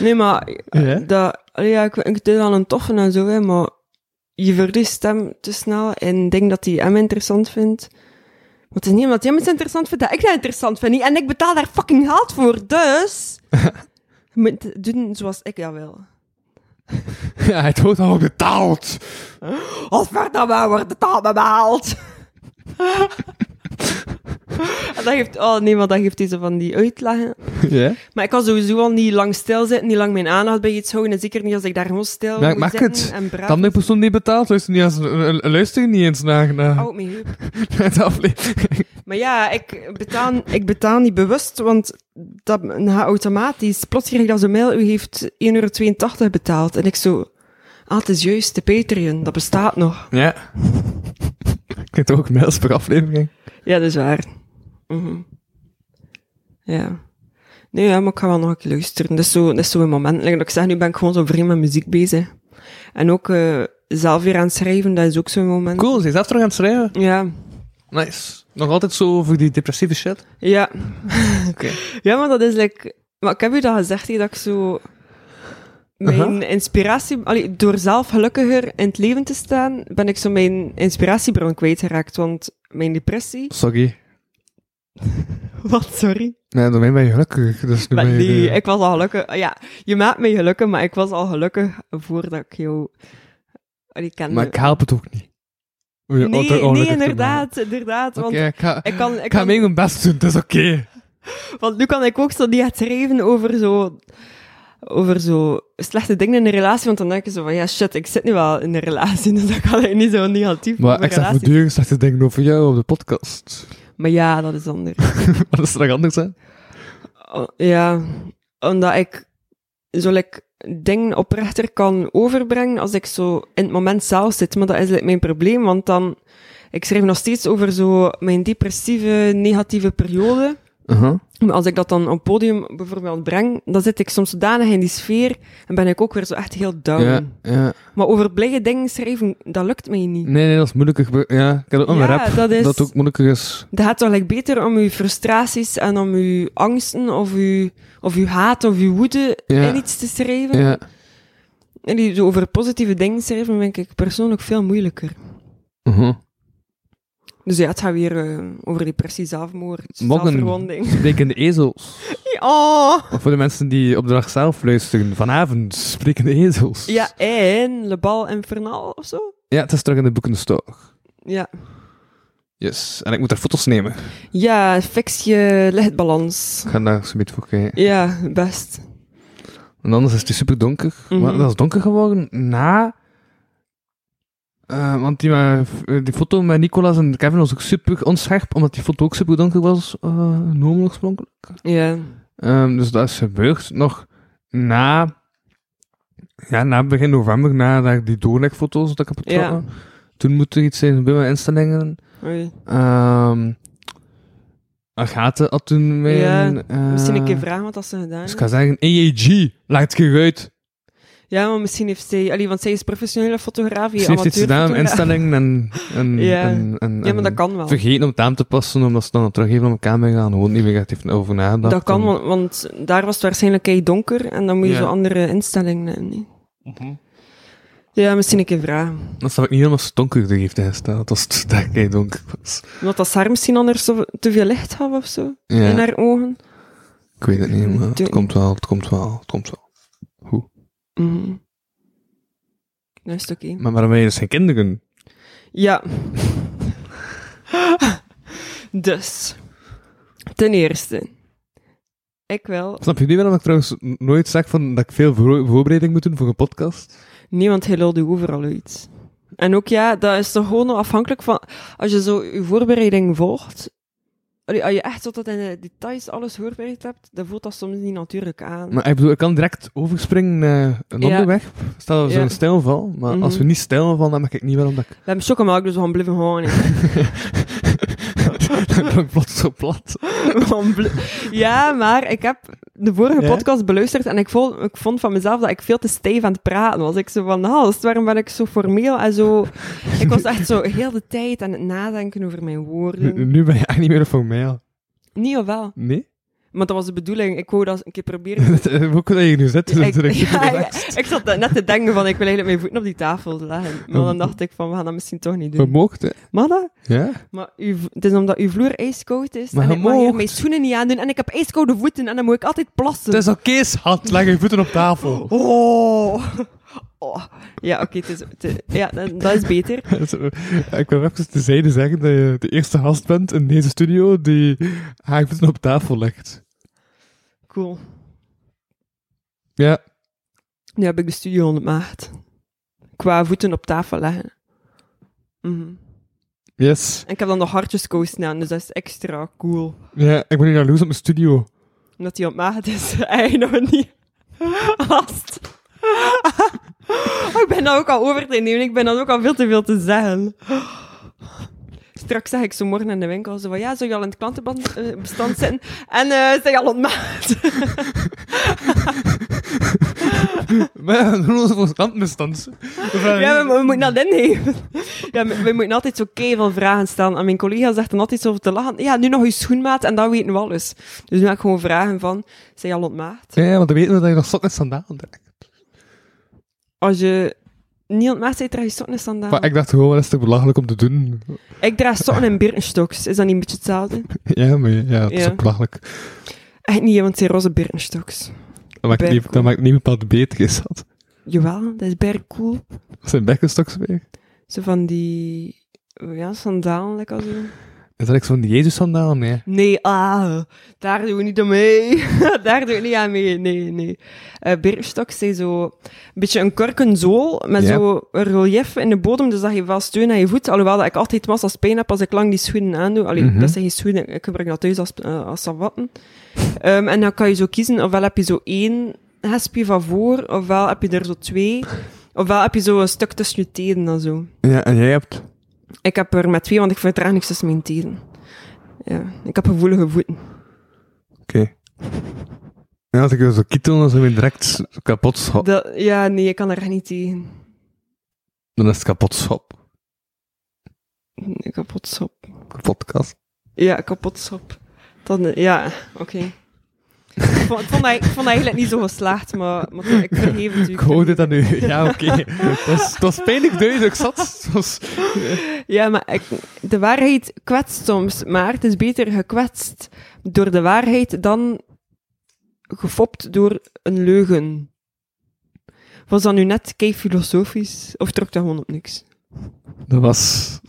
Nee, maar eh, Ja? dat, allee, ja, ik, ik doe dan een toffe en zo, hè, maar je verliest hem te snel en denk dat hij hem interessant vindt. Maar het is niet omdat jij hem iets interessant vindt dat ik dat interessant vind. niet? En ik betaal daar fucking geld voor, <laughs> dus... Je moet het doen zoals ik dat wil. Ja, het wordt al betaald. Als verdamme wordt de taal behaald. <laughs> En dat geeft, oh nee, maar dat geeft deze van die uitleggen. Ja? Maar ik kan sowieso al niet lang stilzitten, niet lang mijn aandacht bij iets houden. En zeker niet als ik daar gewoon stil Ja, moet ik merk zitten het. en braaf. Dan de persoon die betaalt, luister niet, eens- eh, eh, luister niet eens naar, <laughs> naar Houd me heup. de aflevering. Maar ja, ik betaal, ik betaal niet bewust, want dat gaat automatisch. Plots kreeg ik dat zo'n mail, u heeft 1,82 euro betaald. En ik zo, ah, het is juist, de Patreon, dat bestaat nog. Ja. Ik heb toch ook mails per aflevering? Ja, dat is waar. Mhm. Ja. Nee, ja, maar ik ga wel nog een keer luisteren. Dat is zo, dat is zo een moment. Like dat ik zeg, nu ben ik gewoon zo vreemd met muziek bezig. En ook eh, zelf weer aan het schrijven, dat is ook zo'n moment. Cool, ze is zelf terug aan het schrijven. Ja. Nice. Nog altijd zo over die depressieve shit. Ja. <laughs> Oké. Ja, maar dat is like... Maar ik heb u dat gezegd, hè, dat ik zo... Mijn Aha. inspiratie... Allee, door zelf gelukkiger in het leven te staan, ben ik zo mijn inspiratiebron kwijtgeraakt. Want mijn <laughs> depressie... Sorry. Wat, sorry? Nee, door mij ben je gelukkig. Dus nu Maar ben je nee, de- ik was al gelukkig. Ja, je maakt mij gelukkig, maar ik was al gelukkig voordat ik jou... Allee, kende. Maar ik help het ook niet. Om je nee, auto nee, ongelukkig te inderdaad, inderdaad. maken. Want oh, <laughs> Oké, ik ga, ik kan... Ik ik ga kan mee mijn best doen, het is oké. Want nu kan ik ook zo niet echt schrijven over zo, over zo slechte dingen in een relatie. Want dan denk je zo van, ja shit, ik zit nu wel in een relatie, <laughs> dus dan kan ik niet zo negatief Maar over ik zeg relaties. voortdurend slechte dingen over jou op de podcast. <laughs> Maar ja, dat is anders. Wat is er nog anders, hè? O- Oh, ja, omdat ik zo like, dingen oprechter kan overbrengen als ik zo in het moment zelf zit. Maar dat is like, mijn probleem, want dan... Ik schrijf nog steeds over zo mijn depressieve, negatieve periode. Uh-huh. Maar als ik dat dan op podium bijvoorbeeld breng, dan zit ik soms zodanig in die sfeer en ben ik ook weer zo echt heel down. Ja, ja. Maar over blije dingen schrijven, dat lukt mij niet. Nee, nee, dat is moeilijker. gebe- Ja, ik heb ook een Ja, rap dat is- dat ook moeilijker is. Dat gaat toch like, beter om uw frustraties en om uw angsten of uw, of uw haat of uw woede Ja. in iets te schrijven. Ja. En die, zo over positieve dingen schrijven vind ik persoonlijk veel moeilijker. Mhm. Dus ja, het gaat weer eh, over depressie, zelfmoord, Moggen. zelfverwonding. <laughs> Sprekende ezels. Oh. Of voor de mensen die op de dag zelf luisteren. Vanavond, sprekende ezels. Ja, en Le Bal Infernal of zo? Ja, het is terug in de boekenstore. Ja. Yes. En ik moet daar foto's nemen. Ja, fix je lichtbalans. Ik ga daar zo beetje voor kijken. Ja, best. En anders is die super donker. Mhm. Maar dat is donker geworden na. eh, want die, eh, die foto met Nicolas en Kevin was ook super onscherp, omdat die foto ook super donker was, eh genomen oorspronkelijk. Ja. Ehm, dus dat is gebeurd nog na, ja, na begin november, na dat die doorlegfoto's dat ik heb getrokken. Toen moet er iets zijn bij mijn instellingen. Oei. Ehm Agathe had toen mijn... Ja, eh, Misschien een keer vragen wat dat ze gedaan Dus ik heeft. ga zeggen, EJG, laat het uit. Ja, maar misschien heeft zij... Allee, want zij is professionele fotograaf. Ze heeft iets gedaan met amateurfotograaf. instellingen en, en, <laughs> Ja. en, en- Ja, maar dat en kan wel. vergeten om het aan te passen, omdat ze dan teruggeven op elkaar gaan. Gewoon niet meer echt heeft over nagedacht. Dat kan, want, want daar was het waarschijnlijk kei donker. En dan moet je Ja. zo andere instellingen hebben. nee. Ja, misschien een keer vragen. Dat snap ik niet helemaal als het donkerder heeft ingesteld, als het daar kei donker was. Omdat dat ze haar misschien anders zo- te veel licht had of zo. Ja, In haar ogen. ik weet het niet, maar het Doe- komt wel, het komt wel, het komt wel. Mhm. Dat is het oké. Maar waarom ben je dus geen kinderen? Ja. <laughs> dus. Ten eerste. Ik wil... Snap je nu waarom ik trouwens nooit zeg van dat ik veel voor- voorbereiding moet doen voor een podcast? Niemand helpt u overal uit. En ook ja, dat is toch gewoon afhankelijk van... Als je zo je voorbereiding volgt... allee, Als je echt tot in de details alles voorbereid hebt, dan voelt dat soms niet natuurlijk aan. Maar ik bedoel, ik kan direct overspringen naar een Ja. ander weg. Stel dat we Ja. zo'n stijlval, maar als we Mhm. niet stijlval, dan merk ik niet waarom dat ik... We hebben chocomelk, dus we gaan blijven gewoon. <laughs> dan ben ik plots zo plat. ja, maar ik heb de vorige Ja? podcast beluisterd en ik vond, ik vond van mezelf dat ik veel te stijf aan het praten was. Ik zo van, Hals, waarom ben ik zo formeel en <laughs> zo... ik was echt zo heel de tijd aan het nadenken over mijn Nu, woorden. nu ben je eigenlijk niet meer voor mij al. Niet of wel? Nee? <laughs> Maar dat was de bedoeling. Ik wou dat een keer proberen. Dat, eh, ook dat je nu zit, is Ik, natuurlijk super ja, ja, relaxed. ik zat net te denken van, ik wil eigenlijk mijn voeten op die tafel leggen. Maar dan dacht ik van, we gaan dat misschien toch niet We doen. mochten. Maar dat... Ja? Maar uw, het is omdat uw vloer ijskoud is. Maar en je ik mag hier moogt. mijn schoenen niet aandoen. En ik heb ijskoude Dus- voeten en dan moet ik altijd plassen. <laughs> Het is oké, schat. Leg je voeten op tafel. Oh. Oh, ja, oké, het is- het is- ja, dat, dat is beter. Zo, eh, Ik wil even tezijde zeggen dat je de eerste gast bent in deze studio die haar voeten op tafel legt. Cool. Ja, Nu heb ik de studio onder maat. Qua voeten op tafel leggen. Mhm. yes. En ik heb dan nog hartjescoast aan, dus dat is extra cool. Ja, ik ben nu jaloers op mijn studio. Omdat die op maat is, <laughs> hij nog niet. Gast. <laughs> ik ben dan ook al over te nemen, ik ben dan ook al veel te veel te zeggen. Straks zeg ik zo morgen in de winkel, zo van, ja, zou je al in het klantenbestand zitten? En eh zijn je al ontmaat? Maar ja, <laughs> we doen onze verstand misstand. <laughs> Ja, we, we moeten dat innemen. Ja, we, we moeten altijd zo veel vragen stellen. En mijn collega zegt dan altijd zo over te lachen. Ja, nu nog je schoenmaat en dat weten we alles. Dus nu heb ik gewoon vragen van, zijn je al ontmaat? Ja, want dan weten we dat je nog sokken en sandalen draagt. Als je niet ontmaat bent, draag je sokken en sandalen. Maar ik dacht gewoon, dat is toch belachelijk om te doen? Ik draag sokken en birkenstocks. Is dat niet een beetje hetzelfde? <laughs> Ja, maar ja, dat is Ja. ook belachelijk. Echt niet, want het zijn roze birkenstocks. Dat maakt, Berg, niet, dat hoor. maakt niet bepaald beter, is dat? Jawel, dat is berg cool. Dat zijn bekkenstoks weer. Zo van die... Ja, sandalen, lekker zo. Is dat ik zo'n Jezus-sandaal? Nee. Nee, ah, daar doen we niet aan mee. <laughs> daar doen we niet aan mee, nee, nee. Eh birkenstocks zijn zo een beetje een kurkenzool met Ja. zo een relief in de bodem, dus dat geeft wel steun aan je voet. Alhoewel dat ik altijd massa's pijn heb als ik lang die schoenen aandoe. Allee, Mhm. dat zijn geen schoenen, ik gebruik dat thuis als, eh, als savatten. Ehm, en dan kan je zo kiezen, ofwel heb je zo één hespje van voor, ofwel heb je er zo twee, ofwel heb je zo een stuk tussen je tenen en zo. Ja, en jij hebt... Ik heb er met twee, want ik verdraag niks tussen mijn tenen. Ja, ik heb gevoelige voeten. Oké. Ja, als ik er zo kietel, dan zijn we direct kapot schop. Dat, ja, nee, ik kan er echt niet tegen. Dan is het kapot schop. Nee, Kapot sop. Podcast. Ja, kapot sop. Dan, eh, ja, oké. Ik vond- ik, vond dat- ik vond dat eigenlijk niet zo geslaagd, maar, maar toch, ik vergeef het u. Ik hoorde dit aan u. <laughs> Ja, oké. dat, was, dat was pijnlijk duidelijk, zat. Dat was... Ja, maar ik, de waarheid kwetst soms, maar het is beter gekwetst door de waarheid dan gefopt door een leugen. Was dat nu net kei filosofisch, of trok dat gewoon op niks? Dat was...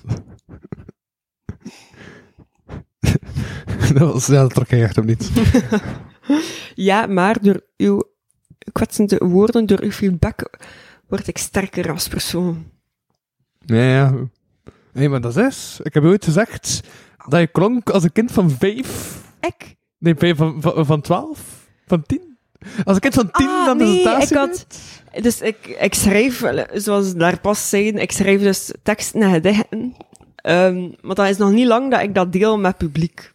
<laughs> dat was... Ja, dat trok ik echt op niet. Ja, maar door uw kwetsende woorden, door uw feedback, word ik sterker als persoon. Ja, ja. Hé, hey, maar dat is... Ik heb ooit gezegd dat je klonk als een kind van vijf. Ik? Nee, ben je van, van, van 12? Van 10? Als een kind van 10 Ah, dan nee, is het ik had- Dus ik, ik schrijf, wel, zoals ze daar pas zeiden, ik schrijf dus teksten en gedichten. Ehm, maar dat is nog niet lang dat ik dat deel met publiek.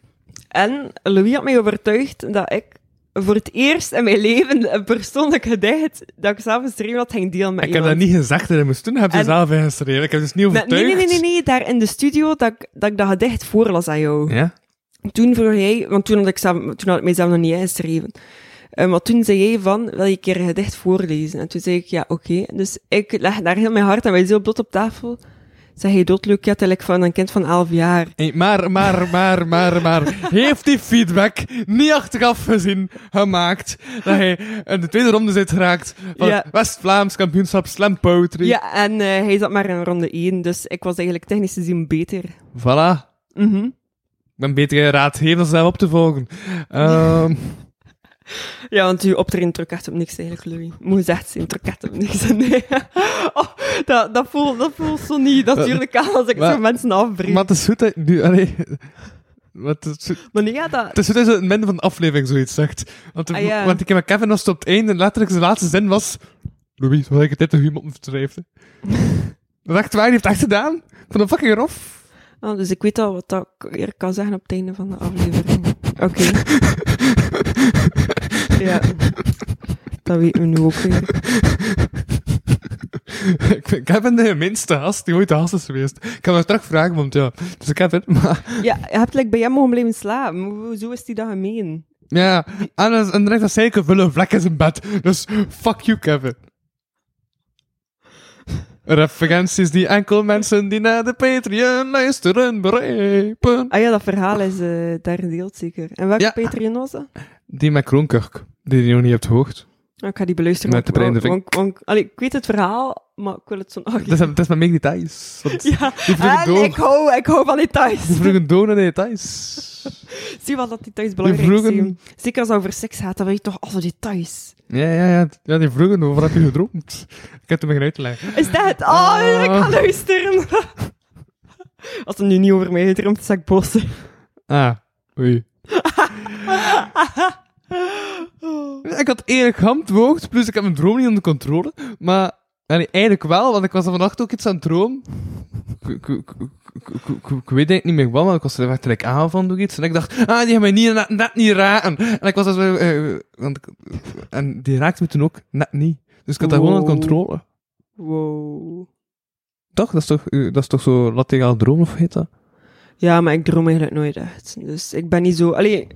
En Louis had mij overtuigd dat ik voor het eerst in mijn leven een persoonlijk gedicht dat ik zelf geschreven had, ging delen met Ik heb iemand. dat niet gezegd dat ik moest doen, heb je En- zelf ingeschreven. Ik heb dus niet Nee, overtuigd. nee, nee, nee, nee, nee, daar in de studio dat ik dat, ik dat gedicht voorlas aan jou. Ja? toen vroeg jij, want toen had ik, zelf, toen had ik mijzelf nog niet ingeschreven. Eh, maar toen zei jij van, wil je een keer een gedicht voorlezen? En toen zei ik, ja, oké. Dus ik leg daar heel mijn hart en mijn ziel bloot op tafel. Zeg je doodleuk, ja, tel ik van een kind van 11 jaar. Hey, maar, maar, maar, maar, maar. Heeft die feedback niet achteraf gezien gemaakt dat hij in de tweede ronde zit geraakt van Ja. het West-Vlaams kampioenschap Slam Poetry? Ja, en eh, hij zat maar in ronde 1, dus ik was eigenlijk technisch gezien beter. Voilà. Mhm. Ik ben beter raadgever dan zelf op te volgen. <laughs> Ehm, Ja, want uw optreden trok echt op niks eigenlijk, Louis. Moet je echt zien, trok echt op niks. <laughs> Nee. Oh, dat, dat, voelt, dat voelt zo niet natuurlijk aan als ik Maar- zo mensen afbreek. maar Maar, het is goed dat je nu... Allee, maar het is goed- nee, ja, dat... Het is goed dat je in het midden van de aflevering zoiets zegt. Want, Ah, ja. want ik heb met Kevin als het op het einde letterlijk zijn laatste zin was... Louis, wat heb ik dit nog <laughs> iemand beschreven? dat is echt waar, die heeft het echt gedaan. Ik vond dat fucking rof. <laughs> Ah, dus ik weet al wat dat ik weer kan zeggen op het einde van de <laughs> aflevering. Oké. ja. Dat weten we nu ook weer. ik vind Kevin de minste gast die ooit de gast is geweest. Ik ga hem straks vragen, want ja, het is Kevin. <laughs> Maar Ja, je hebt like, bij jou mogen blijven slapen. Hoe- Zo is die dat gemeen. ja, en, dat- en direct dat zei ik een vulle vlek in zijn bed. Dus fuck you, Kevin. Referenties die enkel mensen die naar de Patreon luisteren begrijpen. Ah ja, dat verhaal is eh daar gedeeld zeker. En welke Ja. Patreon was dat? Die met Kroonkurk, die je nog niet hebt gehoord. Ik ga die beluisteren. Met de want- breinderving. want- want- allee, ik weet het verhaal, maar ik wil het zo nog Het is, het is maar meer details. Want <laughs> Ja, vroegen en door. ik hou, ik hou van Ze <laughs> details. vroegen door naar de details. Zie wat dat details belangrijk vroegen- zijn. Zeker als het over seks gaat, dan weet je toch alle details. Ja, ja, ja. Ja, die vroegen over heb je gedroomd. Ik heb het begin uit te leggen. Is dat? Oh, Ah. ik ga luisteren. <laughs> Als het nu niet over mij gedroomd is, zou ik boos zijn. Ah, oei. <laughs> Ik had eerlijk geantwoord, plus ik heb mijn droom niet onder controle. Maar allee, eigenlijk wel, want ik was er vannacht ook iets aan het droom. Ik- ik- ik- ik- ik- Ik ik weet eigenlijk niet meer wat, maar ik was er echt like, aan van door iets. En ik dacht, ah, die gaan mij niet, net, net niet raken. En ik was zo, eh, want ik- en die raakte me toen ook net niet. Dus ik had dat gewoon onder Wow. controle. Wow. Toch? Dat is toch, eh, dat is toch zo lategaal droom of heet dat? Ja, maar ik droom eigenlijk nooit echt. Dus ik ben niet zo... Allee,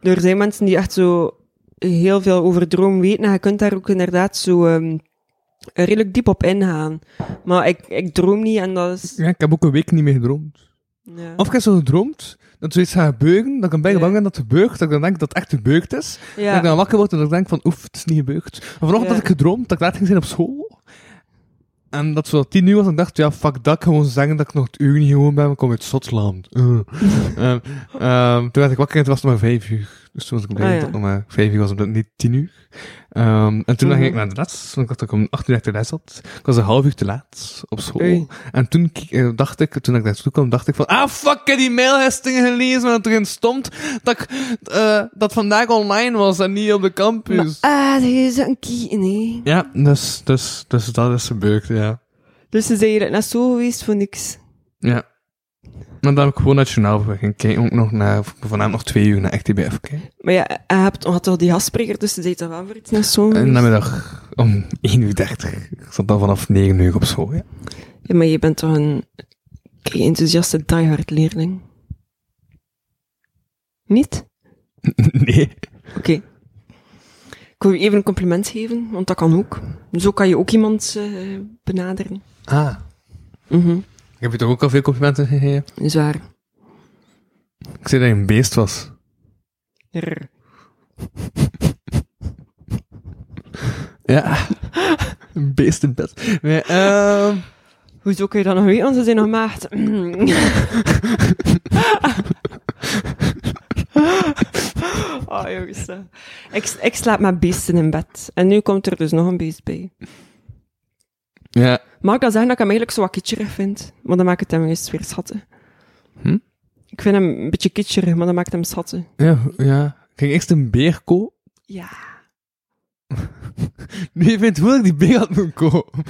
er zijn mensen die echt zo heel veel over droom weten. En je kunt daar ook inderdaad zo ehm, redelijk diep op ingaan. Maar ik, ik droom niet en dat is... Ja, ik heb ook een week niet meer gedroomd. Ja. Of ik heb zo gedroomd dat zoiets gaat gebeuren, dat ik een beetje Ja. bang ben dat het gebeurt, dat ik dan denk dat het echt gebeurd is. Ja. Dat ik dan wakker word en dat ik denk van, oef, het is niet gebeurd. En vanochtend Ja. had ik gedroomd dat ik laat ging zijn op school. En dat zo tien uur was en ik dacht, ja, fuck dat, ik ga gewoon zeggen dat ik nog het uur niet gewoon ben, ik kom uit Schotland. Eh. <laughs> Ehm, ehm, toen werd ik wakker en toen was het maar vijf uur. Dus toen was ik blij Ah, dat ja. het nog maar vijf uur was, omdat het niet tien uur. Ehm, en toen Mhm. ging ik naar de les, want ik dacht dat ik om acht uur echt de les had. Ik was een half uur te laat op school. Oei. En toen ki- eh, dacht ik, toen ik naartoe kwam, dacht ik van, ah fuck, ik heb die mailhesting gelezen en dat erin stond dat, ik, eh, dat vandaag online was en niet op de campus. Ah, dat is een kie, nee. Ja, dus, dus, dus dat is gebeurd, ja. Dus ze zijn hier net zo geweest voor niks. Ja. En dan heb ik gewoon nationaal journaal gaan kijken, ook nog naar, vanavond nog twee uur naar EchtTBF kijken. Maar ja, hij hebt, had toch die gastspreker, dus ze zijn toch wel voor iets naar zo En geweest? namiddag om 1 uur 30. Ik zat dan vanaf 9 uur op school, ja. <laughs> Ja, maar je bent toch een kei enthousiaste diehard leerling? Niet? nee. Oké. Ik wil je even een compliment geven, want dat kan ook. Zo kan je ook iemand eh, benaderen. Ah. Mhm, Ik heb je toch ook al veel complimenten gegeven? dat is waar. Ik zei dat je een beest was. Rrr. Ja. <laughs> een beest in bed. Nee, ehm... Hoezo kun je dat nog weten? Want ze zijn nog <laughs> maagd. oh, jongens. eh. Ik, ik slaap met beesten in bed. En nu komt er dus nog een beest bij. Ja. Mag ik dan zeggen dat ik hem eigenlijk zo wat kitscherig vind? Maar dan maakt het hem juist weer schattig. Hm? Ik vind hem een beetje kitscherig, maar dat maakt hem schattig. Ja, ja. Ik ging eerst een beer kopen. Ja. Nu, je vindt wel dat ik die beer had moeten kopen.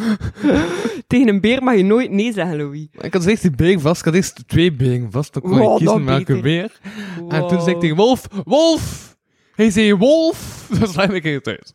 Tegen een beer mag je nooit nee zeggen, Louis. Ik had dus eerst die beer vast. Ik had eerst twee beren vast. Dan kon Wow, ik kiezen dat welke beter. beer. En Ah, toen zei ik tegen Wolf, Wolf! Hij zei Wolf! <laughs> Dat slijm ik het uit.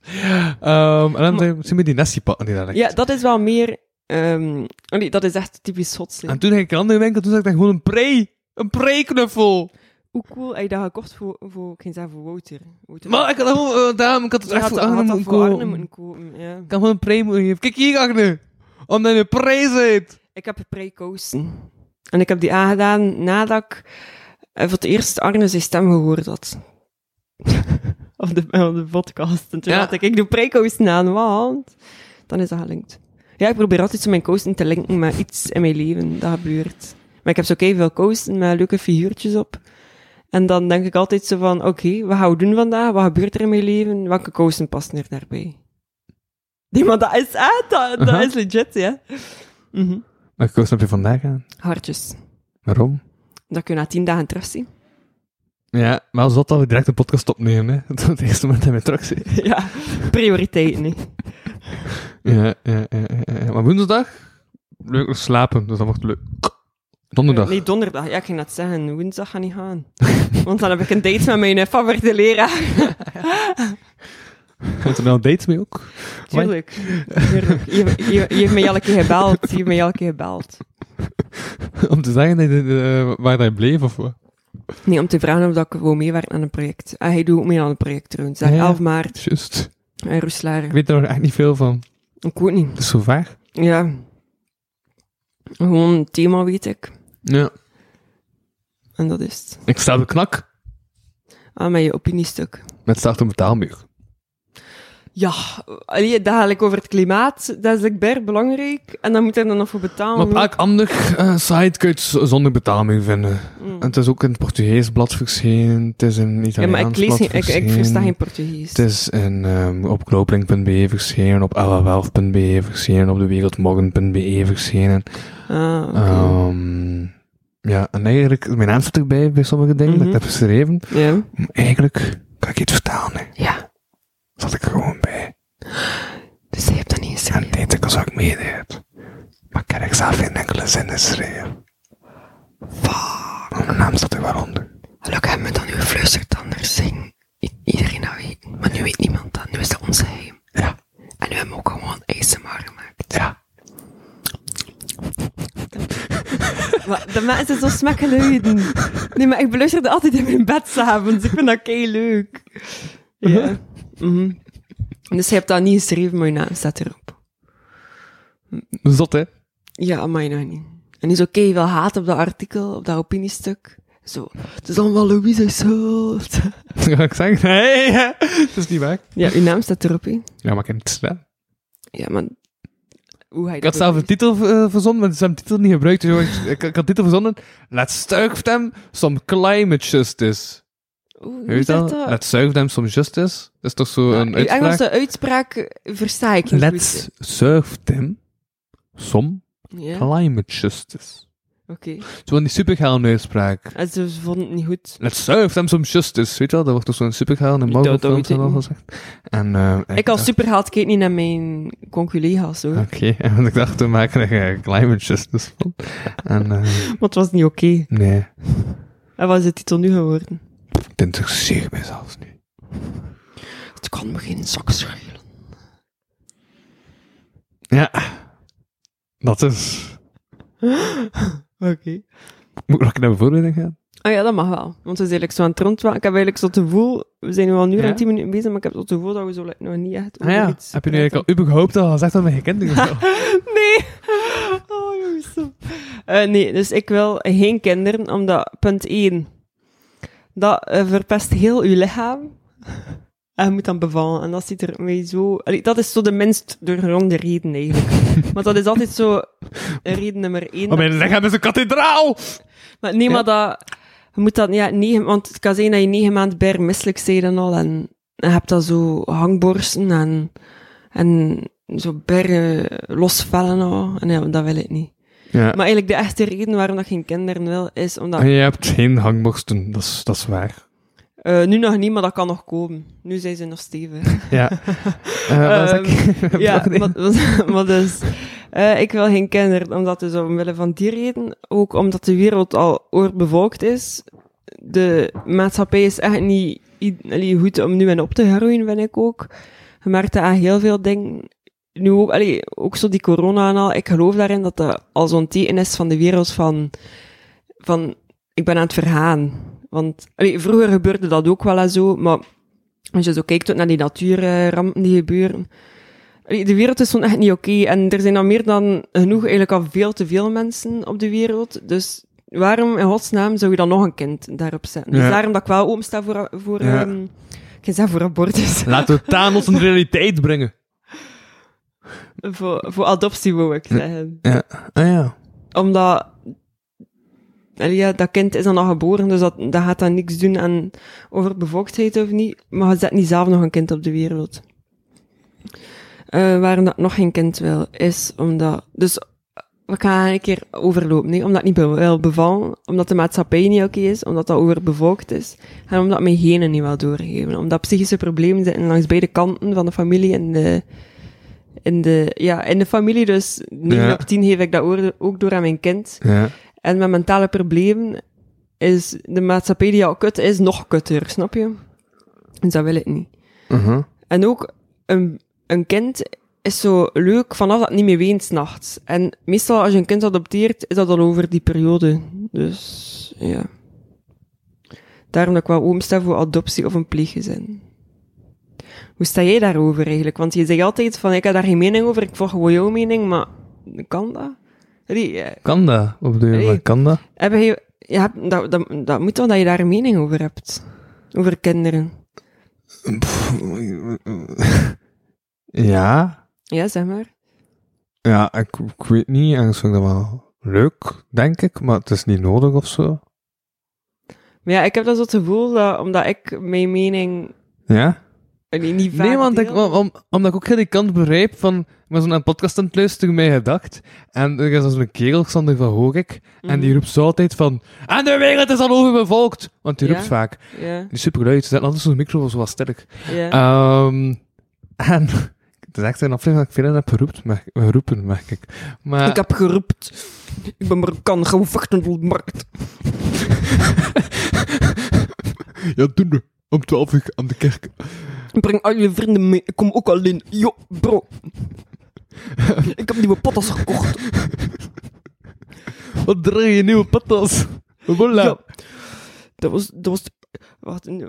Ehm, en dan zei ze met die Nessie pakken die daar ligt. Ja, dat is wel meer... ehm, oh nee, dat is echt typisch Schots. hè. En toen ging ik naar een andere winkel. Toen zag ik daar gewoon een prei. Een prei-knuffel. Hoe cool heb je dat gekocht voor, voor ik ging zeggen, voor Wouter. Wouter. Maar ik had dat gewoon... eh, daarom, ik had het Je echt had voor dat- Arne had dat moeten voor kopen. Arne moeten kopen, ja. Ik had gewoon een prei moeten geven. Kijk hier, Agne. Omdat je een prei zit. Ik heb Hm. pre-kousen. En ik heb die aangedaan nadat ik eh, voor het eerst Arne zijn stem gehoord had. <laughs> op, de, op de podcast. En toen Ja. had ik, ik doe pre-kousen aan, want dan is dat gelinkt. Ja, ik probeer altijd zo mijn kousen te linken met iets in mijn leven dat gebeurt. Maar ik heb zo veel kousen met leuke figuurtjes op. En dan denk ik altijd zo van, oké, wat gaan we doen vandaag? Wat gebeurt er in mijn leven? Welke kousen passen er daarbij? Nee, maar dat is, ah, dat, dat Aha. is legit, ja. Mhm. Welke koos heb je vandaag aan? Hartjes. Waarom? Dat kun je na tien dagen terugzien. <laughs> Ja, maar als dat we direct een podcast opnemen, hè. <laughs> Dat is het eerste moment dat we terug zit. ja, prioriteiten. hè. Ja, ja, ja, ja, ja. Maar woensdag? Leuk nog slapen, dus dat wordt leuk. Donderdag. Nee, donderdag. Ja, ik ging dat zeggen. Woensdag ga niet gaan. <laughs> Want dan heb ik een date met mijn eh, favoriete leraar. Gaat er nou dates mee ook? Tuurlijk. Tuurlijk. Je, je, je heeft mij elke keer gebeld. Je heeft mij elke keer gebeld. <laughs> Om te zeggen dat je, eh, waar hij bleef of wat? Nee, om te vragen of dat ik wil meewerken aan een project. En hij doet ook mee aan een project trouwens. Zeg, Ah, Ja, ja. 11 maart Just. in Roeslaar. Ik weet er eigenlijk niet veel van. Ik weet niet. Dat is zo vaag. Ja. Gewoon een thema weet ik. Ja. En dat is het. Ik sta op de knak Aan mijn opiniestuk. met staat op betaalmuur. Ja, allee, dat haal ik over het klimaat. Dat is blijkbaar belangrijk. En dan moet er dan nog voor betalen. Maar op elk ander eh, site kun je het z- zonder betaling vinden. Mm. En het is ook in het Portugees blad verschenen, het is in ja, Italiaans maar ik lees blad geen, ik, ik verschenen. versta geen Portugees. Het is in, ehm, op knooplink.be verschenen, op ll11.be verschenen, op dewereldmorgen.be verschenen. Ah, oké. Ehm, ja, en eigenlijk, mijn naam staat erbij bij sommige dingen, Mhm. dat ik heb geschreven. ja. Maar eigenlijk kan ik iets vertalen, hè. ja, Zat ik er gewoon bij. dus je hebt dat niet En geschreven. deed ik als ik meedeed. Maar kan ik zelf geen enkele zin in schrijven. Fuck. Mijn naam staat er wel onder. Gelukkig hebben we dan uw fluistertanders zingen. Iedereen dat weet. Maar nu weet niemand dat. Nu is dat onze geheim. Ja. En nu hebben we ook gewoon ASMR gemaakt. <laughs> Ja. Maar de mensen zo smakgeluiden. Nee, maar ik beluisterde altijd in mijn bed s'avonds. Ik vind dat kei leuk. Ja. Mhm. Dus je hebt dat niet geschreven, maar je naam staat erop. Zot, hè? <laughs> Ja, maar nog niet. En is oké, wel haat op dat artikel, op dat opiniestuk. Zo, het is allemaal Louise's schuld. Ga ik zeggen? Nee, <laughs> hè. dat is niet waar. Ja, uw naam staat erop, hè? Ja, maar ik heb het gedaan. Ja, maar... Hoe hij Ik had zelf een titel eh, verzonnen, maar ze hebben de titel niet gebruikt. Dus ik, ik, ik had de titel verzonnen. Let's serve them some climate justice. Oeh, Weet je dat? Ah, dat? Let's serve them some justice. Dat is toch zo een uw uitspraak? Engelse uitspraak eh, versta ik niet Let's goed. serve them some Ja, oké. climate justice. Zo'n die supergaan uitspraak. En Ah, ze vonden het niet goed. Let's serve them some justice. Weet je wel, dat wordt toch zo'n supergaan in Ik Marvel dacht dat films en weet al ik gezegd. En, eh, Ik als superhaat keek niet naar mijn conculega's, hoor. Oké, <laughs> want ik dacht, we maken er eh, climate justice van. En eh, Maar het was niet oké. nee, En wat is de titel nu geworden? het interesseert mij zelfs niet. Het kan me geen zak schelen. Ja, dat is... Oké. Moet ik nog naar mijn voorbereiding gaan? Ah ja, dat mag wel. Want we zijn eigenlijk zo aan het rondwa- Ik heb eigenlijk zo het gevoel... We zijn nu al een uur Ja? en tien minuten bezig, maar ik heb zo het gevoel dat we zo like, nog niet echt Ah ja, iets heb je nu praten. eigenlijk al überhaupt al gezegd dat we geen <laughs> kinderen hebben? Nee. <laughs> Oh, jongens. stop. Eh, nee, dus ik wil geen kinderen, omdat... Punt 1. Dat eh, verpest heel uw lichaam. <laughs> En je moet dan bevallen. En dat ziet er mij zo... Allee, dat is zo de minst doorgronde reden, eigenlijk. Want dat is altijd zo... Reden nummer 1. Oh, mijn lichaam is een kathedraal! Maar nee, maar dat... Je moet dat... Ja, negen, want het kan zijn dat je negen maanden bij misselijk bent en al. En je hebt dat zo hangborsten en... En zo bergen losvallen en al. En ja, dat wil ik niet. Ja, Maar eigenlijk de echte reden waarom dat geen kinderen wil, is omdat... en Ah. je hebt geen hangborsten, dat is, dat is waar. eh, nu nog niet, maar dat kan nog komen. Nu zijn ze nog <laughs> stevig. Ja. Eh, wat was ik? <laughs> ja, maar, <laughs> maar dus... eh, ik wil geen kinderen, omdat dus omwille van die reden, ook omdat de wereld al oorbevolkt is, de maatschappij is echt niet i- allee, goed om nu in op te groeien, vind ik ook. Je merkt dat aan heel veel dingen. Nu ook, allee, ook zo die corona en al. Ik geloof daarin dat dat al zo'n teken is van de wereld van, van ik ben aan het vergaan. Want allee, vroeger gebeurde dat ook wel en zo, maar als je zo kijkt ook naar die natuurrampen die gebeuren. allee, De wereld is gewoon echt niet oké. En er zijn al meer dan genoeg, eigenlijk al veel te veel mensen op de wereld. Dus waarom in godsnaam zou je dan nog een kind daarop zetten? Dus Ja. daarom dat ik wel opensta voor, voor Ja. ehm, ik ging zeggen voor abortus. Laten we Thanos een realiteit brengen. <laughs> voor, voor adoptie, wou ik zeggen. Ja. Ah ja. Omdat... allee, Ja, dat kind is dan al geboren, dus dat, dat gaat dan niks doen aan overbevolktheid of niet. Maar je zet niet zelf nog een kind op de wereld. Eh, waarom dat ik nog geen kind wil, is omdat... Dus we gaan een keer overlopen, nee? omdat ik niet be- wil bevallen, omdat de maatschappij niet oké is, omdat dat overbevolkt is, en omdat mijn genen niet wil doorgeven. Omdat psychische problemen zitten langs beide kanten van de familie en de... In de, ja, in de familie, dus 9 Ja. op 10 geef ik dat oor- ook door aan mijn kind. Ja. En met mentale problemen is de maatschappij die al kut is, nog kutter, snap je? Dus dat wil ik niet. Uh-huh. En ook een, een kind is zo leuk vanaf dat het niet meer weent s'nachts. En meestal als je een kind adopteert, is dat al over die periode. Dus ja. Daarom dat ik wel oomsta voor adoptie of een pleeggezin. Hoe sta jij daarover eigenlijk? Want je zegt altijd van ik heb daar geen mening over, ik volg gewoon jouw mening, maar kan dat? Allee, eh, Kan dat? Wat bedoel je? Nee. met Kan dat? heb je, je hebt, dat, dat, dat moet wel dat je daar een mening over hebt. Over kinderen. Ja, Ja, zeg maar. ja ik, ik weet niet. Ergens vind ik dat wel leuk, denk ik. Maar het is niet nodig of zo. Maar ja, ik heb dat zo het gevoel dat, omdat ik mijn mening Ja? eh, niet, niet vaak nee, want ik, deel. om, om- omdat ik ook heel die kant begrijp van... Ik ben zo'n podcast aan het luisteren, mij gedacht. En er is zo'n kerel, Xander van Hoogek. En Mhm. die roept zo altijd van... En de wereld is al overbevolkt! Want die Ja. roept vaak. Ja, Die is superluid. Ze zetten altijd zo'n micro zo wat sterk. ja. Ehm, en... <laughs> Het is echt een aflevering dat ik veel in heb geroept, merk- geroepen, merk ik. Maar, Ik heb geroept. Ik ben Marokkaan, gaan we vechten op de markt. Ja, doen we. Om 12 uur aan de kerk. Breng al je vrienden mee, ik kom ook alleen. Yo, bro. ik heb nieuwe patas gekocht. Wat draai je nieuwe patas? Voilà. Ja. Dat was... Dat was <laughs> Wacht, nu-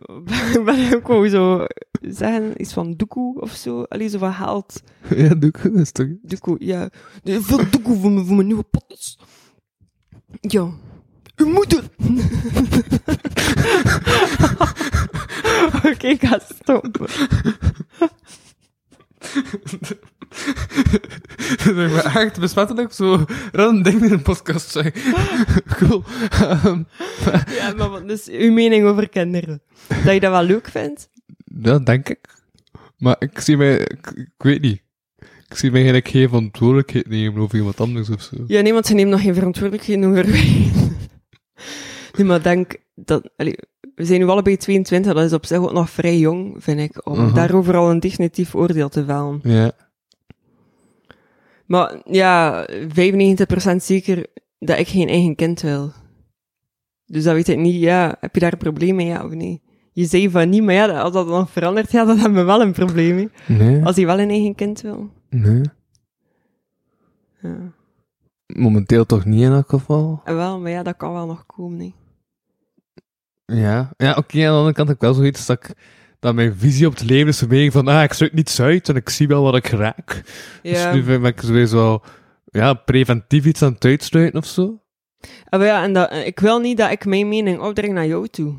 ik ben ook gewoon zo zeggen, iets van doekoe of zo. Allee, zo van haalt. Ja, <laughs> doe ik. Dat is toch... Doekoe, ja. Veel doekoe voor, mijn- voor mijn nieuwe patas. Ja. Uw moeder! Oké, ik ga stoppen. zeg maar echt besmettelijk zo random dingen in een podcast zeggen. <laughs> cool. Ehm, Ja, maar wat dus uw mening over kinderen? Dat je dat wel leuk vindt? dat denk ik. Maar ik zie mij... Ik, ik weet niet. Ik zie mij eigenlijk geen verantwoordelijkheid nemen over iemand anders of zo. Ja, nee, want ze neemt nog geen verantwoordelijkheid over mij. <laughs> Nee, maar denk dat... allee, we zijn nu allebei 22, dat is op zich ook nog vrij jong, vind ik, om Mhm. daarover al een definitief oordeel te vellen. Ja. Maar ja, 95% zeker dat ik geen eigen kind wil. Dus dat weet ik niet. Ja, heb je daar een probleem mee, ja of nee? Je zei van niet, maar ja, als dat dan verandert, ja, <laughs> dan hebben we wel een probleem mee. Nee. Als hij wel een eigen kind wil. Nee. Ja. Momenteel toch niet in elk geval. Ah, Wel, maar ja, dat kan wel nog komen, nee. Ja. Ja, oké. aan de andere kant heb ik wel zoiets dat ik... Dat mijn visie op het leven is vermegen van... Ah, ik sluit niets uit en ik zie wel wat ik raak. Dus nu ben ik sowieso wel, ja, preventief iets aan het uitsluiten of zo. Ah, maar ja, en dat, eh, ik wil niet dat ik mijn mening opdring naar jou toe.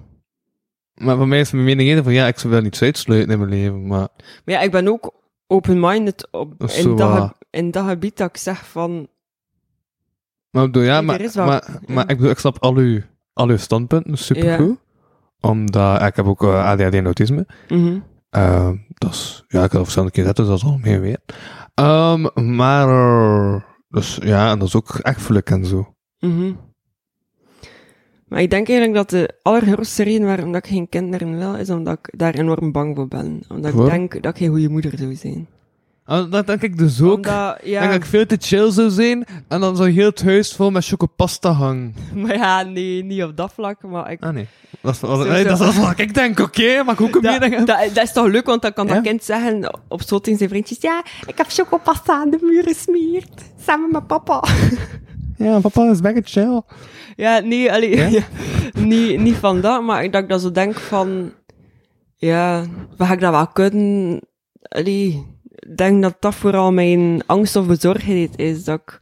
Maar voor mij is mijn mening eerder van ja, ik zou wel niets uitsluiten in mijn leven. Maar Maar ja, ik ben ook open-minded op, Dat is in, zo dat, waar. ge- in dat gebied dat ik zeg van... Maar ik bedoel, ja, Kijk, maar, er is wel- maar, ja. maar ik bedoel, ik snap al uw, al uw standpunten supergoed. Omdat ik heb ook eh, ADHD en autisme. mhm. Eh, dat is, ja, ik had al verschillende keer zetten, dus dat is al meer weer. Ehm, maar, eh, dus ja, en dat is ook erfelijk en zo. Mhm. Maar ik denk eigenlijk dat de allergrootste reden waarom dat ik geen kinderen wil, is omdat ik daar enorm bang voor ben. Omdat Voor? ik denk dat ik geen goede moeder zou zijn. En dat denk ik dus ook. Omdat, denk ja, dat ik veel te chill zou zijn en dan zou heel het huis vol met chocopasta hangen. <laughs> maar ja, nee, niet op dat vlak, maar ik... Ah nee, dat is, wat- Zo- nee, zo. dat is, dat is wat ik denk, oké, maar ik ook een Dat, mening dat, hebben. dat is toch leuk, want dan kan Ja. dat kind zeggen op school tegen zijn vriendjes: Ja, ik heb chocopasta aan de muur gesmeerd. Samen met papa. Ja, papa is back chill. Ja, nee, allee, <laughs> Ja? ja? niet, niet van dat, maar dat ik dat zo denk van... Ja, wat ga ik dat wel kunnen? Allee, ik denk dat dat vooral mijn angst of bezorgdheid is. Dat ik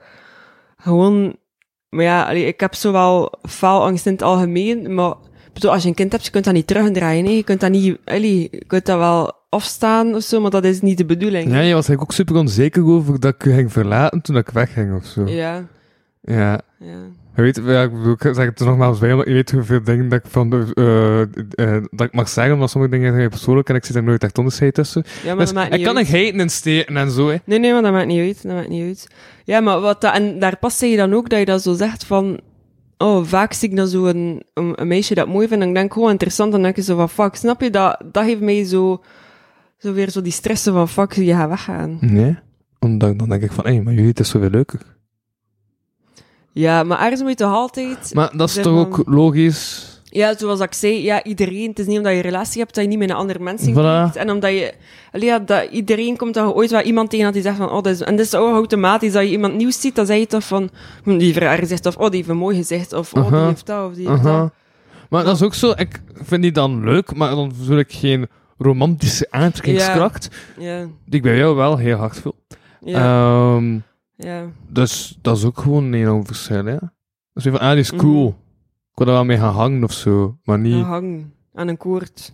gewoon... Maar ja, allee, ik heb zowel faalangst in het algemeen, maar... ik Bedoel, als je een kind hebt, je kunt dat niet terugdraaien. hè. Je kunt dat niet... Allee, je kunt dat wel afstaan of zo, maar dat is niet de bedoeling. Ja, je was eigenlijk ook super onzeker over dat ik je ging verlaten toen ik wegging of zo. ja. Ja. ja. Je weet, ja, ik bedoel, ik zeg het er nogmaals bij, maar je weet hoeveel dingen dat ik, van de, eh, eh, dat ik mag zeggen, maar sommige dingen zijn persoonlijk en ik zit er nooit echt onderscheid tussen. Ja, maar Dus dat maakt ik niet kan uit. er heiten in steken en zo, hè. Nee, nee, maar dat maakt niet uit. Dat maakt niet uit. Ja, maar wat dat, en daar past zeg je dan ook dat je dat zo zegt van. Oh, vaak zie ik dan zo een, een, een meisje dat mooi vindt en ik denk gewoon interessant. Dan denk je zo van fuck, snap je dat? Dat geeft mij zo, zo weer zo die stressen van fuck, je gaat weggaan. Nee. Omdat dan denk ik van, hé, maar jullie, het is zoveel leuker. Ja, maar ergens moet je toch altijd. Maar dat is Zeg toch maar- ook logisch? Ja, zoals ik zei, ja, iedereen. Het is niet omdat je een relatie hebt dat je niet met een ander mens in Voilà. klikt. En omdat je. allee, Ja, dat iedereen komt dan ooit wel iemand tegen dat die zegt van. Oh, dat is, en dat is ook automatisch dat je iemand nieuws ziet. Dan zeg je toch van. hm, Die heeft een raar gezicht. Of oh, die heeft een mooi gezicht. Of oh, Aha. die heeft dat. Of die heeft Aha. dat. Maar dat is ook zo, ik vind die dan leuk, maar dan voel ik geen romantische aantrekkingskracht, Ja, die ik bij jou wel heel hard voel. ja, Ehm, ja. dus dat is ook gewoon een enorm verschil, ja. Dus van, ah, die is cool. Mhm. Ik wil er wel mee gaan hangen of zo, maar niet... Hang aan een koord.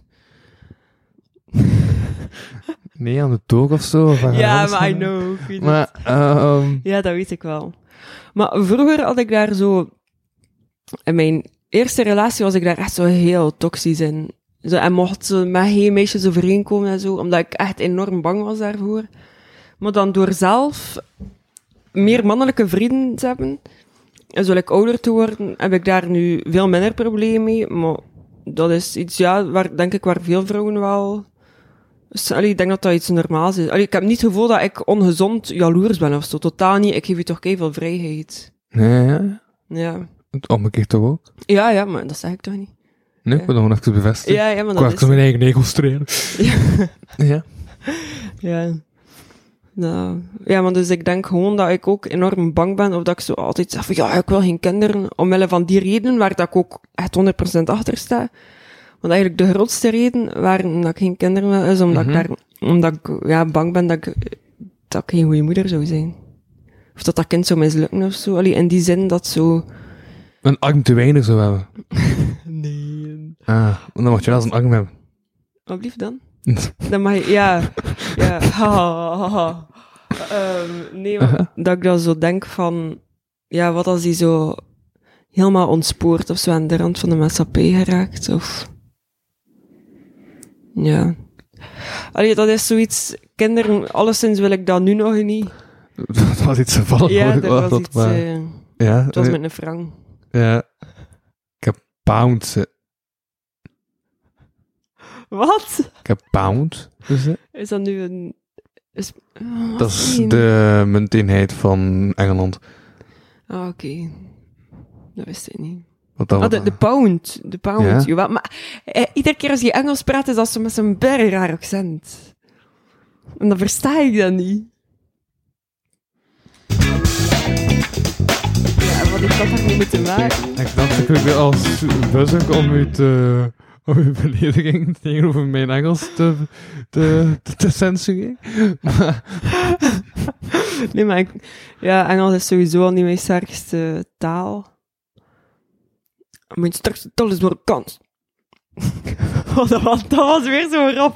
Nee, aan de toog of zo. of aan Ja, alles maar I hangen. know. ik weet het. Maar, ehm, Ja, dat weet ik wel. Maar vroeger had ik daar zo... In mijn eerste relatie was ik daar echt zo heel toxisch in. Zo, en mocht ze met geen meisjes overeenkomen en zo, omdat ik echt enorm bang was daarvoor. Maar dan door zelf meer mannelijke vrienden te hebben, en zo like, ouder te worden, heb ik daar nu veel minder problemen mee. Maar dat is iets, ja, waar, denk ik, waar veel vrouwen wel dus, allee, ik denk dat dat iets normaals is. Allee, ik heb niet het gevoel dat ik ongezond jaloers ben of zo. Totaal niet. Ik geef je toch veel vrijheid. nee, ja. Ja. Het omgekeerd toch ook? ja, ja, maar dat zeg ik toch niet. Nee, ik wil dat gewoon even bevestigen. Ja, ja, maar ik wou dat even is... mijn eigen ego strelen. ja. Ja. Nou, ja, maar dus ik denk gewoon dat ik ook enorm bang ben of dat ik zo altijd zeg van ja, ik wil geen kinderen. Omwille van die reden waar dat ik ook echt 100% achter sta. Want eigenlijk de grootste reden waarom dat ik geen kinderen wil, is omdat ik, daar, omdat ik ja, bang ben dat ik, dat ik geen goede moeder zou zijn. Of dat dat kind zou mislukken of zo. Allee, in die zin dat zo... Een arm te weinig zou hebben. Nee. Ah, dan moet je wel eens een arm hebben. <laughs> Wat lief dan? Dan mag je, ja, <laughs> ja, haha, haha. Ehm, nee, maar dat ik dan zo denk van, ja, wat als hij zo helemaal ontspoort of zo aan de rand van de maatschappij geraakt, of... Ja. Allee, dat is zoiets, kinderen, alleszins wil ik dat nu nog <laughs> niet. dat was iets toevallig. Ja, hoor. dat was Oh, Dat iets, maar- eh, ja, het was nee, met een frank. ja. Ik heb pound. eh, Wat? Ik heb pound. Dus, eh, Is dat nu een... Is, oh, wat dat is die? de munteenheid van Engeland. Ah, oké. Dat wist ik niet. Wat dat Ah, de, de pound. De pound, Ja. jawel. Maar eh, iedere keer als je Engels praat, is dat ze met zo'n berg raar accent. En dan versta ik dat niet. Ja, wat heeft dat daar nu mee te maken? Ik dacht, ik weer als buzzer om u te... Om uw belediging <laughs> tegenover mijn Engels te, te, te, te censureren. Maar, Nee, maar ik, ja, Engels is sowieso al niet mijn sterkste taal. Mijn sterkste taal is Marokkaans. <laughs> Wat dat was- dat was weer zo rap.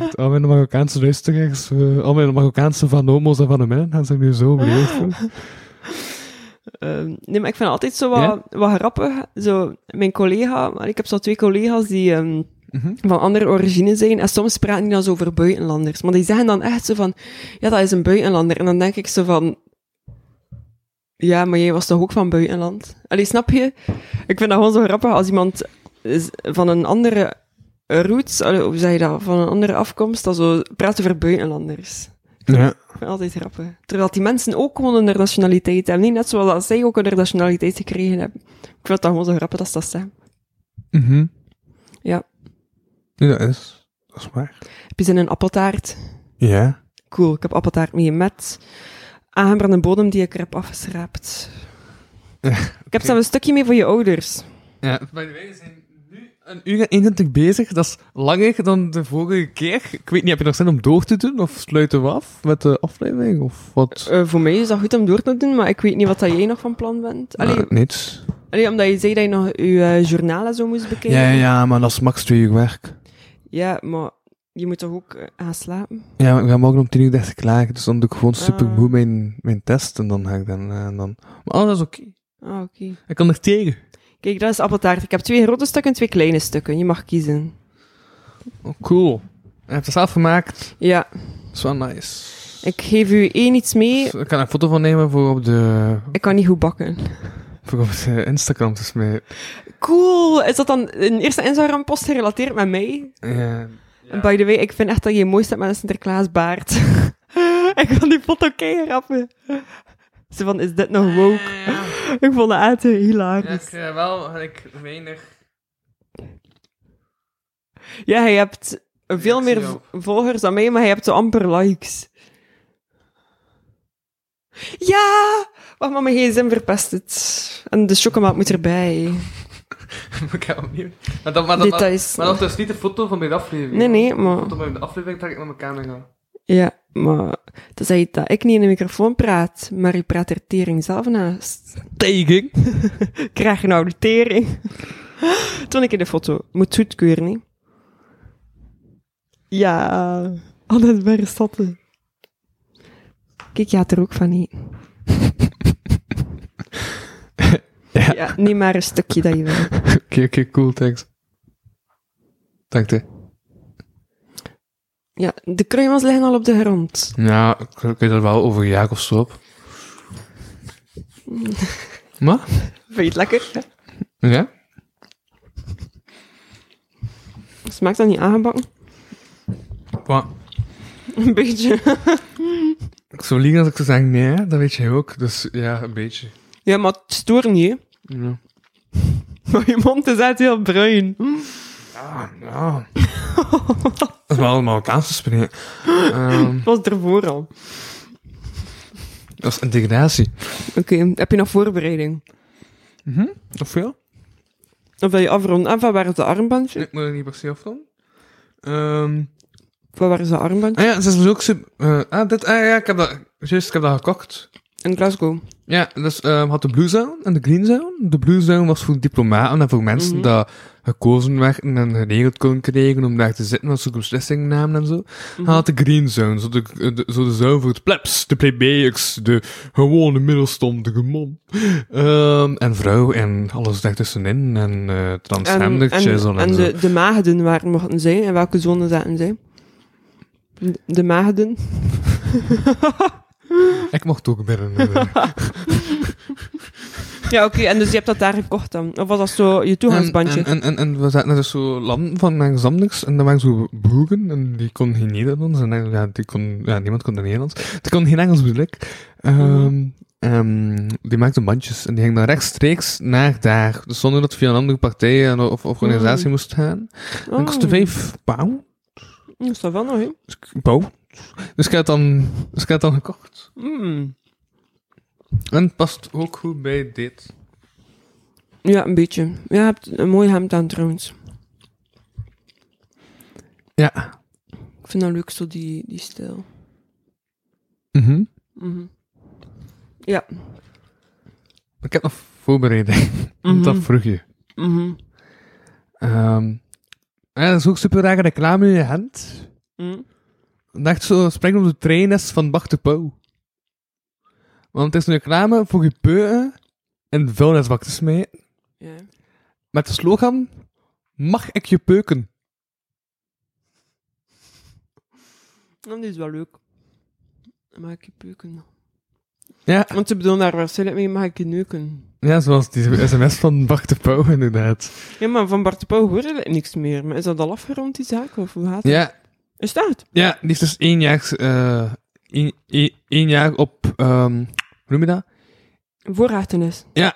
echt, al mijn Marokkaanse luisteraars, eh, al mijn Marokkaanse van homo's en van de mannen, gaan ze nu Ah. zo beledigd voelen. Ehm, nee, maar ik vind het altijd zo wat, Ja? wat grappig. Zo, mijn collega, maar ik heb zo twee collega's die ehm, Mhm. van andere origine zijn. En soms praten die dan zo over buitenlanders. Maar die zeggen dan echt zo van, ja, dat is een buitenlander. En dan denk ik zo van, ja, maar jij was toch ook van buitenland? Allee, snap je? Ik vind dat gewoon zo grappig als iemand is van een andere roots, allee, hoe zeg je dat, van een andere afkomst, dan zo praat over buitenlanders. Ja. Ik vind het altijd grappig. Terwijl die mensen ook gewoon een nationaliteit hebben. Niet net zoals dat zij ook een nationaliteit gekregen hebben. Ik vind dat gewoon zo grappig als dat zijn. Mhm. Ja. Ja, dat is, dat is waar. Heb je zin in appeltaart? Ja. Cool, ik heb appeltaart mee met aangebrande bodem die ik er heb <laughs> afgeschraapt. Ik heb zelf een stukje mee voor je ouders. ja. By the way, we zijn nu een uur en 21 bezig. Dat is langer dan de vorige keer. Ik weet niet, heb je nog zin om door te doen? Of sluiten we af met de aflevering? Of wat? Eh, voor mij is dat goed om door te doen, maar ik weet niet wat dat jij nog van plan bent. Allee, Nou, niets. allee, omdat je zei dat je nog je eh, journalen zo moest bekijken. Ja, ja, ja, maar dat is max twee uur werk. Ja, maar je moet toch ook eh, gaan slapen? Ja, maar ik ga morgen om tien uur dertig klaar, dus dan doe ik gewoon super Ah. moe mijn, mijn test en dan ga ik dan... eh, En dan... Maar alles is oké. Ah, oké. Ik kan er tegen. Kijk, dat is appeltaart. Ik heb twee grote stukken en twee kleine stukken. Je mag kiezen. Oh, cool. Hij heeft het zelf gemaakt. Ja, Dat is wel nice. ik geef u één iets mee. Dus ik kan er een foto van nemen voor op de, Ik kan niet goed bakken. voor op de Instagram. Dus mee. Cool! Is dat dan een eerste Instagram-post gerelateerd met mij? Ja. En By the way, ik vind echt dat je mooi staat met een Sinterklaasbaard. <laughs> ik kan die foto keihard rappen. Ze van, is dit nog woke? Ik vond het echt hilarisch. wel, ik <laughs> weinig... Ja, je hebt veel ik zie meer jou. v- volgers dan mij, maar je hebt zo amper likes. Ja! Wacht maar, mijn gsm verpest het. En de chocomel moet erbij. ik heb opnieuw... Maar Ah, dat, maar Details. is niet de foto van mijn aflevering. Nee, nee, maar... van de aflevering dat ik met mijn camera ga. Ja, maar... Dat zei dat ik niet in de microfoon praat, maar u praat er tering zelf naast. Tegen? Krijg je nou de tering? <laughs> Toen ik in de foto. Moet goedkeuren, niet? Ja... Altijd bij statten. Kijk, je had er ook van eten. <laughs> ja. niet maar een stukje dat je wil. Oké, oké, cool, thanks. Dank je. Ja, de kruimels liggen al op de grond. Ja, ik- ik weet er wel over een jaar of zo <laughs> op. maar? Vind je het lekker? Ja. Ja? Smaakt dat niet aangebakken? Wat? Een beetje. <laughs> Ik zou liegen als ik zou zeggen nee, hè, dat weet jij ook. Dus ja, een beetje. Ja, maar het stoort niet, hè. Ja. <laughs> Maar je mond is echt heel bruin. <laughs> ja. dat is wel een Marokkaanse <gasps> spreken. Ehm, Het was ervoor al. dat is integratie. Oké, heb je nog voorbereiding? Of veel? Of wil je afronden? En van waar is de armbandje? Ik moet er niet per se afronden. Ehm Van waar is de armbandje? ah ja, ze is ook... sub- eh, ah, dit, ah ja, ik heb dat... Juist, ik heb dat gekocht. In Glasgow. Ja, dus ehm had de Blue Zone en de Green Zone. De Blue Zone was voor diplomaten en voor mensen Mhm. dat gekozen werden en geregeld konden krijgen om daar te zitten als ze beslissingen namen en zo. Hij had de Green Zone, zo de, de, zo de zone voor het plebs, de plebeiers, de gewone middelstandige man. Ehm, en vrouw en alles daartussenin en eh En, transgendertjes en, en, en zo. de, de maagden waar mochten zijn en welke zone zaten zij? De- De maagden. Ik mocht ook binnen. eh, Ja, oké. En dus je hebt dat daar gekocht dan? Of was dat zo je toegangsbandje? En, en, en, en we zaten dus zo landen van Langzamniks en dan waren zo boeren en die kon geen Nederlands en dan- ja, die kon, ja, niemand kon Nederlands. Die kon geen Engels bedoel ik. Ehm, Mhm. ehm, die maakten bandjes en die gingen dan rechtstreeks naar daar. Dus zonder dat het via een andere partij en- of, of organisatie Mhm. moest gaan. Oh, En kostte 5 pound. Dat is dat wel nog, hè? Dus ik- Pauw. Dus ik heb het dan, dus ik heb het dan gekocht. Mm. En het past ook goed bij dit. Ja, een beetje. Ja, je hebt een mooi hemd aan trouwens. Ja. Ik vind dat leuk, zo die, die stijl. Mhm. Mhm. Ja. Ik heb nog voorbereiding. <laughs> Want Dat Mhm. vroeg je. Mhm. Ehm, ja, dat is ook super rare reclame in je hand. Mm. Dacht zo, spring op de trein is van Bach de Pauw. Want het is een reclame voor je peuken en de vuilnisbak te smijten. Ja. Met de slogan, mag ik je peuken? Oh, die is wel leuk. Mag ik je peuken? Ja, Want ze bedoelen daar waarschijnlijk mee, mag ik je neuken? ja zoals die sms van Bach de Pauw inderdaad. Ja, maar van Bart de Pauw hoor je niks meer. Maar is dat al afgerond, die zaak? Of hoe gaat het? Ja, Is dat? Ja, die is dus één jaar, eh één, één- één jaar op, ehm hoe noem je dat? Voorrachtenis. Ja,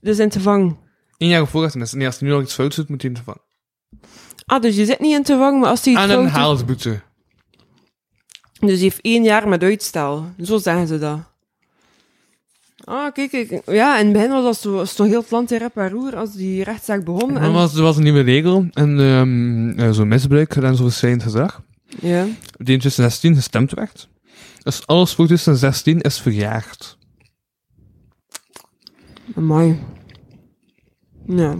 Dus in te vang. één jaar op voorrachtenis. En als hij nu nog iets fouts doet, moet hij in de vang. Ah, dus je zit niet in te vang, maar als hij Aan het een fout haalsboete. doet- Dus hij heeft één jaar met uitstel. Zo zeggen ze dat. Ah, kijk, kijk. Ja, in het begin was dat zo, stond heel het land in rep en roer als die rechtszaak begon. Er En, was, er was een nieuwe regel, en ehm eh, zo'n misbruik en zo'n verschillend gedrag, Ja. die in 2016 gestemd werd. Dus alles voor 2016 is verjaagd. Amai. Ja.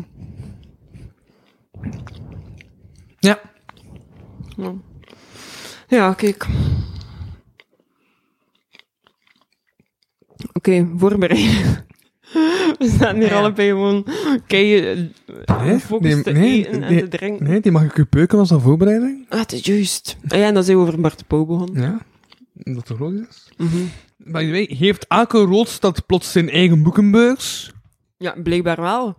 Ja. Ja, ja kijk. Oké, voorbereid. <laughs> We staan hier Ah, Ja. allebei gewoon keien Nee, gefocust nee, te nee, eten en nee. te drinken. Nee, die mag ik u peuken als een voorbereiding. Ah, het is juist. Ah ja, en dan zijn we over Bart de Pauw begonnen. Ja. Dat toch logisch is. Mhm. By the way, heeft elke roodstad plots zijn eigen boekenbeurs? Ja, blijkbaar wel.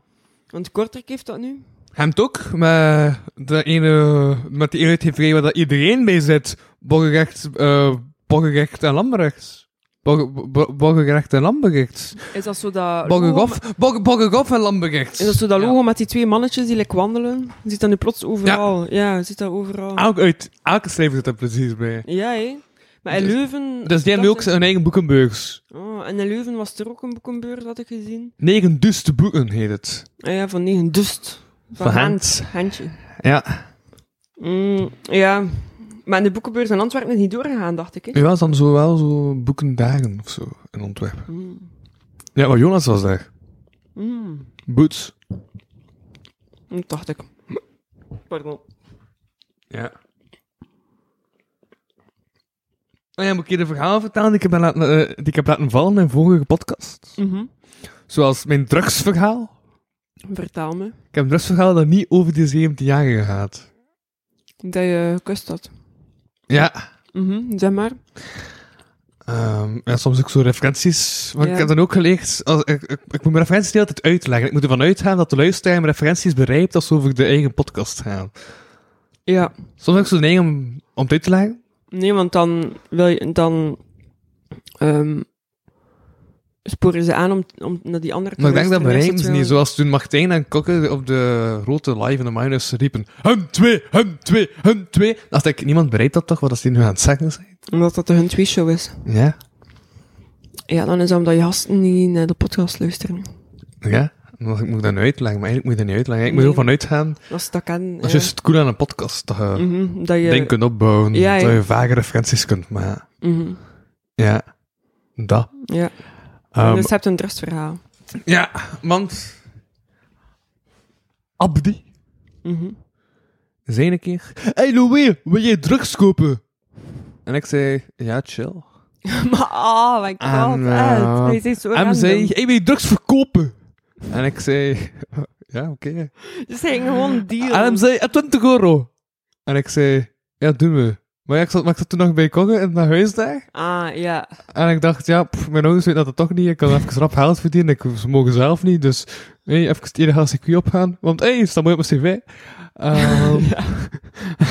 Want Kortrijk heeft dat nu. Hem ook, maar de ene, met die ene uitgeverij waar dat iedereen bij zit. Borgerrecht, eh, borgerrecht en landberecht. Borger- bo- Borgerrecht en landberecht. Is dat zo dat... logo- Borgergof, borger- borgergof en landberecht. Is dat zo dat Ja. logo met die twee mannetjes die lekker wandelen? Je ziet dat nu plots overal. Ja, je ziet dat overal. Elk, uit, elke schrijver zit er precies bij. Ja, hé. Maar in Dus- Leuven... Dus die hebben ook dacht ik- hun eigen boekenbeurs. Oh, en in Leuven was er ook een boekenbeurs, had ik gezien. Negen duste boeken heet het. Ah ja, van negen dus. dust. Van Hent. Handje. Ja. Mm, ja. Maar in de boekenbeurs in Antwerpen is niet doorgegaan, dacht ik. Hè? Nu was dan zo wel zo boekendagen of zo in Antwerpen. Mm. Ja, maar Jonas was daar. Mm. Boots. Dat dacht ik. Pardon. Ja. Maar Oh ja, moet ik je de verhaal vertellen die ik heb laten, eh, die ik heb laten vallen in vorige podcast? Mhm. Zoals mijn drugsverhaal. Vertel me. Ik heb een drugsverhaal dat niet over die 17 jaar gaat. Dat je gekust had. Ja. Mhm, Zeg maar. Ehm, ja, soms ook zo referenties. Want Ja. ik heb dan ook geleerd, als, ik, ik, ik moet mijn referenties de hele tijd uitleggen. Ik moet ervan uitgaan dat de luisteraar mijn referenties begrijpt als ze over de eigen podcast gaan. Ja. Soms heb ik zo'n neiging om, om het uit te leggen. Nee, want dan wil je, dan ehm, sporen ze aan om, om naar die andere te Maar ik denk luisteren, dat mijn is rijms wel- niet. Zoals toen Martijn en Kokke op de grote live in de minus riepen. Hem twee, hem twee, hem twee. Dan dacht ik, niemand bereidt dat toch, wat als die nu aan het zeggen zijn? Omdat dat de hun twee show is. Ja, Ja, dan is dat omdat je gasten niet naar de podcast luisteren. ja. Dan dacht ik, moet ik dat nu uitleggen? Maar eigenlijk moet je dat niet uitleggen. Ik moet Nee. ervan uitgaan. Als ze dat kennen. Dat is ja. juist het cool aan een podcast. Dat je Mhm, dat je... dingen kunt opbouwen. Ja, ja. Dat je vage referenties kunt maken. Mhm, Ja, dat. ja. Ehm, dus je hebt een drustverhaal. Ja, want... Abdi Mhm. zei een keer... Hey Louis, wil jij drugs kopen? En ik zei, ja, chill. <laughs> maar, oh my god, Ah, nou. Ed, Hij is echt zo en random. zei, hey, wil je drugs verkopen? En ik zei, <laughs> ja, oké. Dus hij ging gewoon deal. En hem zei, "Eh, 20 euro. En ik zei, ja, doen we. Maar, ja, ik, zat, maar ik zat toen nog bij Kogge in mijn huis daar. Ah, ja. En ik dacht, ja, pff, mijn ouders weten dat het toch niet. Ik kan even rap geld verdienen. Ik, ze mogen zelf niet. Dus hey, even het enige circuit opgaan. Want hé, hey, staat mooi op mijn cv. Ehm, <laughs>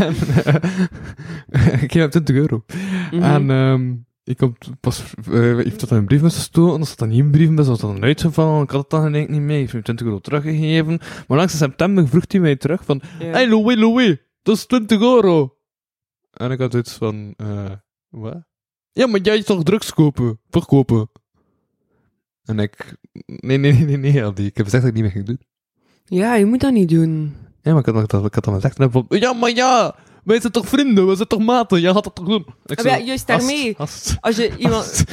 en, eh, <laughs> ik geef hem 20 euro. Mhm. En ehm, ik kom t- pas, eh heeft dat aan een briefbus gestoken, dat zat dan niet in een briefbus, dat was dan uitgevallen, ik had het dan denk ik niet mee, ik heb hem 20 euro teruggegeven. Maar langs in september vroeg hij mij terug van, Ja. hey Louis, Louis, dat is 20 euro. En ik had iets van, eh, wat? Ja, maar jij toch drugs kopen, verkopen. En ik, nee, nee, nee, nee, nee, Aldi, ik heb gezegd dat ik niet meer ging doen. ja, je moet dat niet doen. Ja, maar ik had, dat- ik had dan gezegd, en hij van, ja, maar ja, wij zijn toch vrienden, wij zijn toch maten, jij had dat toch doen. Ik Ja, Ah, juist daarmee. Hast, Als je <laughs> iemand...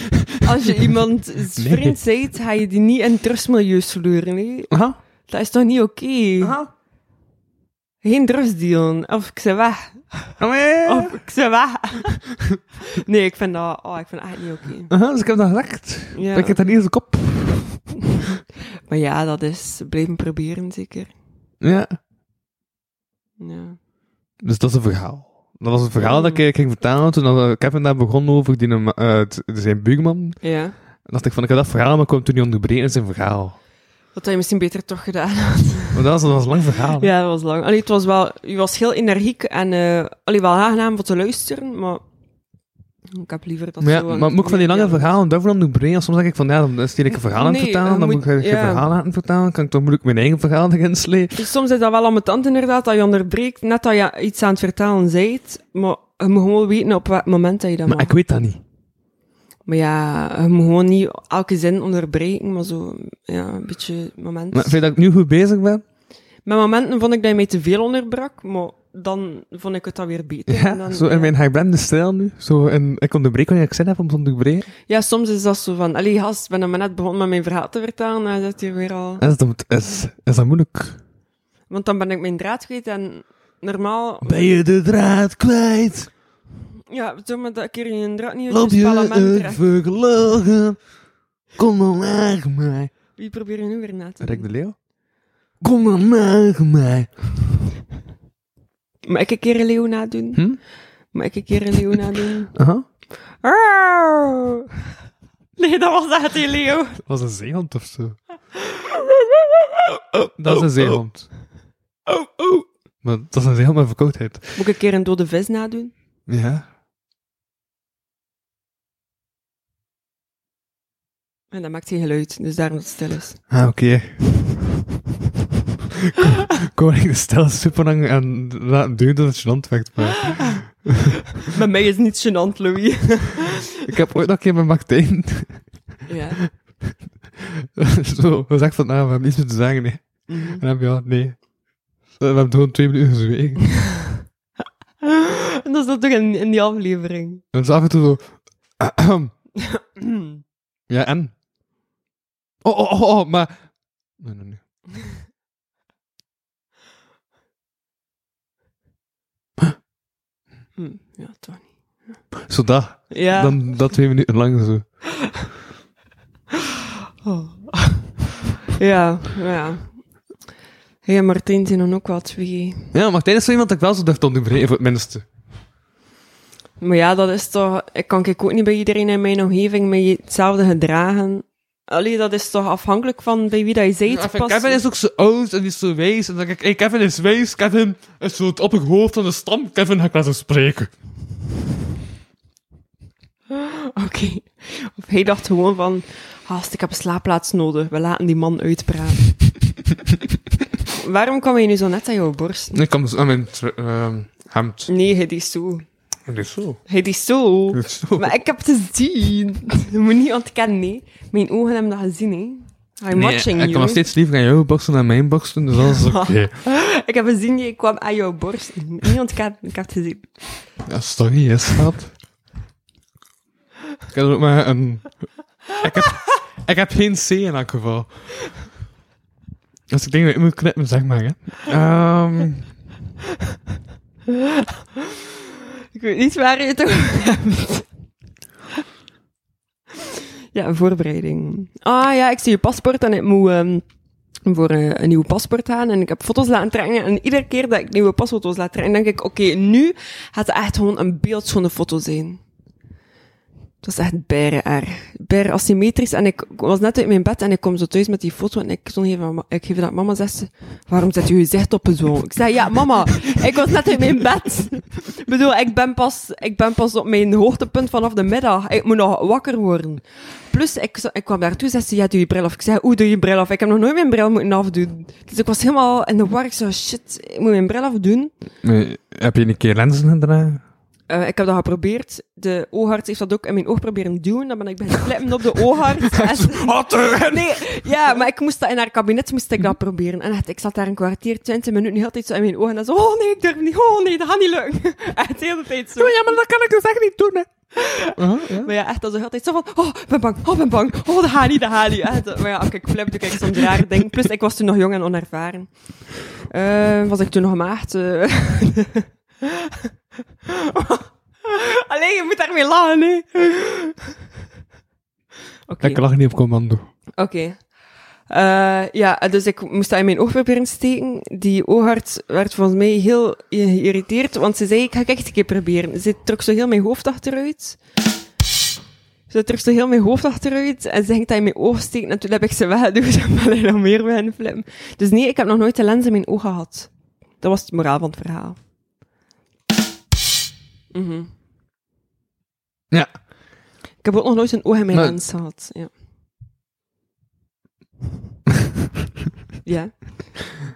Als je iemand vriend bent, ga je die niet in drugsmilieus sleuren. hè? Aha. Dat is toch niet oké? Geen drugsdealen. Of ik zeg weg. Ah, Eh. Of ik zeg weg. <laughs> nee, ik vind dat, oh, ik vind dat echt niet oké. Aha, dus ik heb dat gezegd. Ja. Ik heb dat niet eens kop. Maar ja, dat is blijven proberen zeker. Ja. Ja. Dus dat is een verhaal. Dat was een verhaal dat ik ging vertellen toen dat, eh, Kevin daar begon over die, eh, t- zijn buurman. ja. Dan dacht ik van, ik heb dat verhaal, maar ik kwam toen niet onderbreken in zijn verhaal. Dat had je misschien beter toch gedaan had. Ah, Maar dat was, dat was een lang verhaal. Ja, dat was lang. Allee, het was wel, je was heel energiek en eh allee, wel aangenaam om te luisteren, maar ik heb liever dat Maar, ja, zo... aan- maar moet ik van die lange Ja. verhalen daarvoor onderbreken? Of Soms denk ik van, ja, dan stel ik een verhaal aan het Nee, vertellen, eh, dan moet moet- ik geen ja. verhaal laten vertellen, kan ik toch moeilijk mijn eigen verhaal erin slepen. Dus soms is dat wel ambetant inderdaad, dat je onderbreekt, net dat je iets aan het vertellen bent, maar je moet gewoon weten op welk moment dat je dat Maar mag. ik weet dat niet. Maar ja, je moet gewoon niet elke zin onderbreken, maar zo, ja, een beetje moment. Maar vind je dat ik nu goed bezig ben? Met momenten vond ik dat je mij te veel onderbrak, maar dan vond ik het dan weer beter. Ja, En dan- zo in ja. mijn high-brandde stijl nu. Zo in, ik onderbreek wanneer ik zin heb om te onderbreken. Ja, soms is dat zo van, allee gast, ik ben dan maar net begonnen met mijn verhaal te vertellen, en dat hier weer al... Is dat, is, is dat moeilijk? Want dan ben ik mijn draad kwijt en normaal... Ben je de draad kwijt? Ja, zeg maar dat keer je een draad niet uit Loop je je parlement het terecht. verlogen? Kom dan naar mij. Wie probeer je nu weer na te Rick doen? de Leeuw? Kom dan naar mij. Mag ik een keer een leeuw nadoen? Hm? Mag ik een keer een leeuw nadoen? <laughs> Aha. Auw. Nee, dat was echt die leeuw. Dat was een zeehond of zo. Dat is een zeehond. Oh, oh. Maar dat is een zeehond met verkoudheid. Moet ik een keer een dode vis nadoen? Ja. En dat maakt geen geluid, dus daarom dat het stil is. Ah, oké. Kom Koning de stijl is super lang en laat duurde dat het gênant werd, maar... Met mij is het niet gênant, Louis. Ik heb ooit nog een keer met Martijn <laughs> ja. zo gezegd van, nou, we hebben niets meer te zeggen, nee. En Mhm. dan heb je al, nee. We hebben gewoon twee minuten gezwegen. <gasps> En dat is dat toch in, in die aflevering. En ze af en toe zo... ahem. ja, en? Oh, oh, oh, oh, maar... Nee, nee, nee. Hm, ja, toch niet. Zodat. Ja. Dan dat twee minuten lang zo. Oh. <laughs> ja, ja. Hé, hey, Martijn zijn dan ook wel twee. Ja, Martijn is zo iemand dat ik wel zo durf te onderbreken, voor het minste. Maar ja, dat is toch... Ik kan ik ook niet bij iedereen in mijn omgeving met je- hetzelfde gedragen. Allee, dat is toch afhankelijk van bij wie dat je Ja, zit. vind- Pas... Kevin is ook zo oud en die is zo wijs. En dan denk ik, hey, Kevin is wijs, Kevin is zo het opperhoofd hoofd van de stam. Kevin ga ik laten spreken. <laughs> Oké. Of hij dacht gewoon van... Haast, ik heb een slaapplaats nodig. We laten die man <laughs> uitpraten. Waarom kwam hij nu zo net aan jouw borst? Ik kan dus aan mijn tr- ehm, hemd. Nee, hij is zo. Dat is zo. Hij is zo. Dat is zo. Maar ik heb het gezien. Je moet niet ontkennen, nee. Mijn ogen hebben dat gezien, hè. I'm Nee, watching ik you. kan nog steeds liever aan jouw boksen dan aan mijn boksen, dus dat is oké. Ik heb gezien, je kwam aan jouw borst. Niet ontkennen, ik heb het gezien. Ja, sorry, hè, schat. Ik heb er ook maar een... Ik heb, ik heb geen C in elk geval. Als ik denk dat ik moet knippen, zeg maar, hè. Ehm, Ik weet niet waar je het over hebt. Ja, voorbereiding. Ah ja, ik zie je paspoort en ik moet ehm, voor eh, een nieuw paspoort gaan. En ik heb foto's laten trekken. En iedere keer dat ik nieuwe pasfoto's laat trekken, denk ik, oké, nu gaat het echt gewoon een beeldschone foto zijn. Dat is echt bijre erg. Bijre asymmetrisch. En ik was net uit mijn bed en ik kom zo thuis met die foto. En ik, toen geef, aan ma- ik geef dat mama, zegt ze, waarom zet je je zicht op zo? Ik zei, ja mama, ik was net uit mijn bed. Ik bedoel, ik ben, pas, ik ben pas op mijn hoogtepunt vanaf de middag. Ik moet nog wakker worden. Plus, ik, zo- ik kwam daartoe, zei ze, ja, doe je bril af. Ik zei, hoe doe je bril af? Ik heb nog nooit mijn bril moeten afdoen. Dus ik was helemaal in de war. Ik zei, shit, ik moet mijn bril afdoen. nee, heb je een keer lenzen gedragen? Eh, ik heb dat geprobeerd. De oogarts heeft dat ook in mijn oog proberen duwen. Dan ben ik beginnen klippen op de oogarts. En ze- Wat erin? <laughs> Nee, ja, maar ik moest dat in haar kabinet moest ik dat proberen. En echt, ik zat daar een kwartier, twintig minuten, heel de tijd zo in mijn ogen. En zo, oh nee, ik durf niet, oh nee, dat gaat niet lukken. <laughs> Echt, de hele tijd zo. Ja, maar dat kan ik dus echt niet doen, hè. ja. Maar ja, echt, dat is altijd zo van, oh, ik ben bang, oh, ik ben bang, oh, dat gaat niet, dat gaat niet. Echt, maar ja, als ik flip, doe ik soms raar ding. Plus, ik was toen nog jong en onervaren. Eh, was ik toen nog maagd? eh. <laughs> Allee, je moet daarmee lachen, hè. Oké. Ik lag niet op commando. Oké. Eh, ja, dus ik moest dat in mijn oog proberen te steken. Die oogarts werd volgens mij heel geïrriteerd, want ze zei, ik ga het echt een keer proberen. Ze trok zo heel mijn hoofd achteruit. Ze trok zo heel mijn hoofd achteruit en ze ging dat in mijn oog steken. En toen heb ik ze weggedoet <laughs> en ben ik nog meer bij flippen. Dus nee, ik heb nog nooit een lens in mijn oog gehad. Dat was het moraal van het verhaal. Mhm. Ja. Ik heb ook nog nooit een oog in mijn Nee. lens gehad. Ja. ja.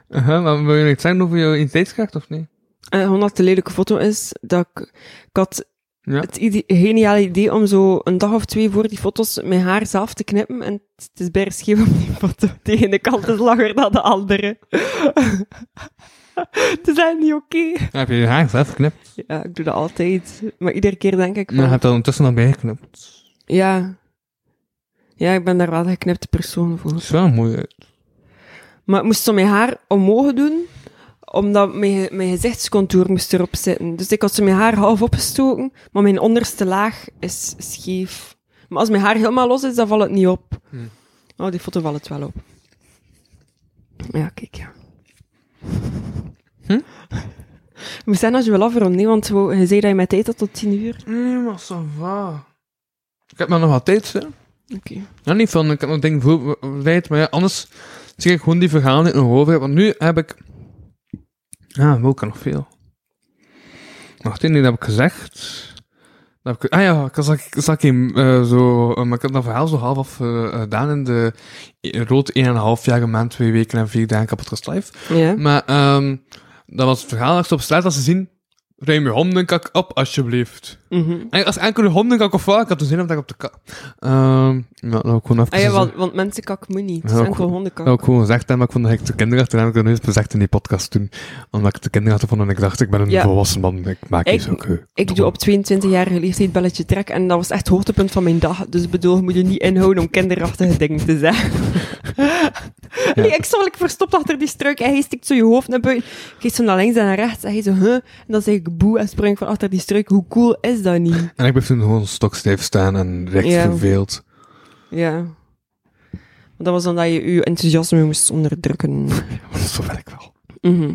Aha, maar wil je niks zeggen over jouw identiteitskracht, of niet? En Eh, gewoon dat het een lelijke foto is, dat ik, ik had Ja. het ide- geniale idee om zo een dag of twee voor die foto's mijn haar zelf te knippen. En het is bijna scheef op die foto. <laughs> De ene kant is langer dan de andere. <laughs> het is eigenlijk niet oké. Ja, heb je je haar zelf geknipt? Ja, ik doe dat altijd. Maar iedere keer denk ik Maar je van, hebt dat ondertussen al bijgeknipt. ja. Ja, ik ben daar wel een geknipte persoon voor. Dat is wel mooi. Maar ik moest zo mijn haar omhoog doen, omdat mijn, mijn gezichtscontour moest erop zitten. Dus ik had zo mijn haar half opgestoken, maar mijn onderste laag is scheef. Maar als mijn haar helemaal los is, dan valt het niet op. Hmm. Oh, die foto valt het wel op. Ja, kijk, ja. <laughs> Hm? Je moet zijn als je wil afronden, nee, want we- je zei dat je met tijd had tot tien uur. Nee, maar ça va. Ik heb maar nog wat tijd, hè. Oké. Ja, niet van, ik heb nog dingen voorbereid, maar ja, anders zie ik gewoon die verhalen in mijn hoofd. hebben, Want nu heb ik... Ja, wel kan nog veel. Wacht, nee, dat heb ik gezegd. Dat heb ik... Ah ja, ik zag, ik zag hem eh, zo... eh, maar ik heb dat verhaal zo half af eh, gedaan in de in rood 1,5 jaar, een maand, twee weken en vier dagen kapotkast live. Ja. Maar ehm dat was het verhaal dat ze op straat als ze zien... Ruim je hondenkak op, alsjeblieft. Mhm. En als enkele hondenkak of wat, ik had toen zin om dat op de kak... Ehm ja, nou, gewoon even... Ah ja, want, want mensenkak moet niet. Het is Ja, enkel goed. hondenkak. Nou, ik gewoon gezegd heb, maar ik vond dat ik de kinderachtig heb ik dat nooit gezegd in die podcast toen. Omdat ik de kinderachtig vond en ik dacht, ik ben een Ja. volwassen man, ik maak Ik- iets ook. eh, Ik doe op 22-jarige leeftijd belletje trek en dat was echt het hoogtepunt van mijn dag. Dus ik bedoel, je moet je niet inhouden om kinderachtige dingen te zeggen. Nee, ik stond like, verstopt achter die struik en hij stikt zo je hoofd naar buiten. Ik Geef zo naar links en naar rechts en hij zo, huh? En dan zeg ik boe en spring ik van achter die struik. Hoe cool is dat <laughs> niet? En ik bleef toen gewoon stokstijf staan en recht Ja. verveeld. <laughs> Ja. Maar dat was dan dat je je enthousiasme moest onderdrukken. Maar zo ben ik wel. Mhm.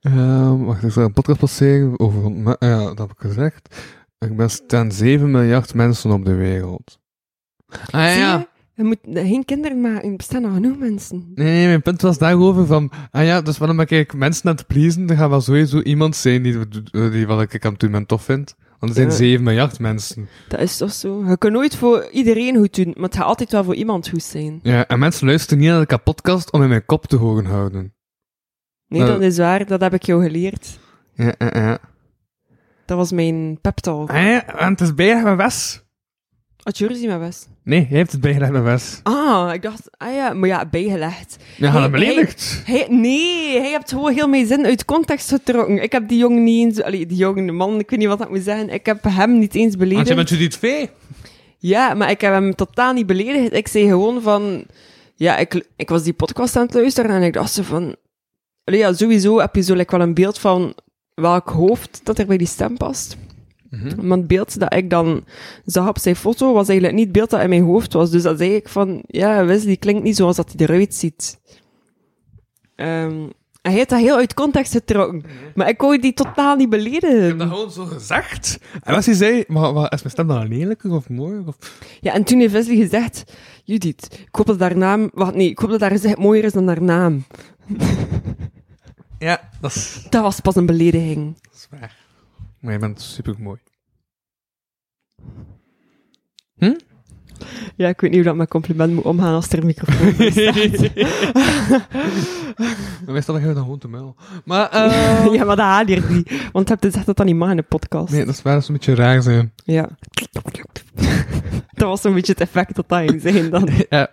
Ehm, wacht, ik zal een podcast passeren over... ontma- ah Ja, dat heb ik gezegd. Ik ben staan 7 miljard mensen op de wereld. Ah Zie je? Je moet geen kinderen maken. Er bestaan nog genoeg mensen. Nee, nee, mijn punt was daarover van... Ah ja, dus waarom ben ik mensen aan het pleasen? Er gaat wel sowieso iemand zijn die, die wat ik aan het doen ben tof vind. Want er zijn Ja. 7 miljard mensen. Dat is toch zo. Je kan nooit voor iedereen goed doen, maar het gaat altijd wel voor iemand goed zijn. Ja, en mensen luisteren niet naar de podcast om in mijn kop te horen houden. Nee, Nou, dat is waar. Dat heb ik jou geleerd. Ja, ja, ja. Dat was mijn pep talk. Ah ja, want het is bijna mijn was. Had je ruzie met Wes? Nee, jij hebt het bijna mijn was. Ah, ik dacht, ah ja, maar ja, bijgelegd. Ja, Hey, had hem beledigd. Hij, nee, hij hebt gewoon heel mijn zin uit context getrokken. Ik heb die jongen niet eens... Allee, die jongen, man, ik weet niet wat ik moet zeggen. Ik heb hem niet eens Want beledigd. jij bent Judith Vee. Ja, maar ik heb hem totaal niet beledigd. Ik zei gewoon van... Ja, ik, ik was die podcast aan het luisteren en ik dacht zo van... Allee, ja, sowieso heb je zo like, wel een beeld van welk hoofd dat er bij die stem past. Maar het beeld dat ik dan zag op zijn foto was eigenlijk niet het beeld dat in mijn hoofd was. Dus dan zei ik van... Ja, Wes, die klinkt niet zoals dat hij eruit ziet. Ehm, en hij heeft dat heel uit context getrokken. Maar ik wou die totaal niet beledigen. gewoon zo gezegd. En als hij zei, maar, maar is mijn stem dan lelijk of mooi? Of... Ja, en toen heeft Wesley gezegd, Judith, ik hoop dat haar naam... Wacht, nee, ik hoop dat haar gezicht mooier is dan haar naam. Ja, dat is, Dat was pas een belediging. dat is waar. Maar jij bent super <laughs> mooi. Ja, ik weet niet hoe dat met compliment moet omgaan als er een microfoon bij staat. <laughs> Maar meestal gaan we dan gewoon te muil. Maar, <laughs> eh ja, maar dat haal je er niet. Want je hebt gezegd dat dat niet mag in de podcast. Nee, dat is waar, dat is een beetje raar zijn. Ja. <laughs> dat was een beetje het effect dat dat ging zijn dan. Ja.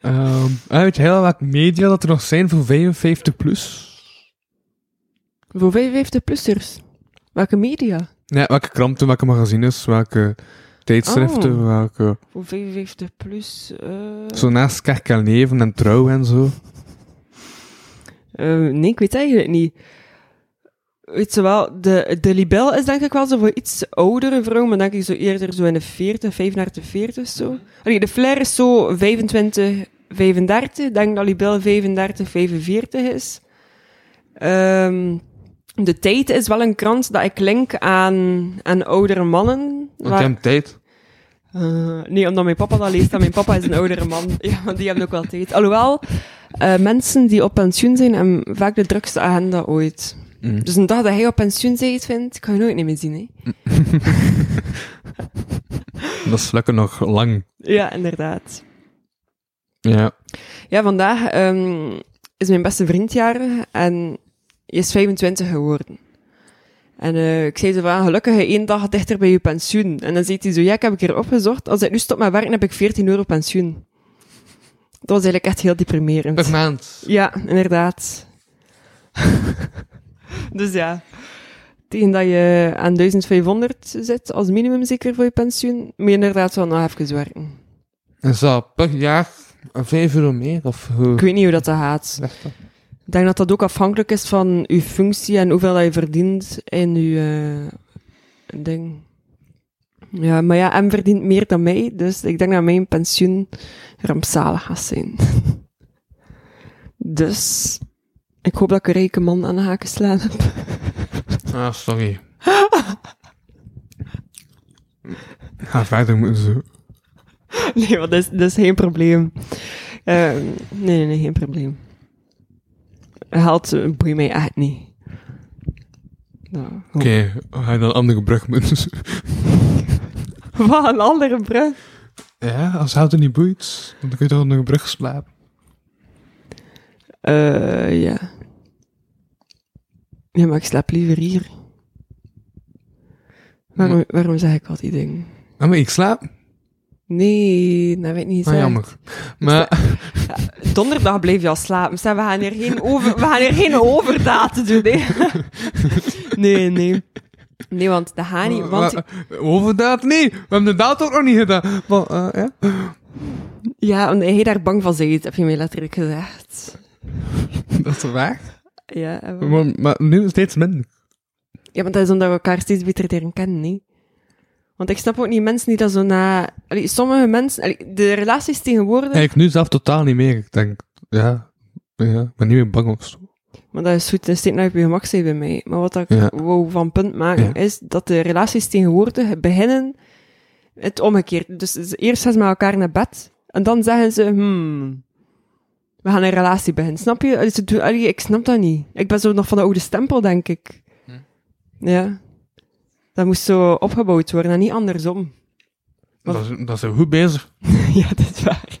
Ehm, ah, weet je heel wat media dat er nog zijn voor 55 plus? <laughs> Voor 55-plussers. Welke media? Ja, welke kranten, welke magazines, welke tijdschriften, Oh. welke... Voor 55-plus... Zo naast Kerk en Leven en Trouw en zo. Eh, nee, ik weet het eigenlijk niet. Weet je wel, de, de libel is denk ik wel zo voor iets oudere vrouwen, maar denk ik zo eerder zo in de 40, 35, 40 zo. Allee, de flair is zo 25, 35. Ik denk dat libel 35, 45 is. Ehm, de tijd is wel een krant dat ik link aan, aan oudere mannen. Want waar- jij hebt tijd. eh, nee, omdat mijn papa dat leest. En mijn papa is een oudere man. <laughs> Ja, want die hebben ook wel tijd. Alhoewel, eh, mensen die op pensioen zijn, hebben vaak de drukste agenda ooit. Mm. Dus een dag dat hij op pensioen zit, vindt, kan je nooit niet meer zien. Hè? Dat is lekker nog lang. Ja, inderdaad. Ja. Ja, vandaag ehm, is mijn beste vriend jarig en hij is 25 geworden. En eh, ik zei zo van, gelukkig één dag dichter bij je pensioen. En dan zei hij zo, ja, ik heb een keer opgezocht. Als ik nu stop met werken, heb ik 14 euro pensioen. Dat was eigenlijk echt heel deprimerend. maand. Ja, inderdaad. <laughs> dus ja, tegen dat je aan 1500 zit, als minimum zeker voor je pensioen, moet je inderdaad wel nog even werken. En zo, per jaar 5 euro meer of hoe? Ik weet niet hoe dat, dat gaat. Echt wel. Ik denk dat dat ook afhankelijk is van je functie en hoeveel dat je verdient in je eh, ding. Ja, maar ja, hem verdient meer dan mij, dus ik denk dat mijn pensioen rampzalig gaat zijn. <laughs> dus, ik hoop dat ik een rijke man aan de haken slaan heb. Ah, sorry. Ga verder moeten zo. <laughs> Nee, want dat is, dat is geen probleem. Ehm, nee, nee, nee, geen probleem. Haalt eh, boeit mij echt niet. Nou, Oké, ga je dan een andere brug moeten zo. <laughs> Wat een andere brug. Ja, als het er niet boeit, dan kun je toch onder een brug slapen. Eh, ja. Ja, maar ik slaap liever hier. Waarom, waarom zeg ik al die dingen? Ah, maar ik slaap. Nee, dat weet ik niet. Ah, gezegd. jammer. <laughs> Maar, Donderdag bleef je al slapen. Stel, we gaan hier geen, over, we gaan hier <laughs> geen overdaad doen. Nee. nee, nee. Nee, want dat gaat niet. Want Maar, eh, overdaad? Nee, we hebben de daad ook nog niet gedaan. Maar, eh, ja. Ja, omdat hij daar bang van zit, heb je mij letterlijk gezegd. <laughs> Dat is waar. Ja, en wel. Maar, maar nu steeds minder. ja, maar dat is omdat we elkaar steeds beter leren kennen, niet? Want ik snap ook niet mensen die dat zo na... Allee, sommige mensen... allee, de relaties tegenwoordig... Eigenlijk nu zelf totaal niet meer. Ik denk, ja, ja ik ben niet meer bang of zo. Maar dat is goed, dat steekt nou op je gemak zijn bij mij. Maar wat ik Ja. wou van punt maken, Ja. is dat de relaties tegenwoordig beginnen het omgekeerd. Dus ze- eerst gaan ze met elkaar naar bed, en dan zeggen ze, hmm, we gaan een relatie beginnen. Snap je? Allee, ze doen- allee, ik snap dat niet. Ik ben zo nog van de oude stempel, denk ik. Ja. Dat moest zo opgebouwd worden, en niet andersom. <laughs> Wat? Dat is, dat is goed bezig. ja, dat is waar.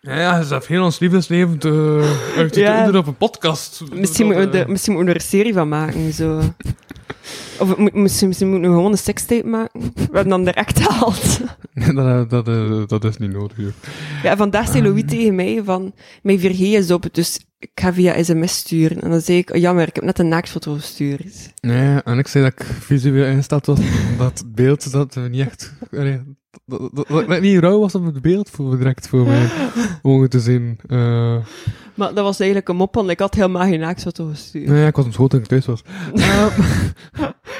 Ja, ja, ze heeft heel ons liefdesleven te, uit te Ja. doen op een podcast. Misschien Dat, moeten we, eh, er- misschien moeten we er een serie van maken, zo. Of het moet- misschien, misschien moeten we gewoon een sekstape maken. We hebben dan direct gehaald. dat, dat, eh, dat is niet nodig. joh. Ja, vandaag zei Louis tegen mij van, mijn vergee is op, dus ik ga via sms sturen. En dan zei ik, oh, jammer, ik heb net een naaktfoto gestuurd. Nee, en ik zei dat ik visueel ingesteld was. <laughs> dat beeld dat we niet echt. allee, dat, dat, dat ik net niet rauw was om het beeld voor, direct voor mijn <laughs> ogen te zien. Eh, Maar dat was eigenlijk een mop, want ik had helemaal geen naaktfoto gestuurd. nou ja, ik was op school toen ik thuis was.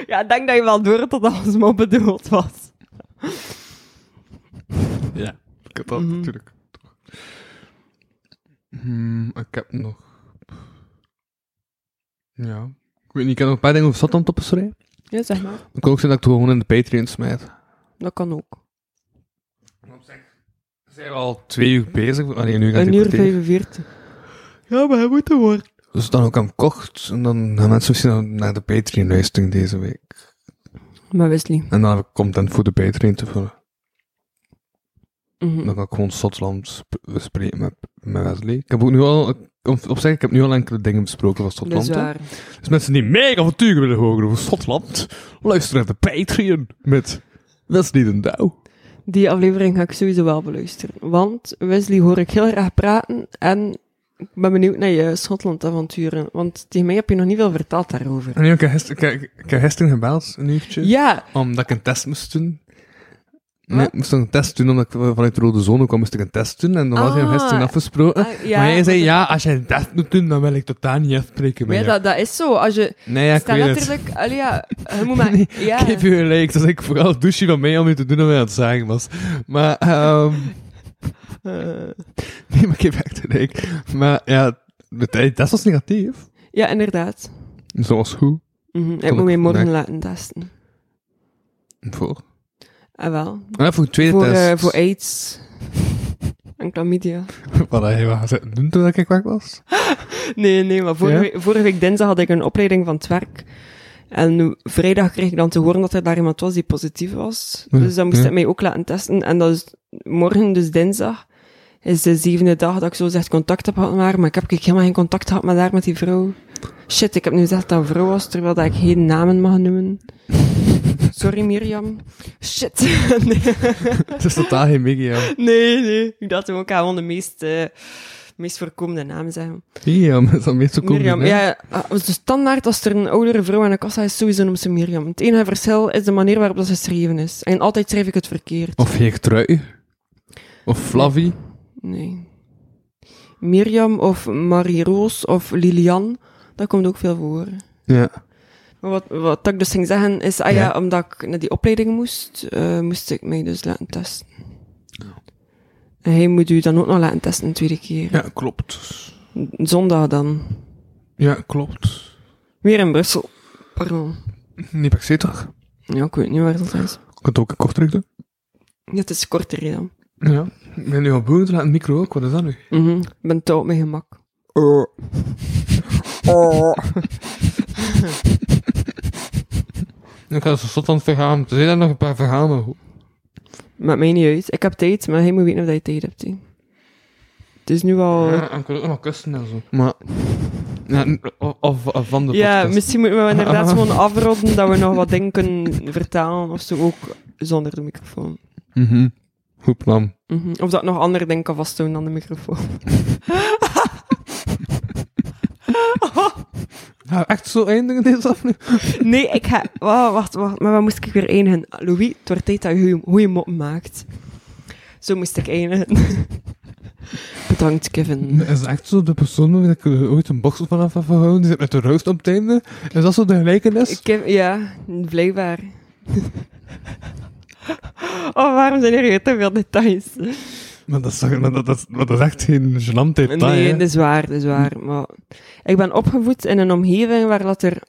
Ja, ik denk dat je wel door had dat dat ons mop bedoeld was. Ja. Ik heb dat Mhm. natuurlijk. toch. Hmm, ik heb nog. Ja. Ik weet niet, ik heb nog een paar dingen over Satan te beschrijven. Ja, zeg maar. Ik kan ook zeggen dat ik het gewoon in de Patreon smijt. Dat kan ook. Zijn we al twee uur bezig? Allee, nu gaat Een het uur tegen. 45. Ja, maar hij moet er worden. Dus dan ook aan kocht. En dan gaan mensen misschien naar de Patreon luisteren deze week. Maar Wesley. En dan heb ik content voor de Patreon te vullen. Mhm. Dan kan ik gewoon Schotland sp- bespreken met, met Wesley. Ik heb ook nu al, om- op zich, ik heb nu al enkele dingen besproken van Dat Schotland. is hè. waar. Dus mensen die mega avonturen willen horen over Schotland, luister naar de Patreon met Wesley den Douw. Die aflevering ga ik sowieso wel beluisteren. Want Wesley hoor ik heel graag praten. En ik ben benieuwd naar je Schotland-avonturen. Want tegen mij heb je nog niet veel verteld daarover. En ik heb gister- ik heb- ik heb gisteren gebeld, een uurtje. Ja, Omdat ik een test moest doen. Nee, Wat? ik moest een test doen, omdat ik eh, vanuit de rode zone kwam, moest ik een test doen. En dan was hij Ah. gisteren afgesproken. Ah, ja, maar hij zei, want- ja, als jij een test moet doen, dan wil ik totaal niet afspreken met ja jou. dat, dat is zo. Als je Nee, ja, ik staat weet het. letterlijk... Allee, ja, je <laughs> moet maar... Nee, ja. <laughs> Ik geef je gelijk. Dat ik vooral douche van mij om je te doen om je aan het zagen was. Maar, ehm <laughs> Eh, nee, maar ik geef echt gelijk. Maar ja, de tijd- dat was negatief. ja, inderdaad. Dus dat was goed. Mhm, Ik ik moet mij morgen vandaag- laten testen. Voor? Ah, wel. Ah, voor een tweede Voor, test. eh, voor <laughs> AIDS. En chlamydia. Wat had je wel gaan zitten doen toen ik weg was? <laughs> Nee, nee, maar vorige, Ja? week, vorige week dinsdag had ik een opleiding van het werk. En vrijdag kreeg ik dan te horen dat er daar iemand was die positief was. Ja, Dus dan moest ja. ik mij ook laten testen. En dat is morgen, dus dinsdag, is de zevende dag dat ik zo zegt contact heb gehad met haar. Maar ik heb eigenlijk helemaal geen contact gehad met haar, met die vrouw. Shit, ik heb nu gezegd dat een vrouw was, terwijl dat ik geen namen mag <laughs> noemen. Sorry Mirjam. Shit. <laughs> nee. Het is totaal geen Miggy, nee, nee. Ik dacht ook aan de meest, eh, meest voorkomende namen zeggen. Miriam is dat meestal cool. Mirjam, ja, ah, de standaard als er een oudere vrouw aan de kassa is, sowieso noemt ze Mirjam. Het enige verschil is de manier waarop dat ze geschreven is. En altijd schrijf ik het verkeerd. Of Heeg Trui. Of Flavie. Nee. Mirjam of Marie-Roos of Lilian, dat komt ook veel voor. Ja. Maar wat, wat ik dus ging zeggen is, ah ja, Ja. omdat ik naar die opleiding moest, eh, moest ik mij dus laten testen. En hij moet u dan ook nog laten testen een tweede keer. Ja, klopt. Zondag dan. Ja, klopt. Weer in Brussel. Pardon. Niet per se toch? Ja, ik weet niet waar dat is. Ik kan het ook een kort terug doen. Ja, het is korter hè, dan. Ja. Ik ben nu al boven te laten micro ook. Wat is dat nu? Mhm, Ik ben te op mijn gemak. Oh. Ik ga zo zot aan het vergaan. Er zijn daar nog een paar verhalen. maar Maakt mij niet uit. Ik heb tijd, maar hij moet weten of hij tijd hebt. hè. Het is nu al... Ja, Ja, en ik wil ook nog kussen en zo. Oh. Maar... Ja, n- of, of- of van de podcast. misschien moeten we <laughs> inderdaad gewoon afronden dat we nog wat dingen kunnen vertalen of zo ook zonder de microfoon. Mhm. Goed plan. Mhm. Of dat ik nog andere dingen kan vasthouden dan de microfoon. <laughs> Gaan we echt zo eindigen deze aflevering? Nee, ik ga... Wacht, wacht, wacht. Maar waar moest ik weer eindigen? Louis, het wordt tijd dat je goede moppen maakt. Zo moest ik eindigen. <laughs> Bedankt, Kevin. Is dat echt zo de persoon waar ik eh, ooit een boksel van af heb gehouden? Die zit met de roast op het einde. Is dat zo de gelijkenis? Kev- ja, blijkbaar. <laughs> oh, waarom zijn er weer te veel details? Maar dat is, toch- maar dat, dat, maar dat is echt geen gênant detail, nee, hè? dat is waar, dat is waar. Maar ik ben opgevoed in een omgeving waar dat er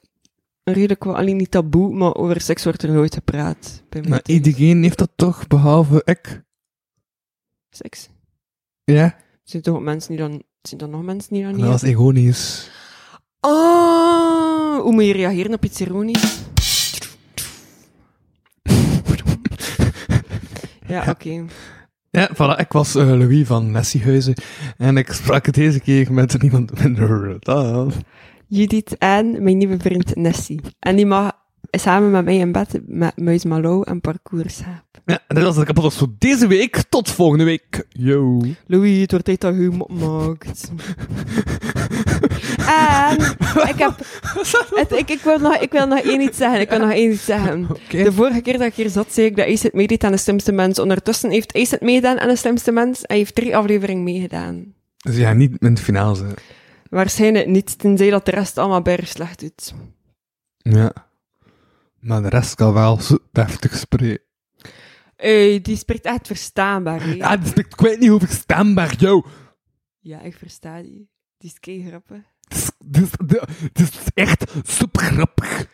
redelijk wel, alleen niet taboe, maar over seks wordt er nooit gepraat. Bij mij Maar thuis. iedereen heeft dat toch, behalve ik. Seks. Er Ja? Zijn toch ook mensen die dan... Zijn er nog mensen die dan Dat was niet... ironisch. Oh, hoe moet je reageren op iets ironisch? Ja, oké. <laughs> Ja, voilà, ik was eh, Louis van Messiehuizen en ik sprak het deze keer met niemand minder dan... Judith en mijn nieuwe vriend Nessie. En die mag samen met mij in bed met Muis Malo en Parcours slapen. Ja, en dat was de kapotkast voor deze week. Tot volgende week. Yo. Louis, het wordt tijd dat je hem opmaakt. <laughs> en ik heb... het- ik, ik, wil nog, ik wil nog één iets zeggen. Ik wil nog één iets zeggen. Oké. De vorige keer dat ik hier zat, zei ik dat Ace het meedeed aan de slimste mens. Ondertussen heeft Ace het meegedaan aan de slimste mens. Hij heeft drie afleveringen meegedaan. Dus ja, niet in het finale zijn. Waarschijnlijk niet, tenzij dat de rest allemaal berg slecht doet. Ja. Maar de rest kan wel zo deftig spreken. Ey, Eh, die spreekt echt verstaanbaar. hè. Ja, dus ik weet niet hoe verstaanbaar, yo. Ja, ik versta die. Die is kei grappig. Dit is- Dit is- dit is dus echt super grappig.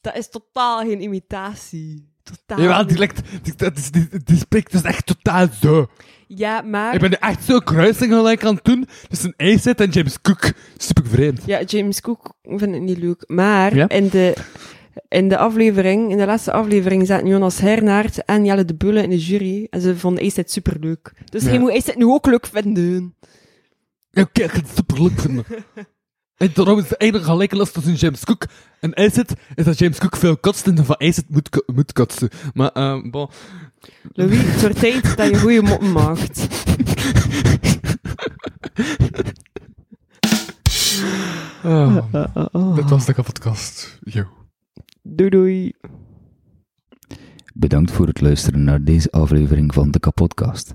Dat is totaal geen imitatie. Totaal. Jawel, niet. die, lijkt, die, dat is- die, die spreekt dus echt totaal zo. Ja, maar... Ik ben nu echt zo kruising gelijk aan het doen tussen Acid en James Cook. Super vreemd. Ja, James Cook vind ik niet leuk. Maar Ja? in, de, in de aflevering, in de laatste aflevering, zaten Jonas Hernaert en Jelle de Bulle in de jury. En ze vonden Acid superleuk. Dus Ja. je moet Acid nu ook leuk vinden. Oké, ik ga het super <laughs> leuk vinden. en daarom is de enige gelijkenis tussen James Cook en Acid is dat James Cook veel kotst en van Acid moet, ko- moet kotsen. Maar, ehm bon. Louis, het wordt tijd dat je goede moppen maakt. Oh, Dit was de podcast. Yo. Doei doei. Bedankt voor het luisteren naar deze aflevering van de Kapodcast.